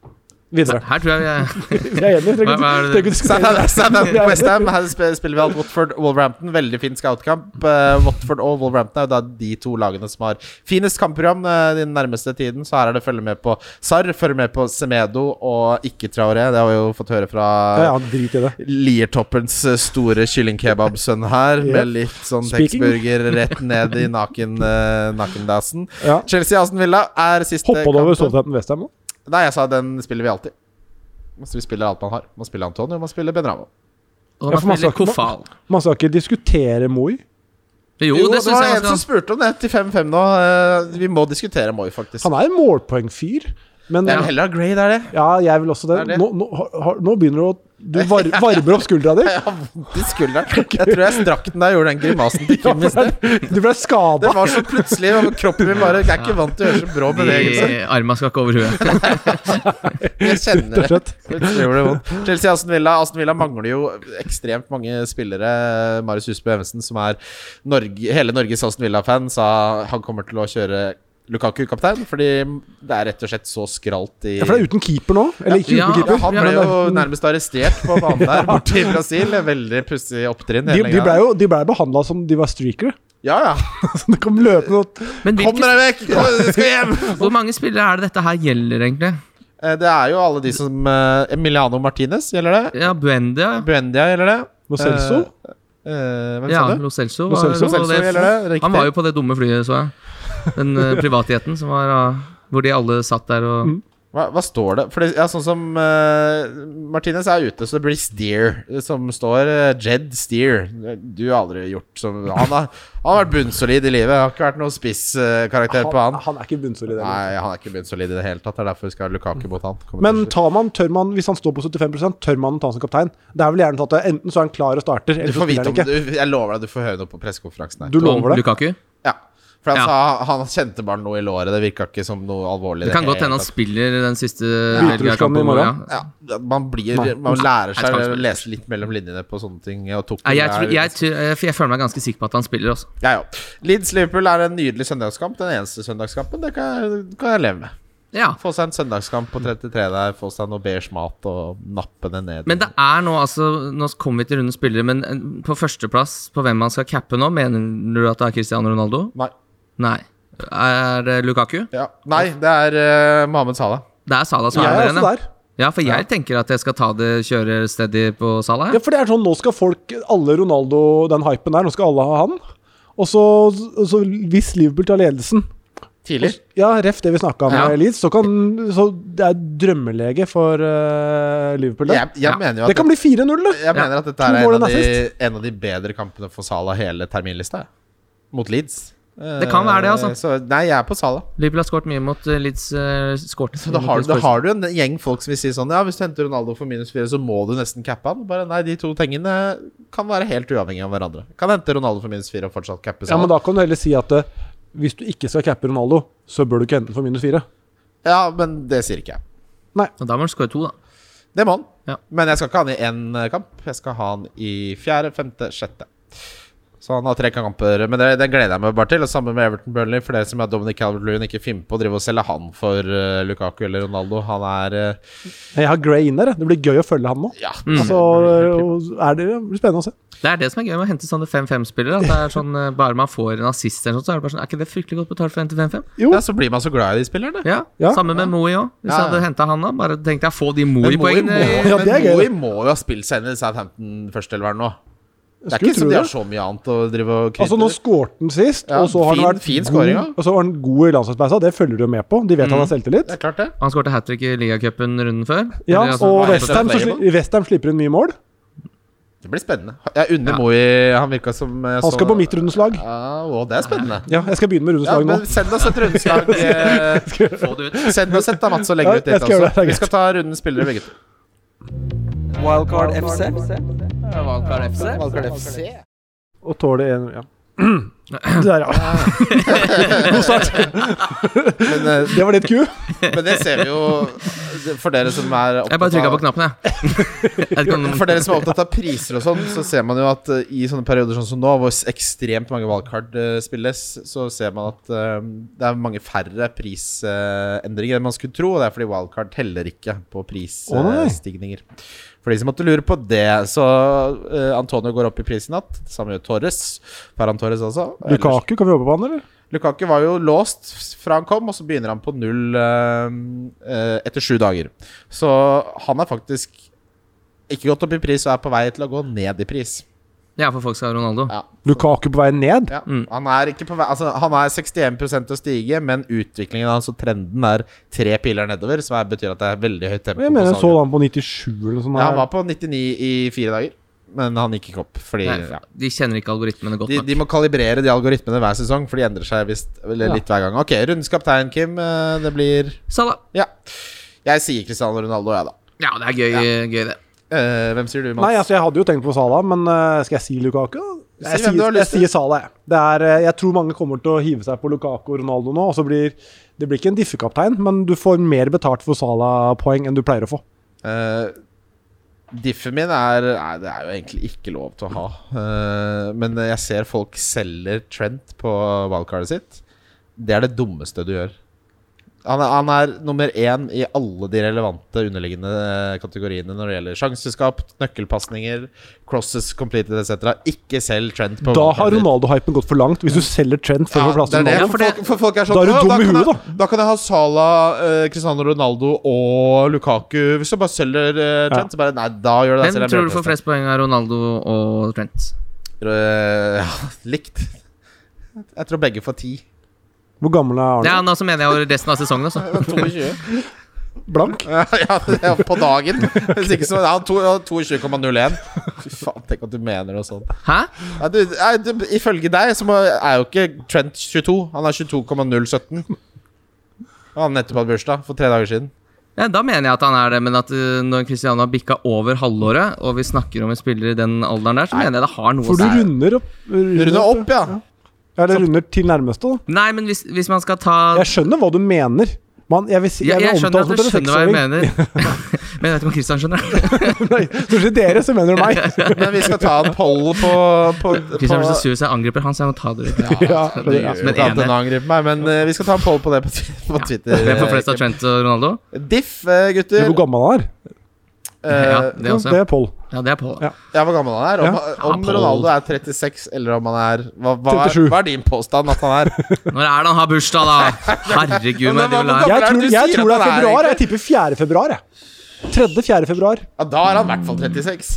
S4: Videre.
S3: Her tror jeg vi er
S4: Jeg er enig. Trenger
S3: Hva- hva er
S4: ikke-
S3: det-
S4: trenger ikke diskutere det.
S2: Southampton, Westham, her sp- spiller vi alt Watford, Wolverhampton. Veldig fin scoutkamp. Eh, Watford og Wolverhampton er jo da de to lagene som har finest kampprogram eh, den nærmeste tiden, så her er det å følge med på Sarr, følge med på Semedo og ikke Traoré. Det har vi jo fått høre fra
S4: Ja, ja, drit i det.
S2: Liertoppens eh, store kyllingkebabsønn her,
S4: Ja.
S2: med litt sånn
S4: Speaking.
S2: Texburger rett ned i naken, eh, nakendasen.
S4: Ja.
S2: Chelsea-Aston Villa er siste
S4: Hoppa du over
S2: kampen.
S4: Southampton Westham nå?
S2: Nei, jeg sa den spiller vi alltid. Så vi spiller alt man har. Man spiller Antonio, man spiller Benramo.
S3: Og
S4: Ja, for man
S3: man spiller
S4: snakker-
S3: kofal.
S4: Man skal ikke diskutere Moi.
S2: Jo,
S3: Jo, det
S2: det,
S3: syns
S2: var
S3: jeg
S2: en
S3: ganske
S2: som spurte om det til 5-5 nå. Eh, Vi må diskutere Moi, faktisk.
S4: Han er en målpoengfyr, men
S2: Jeg
S4: ja.
S2: vil heller ha Gray, det er det.
S4: jeg vil også det.
S2: Er det?
S4: Nå, nå, har- nå begynner du å Du var, varmer opp skuldra di.
S2: Jeg har vondt i skulderen. Jeg tror jeg strakk den da jeg gjorde den grimasen til Kim i sted.
S4: Du ble
S2: Det
S4: skada.
S2: var så plutselig. og Kroppen min bare Jeg er ikke vant til å gjøre så brå bevegelser.
S3: De arma skal ikke over huet.
S2: Jeg kjenner det.
S4: rett.
S2: Plutselig gjorde det vondt. Chelsea Aston Villa. Aston Villa mangler jo ekstremt mange spillere. Marius Husby Evensen, som er Norge, hele Norges Aston Villa-fan, sa han kommer til å kjøre Lukaku kaptein, fordi det er rett og slett så skralt i
S4: Ja, for det er uten keeper nå. Eller ikke uten
S3: Ja.
S2: Ja,
S4: keeper.
S2: han
S3: Ja,
S2: ble
S4: men
S2: jo
S4: det-
S2: nærmest arrestert på banen der borte i Brasil. Veldig pussig opptrinn.
S4: De,
S2: hele
S4: de ble
S2: greia.
S4: jo de ble behandla som de var streakere.
S2: Ja, ja.
S4: Så det kom løpende og
S3: Men
S2: Kom
S3: hvilke,
S2: dere vekk! Kom, dere skal hjem!
S3: hvor mange spillere er det dette her gjelder, egentlig?
S2: Eh, Det er jo alle de som eh, Emiliano Martinez, gjelder det?
S3: Ja, Buendia.
S2: Buendia, gjelder det?
S4: Lo Celso?
S2: Eh, Eh, hvem
S3: Ja,
S2: sa du?
S3: Lo Celso.
S4: Lo
S3: Var,
S4: Celso,
S3: og det-
S2: gjelder det, riktig.
S3: han var jo på det dumme flyet, så jeg. Den eh, privatjeten som var ah, Hvor de alle satt der og
S2: Hva, hva står det? For det, ja, sånn som eh, Martinez er ute, så det blir Steer som står. eh, Jed Steer. Du har aldri gjort som Han har, han har vært bunnsolid i livet. Har ikke vært noen spisskarakter på han.
S4: Han, han er ikke bunnsolid.
S2: Nei,
S4: heller.
S2: han er ikke bunnsolid i det hele tatt. Det er derfor vi skal ha Lukaku mot han. Kommer til
S4: Men
S2: slutt.
S4: tar man, tør man, hvis han står på 75 tør man å ta han som kaptein? Det er vel gjerne tatt at Enten så er han klar og starter,
S2: du
S4: eller så
S2: får
S4: spiller
S2: vite
S4: han
S2: om
S4: ikke.
S2: du, Jeg lover deg, du får høre noe på pressekonferansen her.
S4: Du
S3: om
S4: lover det?
S3: Lukaku.
S2: Ja. For han
S3: Ja.
S2: sa han kjente bare noe i låret. Det virka ikke som noe alvorlig.
S3: Det kan
S2: hele
S3: godt hende han
S2: tatt.
S3: spiller den siste
S4: Bytter du
S3: Belgia-kampen
S4: skam i
S3: hvor-
S4: morgen?
S3: ja.
S2: ja, man, blir,
S4: Nei.
S2: man lærer
S3: jeg
S2: seg
S3: tror han
S2: å
S3: spiller.
S2: lese litt mellom linjene på sånne ting. Og tok
S3: Nei, jeg, tror, jeg, tror, jeg, jeg føler meg ganske sikker på at han spiller. altså. Også.
S2: Ja, ja. Leeds-Liverpool er en nydelig søndagskamp. Den eneste søndagskampen. Det kan jeg, kan jeg leve med.
S3: Ja.
S2: Få seg en søndagskamp på 33 der, få seg noe beige mat og nappe det ned.
S3: Men det er nå altså Nå kommer vi til runde spillere, men eh, på førsteplass på hvem man skal cappe nå, mener du at det er Cristiano Ronaldo?
S2: Nei.
S3: Nei. Er det Lukaku?
S2: Ja. Nei, det er eh, Mohamed Salah.
S3: Det er Salah som
S4: Jeg
S3: er
S4: er
S3: der
S4: også
S3: inne.
S4: der.
S3: Ja, for jeg tenker at jeg skal ta det kjøre steady på Salah.
S4: Ja,
S3: jeg.
S4: for det er sånn, nå skal folk Alle Ronaldo, den hypen der, nå skal alle ha han. Og så, så hvis Liverpool tar ledelsen
S2: Tidlig.
S4: Ja, ref det vi snakka om
S3: Ja.
S4: med Leeds, så kan Så det er drømmelege for eh, Liverpool, det.
S2: Jeg, jeg
S3: Ja.
S2: mener jo at
S4: Det kan bli 4-0, det.
S2: Jeg mener at dette
S4: To
S2: er
S4: mål
S2: en av,
S4: og en
S2: de, en av de bedre kampene for Salah hele terminlista. jeg. Mot Leeds.
S3: Det kan være det, altså.
S2: Eh, Så, nei, jeg er på Salah.
S3: Liverpool har skåret mye mot eh, Leeds. eh, skåret
S2: Så da
S3: mot
S2: har,
S3: Leeds
S2: da
S3: Spurs.
S2: har du en gjeng folk som vil si sånn Ja, hvis du henter Ronaldo for minus fire, så må du nesten cappe han. Bare nei, de to tingene kan være helt uavhengige av hverandre. Kan hente Ronaldo for minus fire og fortsatt cappe
S4: Ja,
S2: Salah.
S4: men da kan du heller si at eh, hvis du ikke skal cappe Ronaldo, så bør du ikke hente den for minus fire.
S2: Ja, men det sier ikke jeg.
S3: Og da må han skåre to, da.
S2: Det må han.
S3: Ja.
S2: Men jeg skal ikke ha han i én eh, kamp. Jeg skal ha han i fjerde, femte, sjette. Så han har tre kamper, men det, det gleder jeg meg bare til. Og sammen med Everton Burnley, for dere som er Dominic Calvert-Lewin, ikke finner på å drive og selge han for eh, Lukaku eller Ronaldo. Han er eh, Mm.
S4: Jeg har Gray inn der. jeg. Det blir gøy å følge han nå.
S2: Ja.
S4: Altså, og er det, det blir spennende å se.
S3: Det er det som er gøy med å hente sånne 5-5-spillere. At det er sånn, eh, Bare man får en assist eller noe sånt, så er det bare sånn Er ikke det fryktelig godt betalt for å hente 5-5?
S4: Jo.
S2: ja, så blir man så glad i de spillerne.
S3: Ja,
S4: Ja.
S3: Samme med Moi òg.
S2: Ja,
S3: Hvis jeg
S2: ja.
S3: hadde henta han da, bare tenkte jeg få de
S2: Men Moi
S3: Moi-poengene.
S2: må,
S3: i-
S4: Ja, det er
S2: men
S4: gøy,
S2: Moi
S4: det.
S2: må jo ha spilt seg inn i Southampton først, eller hva det nå? Det er
S4: Skulle
S2: ikke som
S4: tro
S2: de har
S4: det.
S2: så mye annet å drive og krydre.
S4: Altså, nå skårte han sist,
S2: Ja,
S4: og så har
S2: fin-
S4: han vært
S2: fin scoring, Mm. ja.
S4: god, og så var han god i landslagsbeisa. Det følger du jo med på. De vet han har selvtillit.
S2: det er klart, det.
S3: Han skårte hat trick i ligacupen runden før.
S4: Ja,
S3: Eller, altså,
S4: og
S3: nei,
S2: West
S3: på-
S4: Westham
S2: det er
S4: sli West Ham slipper inn mye mål.
S2: Det blir spennende. Jeg unner
S3: Ja.
S2: Moi Han virka som jeg
S4: Han skal
S2: så-
S4: på mitt rundeslag.
S2: Ja, å, det er spennende.
S4: Ja, jeg skal begynne med
S2: Ja,
S4: rundeslag nå.
S2: men send oss et rundslag. eh,
S3: Få det ut.
S2: Send oss et da, Mats, og legger
S4: Ja,
S2: ut litt.
S4: jeg skal gjøre det, det
S2: Altså.
S4: er
S2: Vi skal ta runden spillere, begge to.
S1: Wildcard FC.
S3: Wildcard FC.
S1: Wildcard FC.
S4: Og tåler en Ja. Der, ja.
S2: Men, eh,
S4: Det var ditt ku.
S2: men det ser vi jo For dere som er
S3: Jeg bare
S2: opptatt
S3: trykka på
S2: av
S3: knappen, jeg. jeg vet ikke om-
S2: for dere som er opptatt av priser og sånn, så ser man jo at eh, i sånne perioder sånn som nå, hvor ekstremt mange valgkart eh, spilles, så ser man at eh, det er mange færre prisendringer enn man skulle tro. Og det er fordi wildcard teller ikke på
S4: Å, nei.
S2: prisstigninger. For de som måtte lure på det, så eh, Antonio går opp i pris i natt. Sammen med Torres. Ferran Torres også. Ellers-
S4: Lukaku, kan vi jobbe på han, eller?
S2: Lukaku var jo låst fra han kom, og så begynner han på null eh, eh, etter sju dager. Så han er faktisk ikke gått opp i pris og er på vei til å gå ned i pris.
S3: Ja, for folk skal ha Ronaldo.
S2: Ja.
S4: Lukaku på vei ned?
S2: Ja. Han er ikke på vei Altså, han er 61 til å stige, men utviklingen hans og trenden er tre piler nedover, som er, betyr at det er veldig høyt tempo.
S4: Jeg mener,
S2: på
S4: jeg så
S2: salget.
S4: han på 97 eller noe sånt.
S2: ja, han
S4: her.
S2: var på 99 i fire dager, men han gikk ikke opp fordi
S3: Nei,
S2: ja.
S3: de kjenner ikke algoritmene godt
S2: De,
S3: nok.
S2: de må kalibrere de algoritmene hver sesong, for de endrer seg visst eller
S4: Ja.
S2: litt hver gang. Ok, rundens kaptein, Kim. eh, Det blir
S3: Salah.
S2: Ja. Jeg sier Cristiano Ronaldo, jeg, da.
S3: Ja, det er gøy, gøy det.
S2: Eh, hvem sier du, Mats?
S4: Nei, altså, jeg hadde jo tenkt på Salah, men eh, skal jeg si Lukaku? da? Jeg,
S2: Si hvem du har
S4: sier, jeg
S2: lyst til.
S4: sier Salah, jeg. Det er, eh, jeg tror mange kommer til å hive seg på Lukaku og Ronaldo nå. Og så blir, det blir ikke en diffekaptein, men du får mer betalt for Salah-poeng enn du pleier å få.
S2: Eh, Diffen min er Nei, det er jo egentlig ikke lov til å ha. Eh, men jeg ser folk selger Trent på wildcardet sitt. Det er det dummeste du gjør. Han er, han er nummer én i alle de relevante underliggende eh, kategoriene når det gjelder sjanseskap, nøkkelpasninger, crosses completed etc. Ikke selg Trent på
S4: Da har
S2: wildcardet ditt.
S4: Ronaldo-hypen gått for langt, hvis du selger Trent for
S2: Ja,
S4: å få plass
S2: det
S4: til
S2: er det.
S4: Ronaldo.
S2: For, folk, for folk er sånn
S4: Da er du
S2: «Å,
S4: dum i
S2: kan
S4: huet,
S2: jeg- Da kan jeg ha Salah, eh, Cristiano Ronaldo og Lukaku. Hvis du bare selger eh, Trent, så bare Nei, da gjør du deg
S3: Hvem
S2: selv en
S3: tror du
S2: bjørnetjeneste.
S3: får flest poeng av Ronaldo og Trent?
S2: eh, ja, likt. Jeg tror begge får ti.
S4: Hvor gammel er
S3: Ja,
S4: Arne?
S3: nå så mener jeg jo resten av sesongen altså. også.
S2: 22.
S4: Blank?
S2: Ja, ja, på dagen. Hvis ikke så ja, to- ja, 22,01. Fy faen, tenk at du mener noe sånt.
S3: Hæ?
S2: Ja, du, nei, du, ifølge deg så må, er jo ikke Trent 22. Han er 22,017. Og han nettopp hadde bursdag for tre dager siden.
S3: Ja, da mener jeg at han er det, men at eh, når Cristiano har bikka over halvåret, og vi snakker om en spiller i den alderen der, så mener jeg det har noe å
S4: For du
S3: si.
S4: runder opp.
S2: Runde opp, ja.
S4: Ja, Eller runder til nærmeste, da.
S3: Nei, men hvis, hvis man skal ta
S4: Jeg skjønner hva du mener. Man, jeg vil si,
S3: jeg,
S4: vil
S3: jeg skjønner
S4: omtale som
S3: at du
S4: en
S3: skjønner hva jeg
S4: seksåring.
S3: mener. Men jeg vet ikke om Christian skjønner.
S4: Nei, Stort sett dere, så mener du meg.
S2: Men vi skal ta en poll på, på, på
S3: Christian blir så sur, så jeg angriper han, så jeg må ta det litt.
S4: Ja,
S3: det gjør
S2: Som et ene. Angriper meg, men eh, vi skal ta en poll på det på, Twi- på Twitter.
S3: Hvem får flest av Trent og Ronaldo?
S2: Diff, eh, gutter.
S4: Hvor gammel han er?
S2: Eh,
S3: Ja, det
S4: Ja,
S3: også.
S4: Det er Paul.
S3: Ja, det er Paul.
S4: Ja.
S2: Ja, hvor gammel han er? Om, om
S3: Ja, Paul.
S2: Ronaldo er 36, eller om han er Hva, hva, er,
S4: 37.
S2: hva er din påstand at han er?
S3: Når er det han har bursdag, da? Herregud,
S2: Men
S3: men
S2: hva-
S3: de vil ha
S2: hva-
S4: Jeg
S2: er det
S4: tror,
S2: du
S4: jeg
S2: sier
S4: tror det
S2: at
S4: er
S2: han er,
S4: februar.
S2: egentlig?
S4: Jeg tipper 4. februar. jeg. 3.-4. februar.
S2: Ja, da er han i hvert fall 36.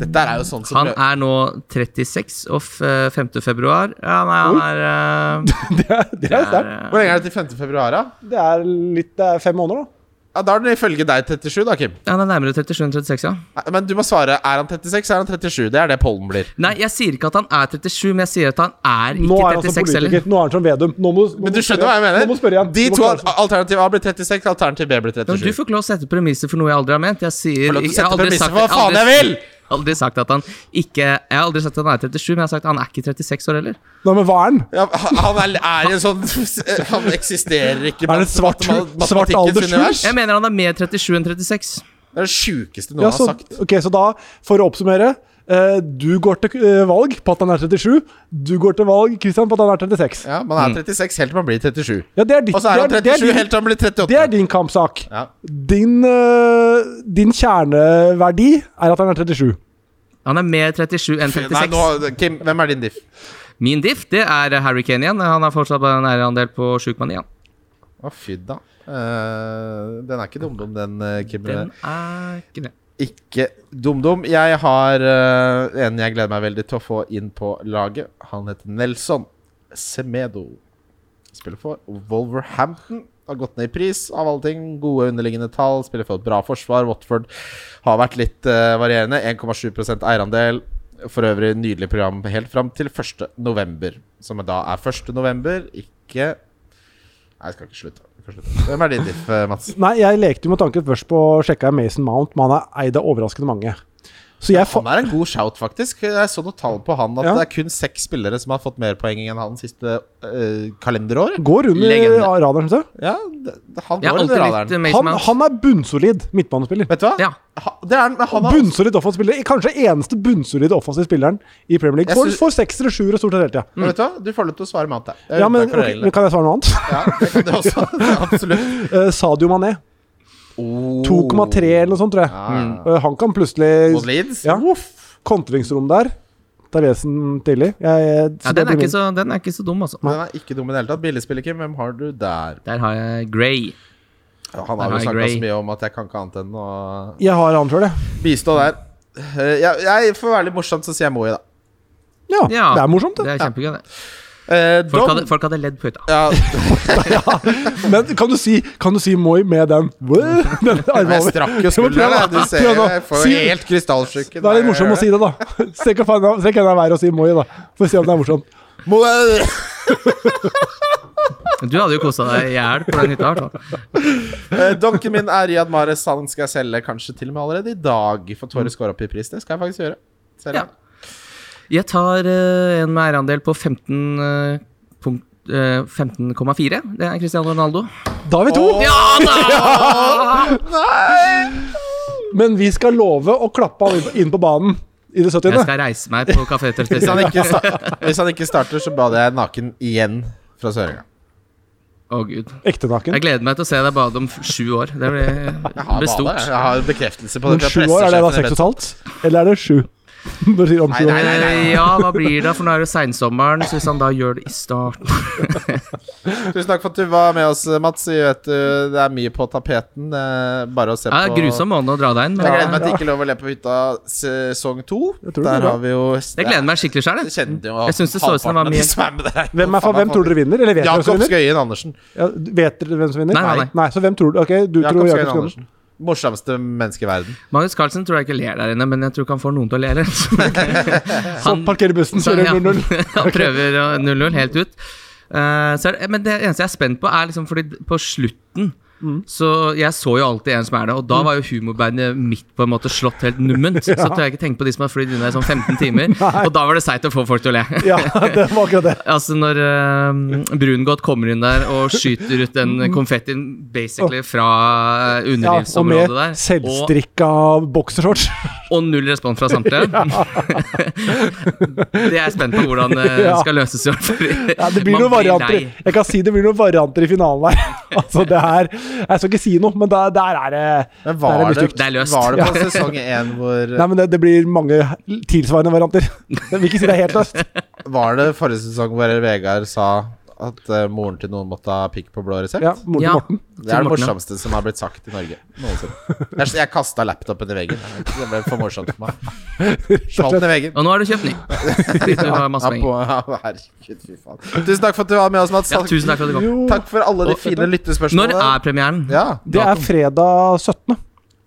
S2: Dette er jo sånn som
S3: Han er nå 36, og f- eh, 5. februar Ja, nei, han er eh,
S4: Det er, det er sterkt.
S2: Hvor lenge er det til 5. februar, da?
S4: Det er litt Det er fem måneder, da.
S2: Ja, da er den ifølge deg 37, da, Kim.
S3: Ja, han er nærmere 37 enn 36, ja.
S2: Nei, Men du må svare er han 36 eller er han 37. Det er det pollen blir.
S3: Nei, jeg sier ikke at han er 37, men jeg sier at han altså er
S4: Nå
S3: ikke
S4: er han som
S3: 36 heller.
S4: politiker. Nå er han som Vedum. Nå må, nå
S2: Men
S4: må
S2: du skjønner hva jeg mener?
S4: Nå må du spørre igjen.
S2: De
S4: Nå må
S2: to
S4: du
S2: al-
S4: svare.
S2: alternativ A blir 36, alternativ B blir
S3: Ja, men
S2: 37.
S3: Du får ikke lov å sette premisser for noe jeg aldri har ment. Jeg sier
S2: Får lov til å
S3: jeg
S2: sette
S3: har aldri
S2: premisser
S3: sagt-
S2: for hva faen
S3: aldri-
S2: jeg vil!
S3: Aldri sagt at han ikke Jeg har aldri sagt at han er 37, men jeg har sagt at han er ikke 36 år heller.
S4: Nei, men hva er han?
S2: Ja, han er, er i en sånn Han eksisterer ikke
S4: Er det et svart hull?
S2: matematikkens
S4: Svart aldershull?
S2: univers.
S3: Jeg mener han er mer 37 enn 36.
S2: Det er det sjukeste noen
S4: Ja, så,
S2: har sagt.
S4: ok, så da, for å oppsummere. eh, Du går til eh, valg på at han er 37. Du går til valg Christian, på at han er 36.
S2: Ja, Man er 36 helt til man blir 37.
S4: Ja, det er ditt.
S2: Og så er han
S4: det det
S2: 37
S4: din-
S2: helt til han blir 38.
S4: Det er din kampsak.
S2: Ja.
S4: Din, eh, din kjerneverdi er at han er 37.
S3: Han er mer 37 enn
S2: Nei,
S3: 36.
S2: nå, Kim, hvem er din diff?
S3: Min diff, det er Harry Kane igjen. Han har fortsatt en eierandel på 7,9. ja.
S2: Å, fy da. Eh, den er ikke dumdum, den, eh, Kim.
S3: Den er ikke det.
S2: Ikke dumdum. Jeg har eh, en jeg gleder meg veldig til å få inn på laget. Han heter Nelson Semedo. Spiller for Wolverhampton. Har gått ned i pris, av alle ting. Gode underliggende tall. Spiller for et bra forsvar. Watford har vært litt eh, varierende. 1,7 eierandel. For øvrig nydelig program helt fram til 1.11., som da er 1.11., ikke Nei, jeg skal ikke slutte. Jeg skal slutte. Hvem er din diff, eh, Mats?
S4: Nei, jeg lekte jo med tanken først på å sjekke Mason Mount, men han er eid av overraskende mange. Så jeg fa
S2: Han er en god shout, faktisk. Jeg så noen tall på han at
S4: Ja.
S2: det er kun seks spillere som har fått mer poeng enn han siste øh, kalenderår.
S4: går under
S3: Legende.
S4: radaren. synes jeg.
S2: Ja, det, det- han
S3: Jeg har
S2: går under
S3: alltid likt
S2: radaren.
S3: eh, Mason
S4: Han,
S3: Mount.
S4: han er bunnsolid midtbanespiller.
S2: Vet du hva?
S3: Ja.
S2: Ha, det er, han, men han har,
S4: Bunnsolid offensivspiller. Kanskje eneste bunnsolid offensiv spilleren i Premier League.
S2: Jeg
S4: For,
S2: synes-
S4: for seksere, sjuere stort sett hele tida.
S2: Men vet du hva? Du får lov til å svare med annet.
S3: Eh,
S4: Ja, men, ok, men kan jeg svare noe annet?
S2: ja, det kan du også. Absolutt.
S4: Eh, Sadio Mané.
S2: Oh.
S4: 2,3 eller noe sånt, tror jeg.
S2: Ja.
S4: Eh, han kan plutselig
S2: Mot Oh, Leeds?
S4: ja, Kontringsrom der. Theresen tidlig. Jeg, så
S3: Ja,
S4: det
S3: den er,
S4: blir min.
S3: ikke så, den er ikke så dum, altså.
S2: Den er ikke dum i det hele tatt. Billigspiller, Kim. Hvem har du der?
S3: Der har jeg Gray.
S2: Ja, Han
S3: Der
S2: har
S3: har
S2: jo
S3: jeg
S2: snakka
S3: Gray.
S2: så mye om at jeg kan ikke annet enn å
S4: jeg har han sjøl, jeg.
S2: bistå der. Eh, Jeg, jeg får være litt morsomt, så sier jeg Moi, da.
S4: Ja,
S3: Ja,
S4: det er morsomt, det.
S3: Det er kjempegøy, det.
S2: Eh,
S3: Folk
S2: Dom-
S3: hadde, folk hadde ledd på hytta.
S2: ja,
S4: Men kan du si, kan du si Moi med den Den
S2: Men jeg
S4: armhaven.
S2: strakk jo
S4: Ja, men prøv
S2: skulderen.
S4: da.
S2: jeg. Du ser jo,
S4: Prøv da.
S2: jeg får
S4: Si-
S2: jo helt krystallsjuk.
S4: Da er det morsomt å si det, da. Strekk henda i været og si Moi, da. For å se om det er morsomt.
S3: Du hadde jo kosa deg i hjel på den hytta. i hvert fall.
S2: eh, Donken min er Riyad Mahrez. Han skal jeg selge kanskje til og med allerede i dag. For
S4: Mm.
S2: Tore går opp i pris. Det skal jeg faktisk gjøre. Selge.
S3: Ja. Jeg tar eh, en med eierandel på 15 eh, punkt- eh, 15,4. Det er Cristiano Ronaldo.
S4: Da er vi to.
S3: Ja da!
S4: Men vi skal love å klappe han inn på- inn på banen i det
S3: Jeg
S4: 70.
S3: skal reise meg på Kafé
S2: Hvis, han
S3: 36.
S2: ikke sta- hvis han ikke starter, så bader jeg naken igjen fra Sørenga.
S3: Å, gud.
S4: Ekte naken.
S3: Jeg gleder meg til å se deg bade om f- sju år. Det blir, det
S2: Jeg har, badet,
S3: blir
S2: jeg.
S3: stort.
S2: jeg har bekreftelse på
S4: Men
S2: det. fra
S4: sju år, er det da
S2: pressesjefen i
S4: seks og et halvt? Eller er det sju? Når du sier omsesong.
S2: Nei, nei, nei.
S3: Eh, Ja, hva blir det? For nå er det seinsommeren, så hvis han da gjør det i starten
S2: Tusen takk for at du var med oss, Mats. Vi vet uh, det er mye på tapeten. eh, Bare å se
S3: ja, det er
S2: på
S3: Grusom måned å dra deg inn, men
S2: Jeg gleder
S3: jeg,
S2: meg til ikke lov å le på hytta sesong to.
S4: Jeg tror det blir
S2: Der
S4: bra.
S2: har vi jo
S3: jeg gleder meg skikkelig sjøl.
S2: Jeg kjenner jo
S3: Mm. Jeg synes det så ut som det var
S2: halvparten av
S3: mye-
S2: de som er med der.
S4: Hvem, er, fa- hvem tror dere vinner? Eller vet dere hvem
S2: Jakob
S4: som vinner?
S2: Skøyen Andersen.
S4: Ja, vet dere hvem som vinner?
S3: Nei, nei, nei.
S4: så hvem tror du? Ok, du
S2: Jakob
S4: tror
S2: Skøyen
S4: Jakob Skøyen.
S2: Andersen. Morsomste menneske i verden.
S3: Magnus Carlsen tror jeg ikke ler der inne, men jeg tror ikke han får noen til å le heller. Han-
S4: Parkerer bussen,
S3: Så,
S4: kjører
S3: ja,
S4: 0-0.
S3: han prøver å 0-0 helt ut. Eh, så er, det- men det eneste jeg er spent på, er liksom fordi på slutten
S4: Mm.
S3: Så Jeg så jo alltid en som er det, og da var jo humorbandet mitt på en måte slått helt numment. Så tør jeg ikke tenke på de som har flydd inn der i sånn 15 timer. Og da var det seigt å få folk til å le.
S4: Ja, det var akkurat det.
S3: Altså Når uh, Brungot kommer inn der og skyter ut den konfettien basically fra
S4: Mm. Ja,
S3: eh,
S4: og
S3: underlivsområdet
S4: med
S3: der. og-
S4: selvstrikka boksershorts.
S3: og null respons fra samtlige. det er jeg spent på hvordan det
S4: Ja.
S3: skal løses. i år, fordi
S4: Ja, det blir
S3: man
S4: noen varianter.
S3: lei.
S4: Jeg kan si det blir noen varianter i finalen der. altså, det er Jeg skal ikke si noe, men der, der er det
S2: Men
S4: Der
S2: var
S4: er det
S2: det,
S4: stygt.
S3: Det er løst.
S2: var det på sesong én hvor
S4: Nei, men det, det blir mange tilsvarende varianter. Jeg vil ikke si det er helt løst.
S2: Var det forrige sesong hvor Vegard sa at eh, moren til noen måtte ha pikk på blå resept?
S4: Ja, moren til
S3: Ja.
S4: Morten.
S2: Det er det
S3: Morten, ja.
S2: morsomste som har blitt sagt i Norge. Noensinne. Jeg, jeg kasta laptopen i veggen. Det ble for morsomt for meg. Smalt den i veggen.
S3: Og nå har du kjøpt ny. Fordi du har masse
S2: Ja, på,
S3: penger.
S2: ja, herregud, fy faen. Tusen takk for at du var med oss, Mats.
S3: Ja, tusen takk for at du kom.
S2: Takk for alle de
S3: Og-
S2: fine
S3: Når
S2: lyttespørsmålene.
S3: er premieren?
S2: ja.
S4: Det er fredag 17.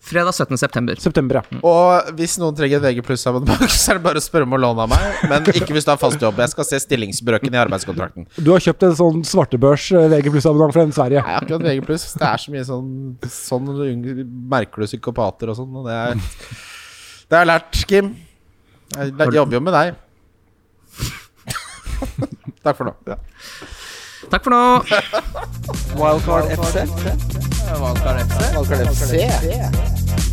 S3: Fredag 17. september.
S4: september, ja.
S2: Og hvis noen trenger et VG pluss-abonnement, så er det bare å spørre om å låne av meg. Men ikke hvis du har fast jobb. Jeg skal se stillingsbrøken i arbeidskontrakten. Nei,
S4: Du har kjøpt en sånn svartebørs eh, VG pluss-abonnement fra en
S2: jeg
S4: Sverige.
S2: har ikke hatt VG pluss. Det er så mye sånn Sånn unge- merker du psykopater og sånn. Og det er Det har jeg lært, Kim. Jeg læ- jobber jo med deg. Takk for nå.
S3: Takk for nå.
S1: Wildcard FC. Wildcard FC.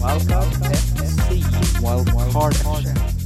S1: Wildcard FC. Wildcard FC.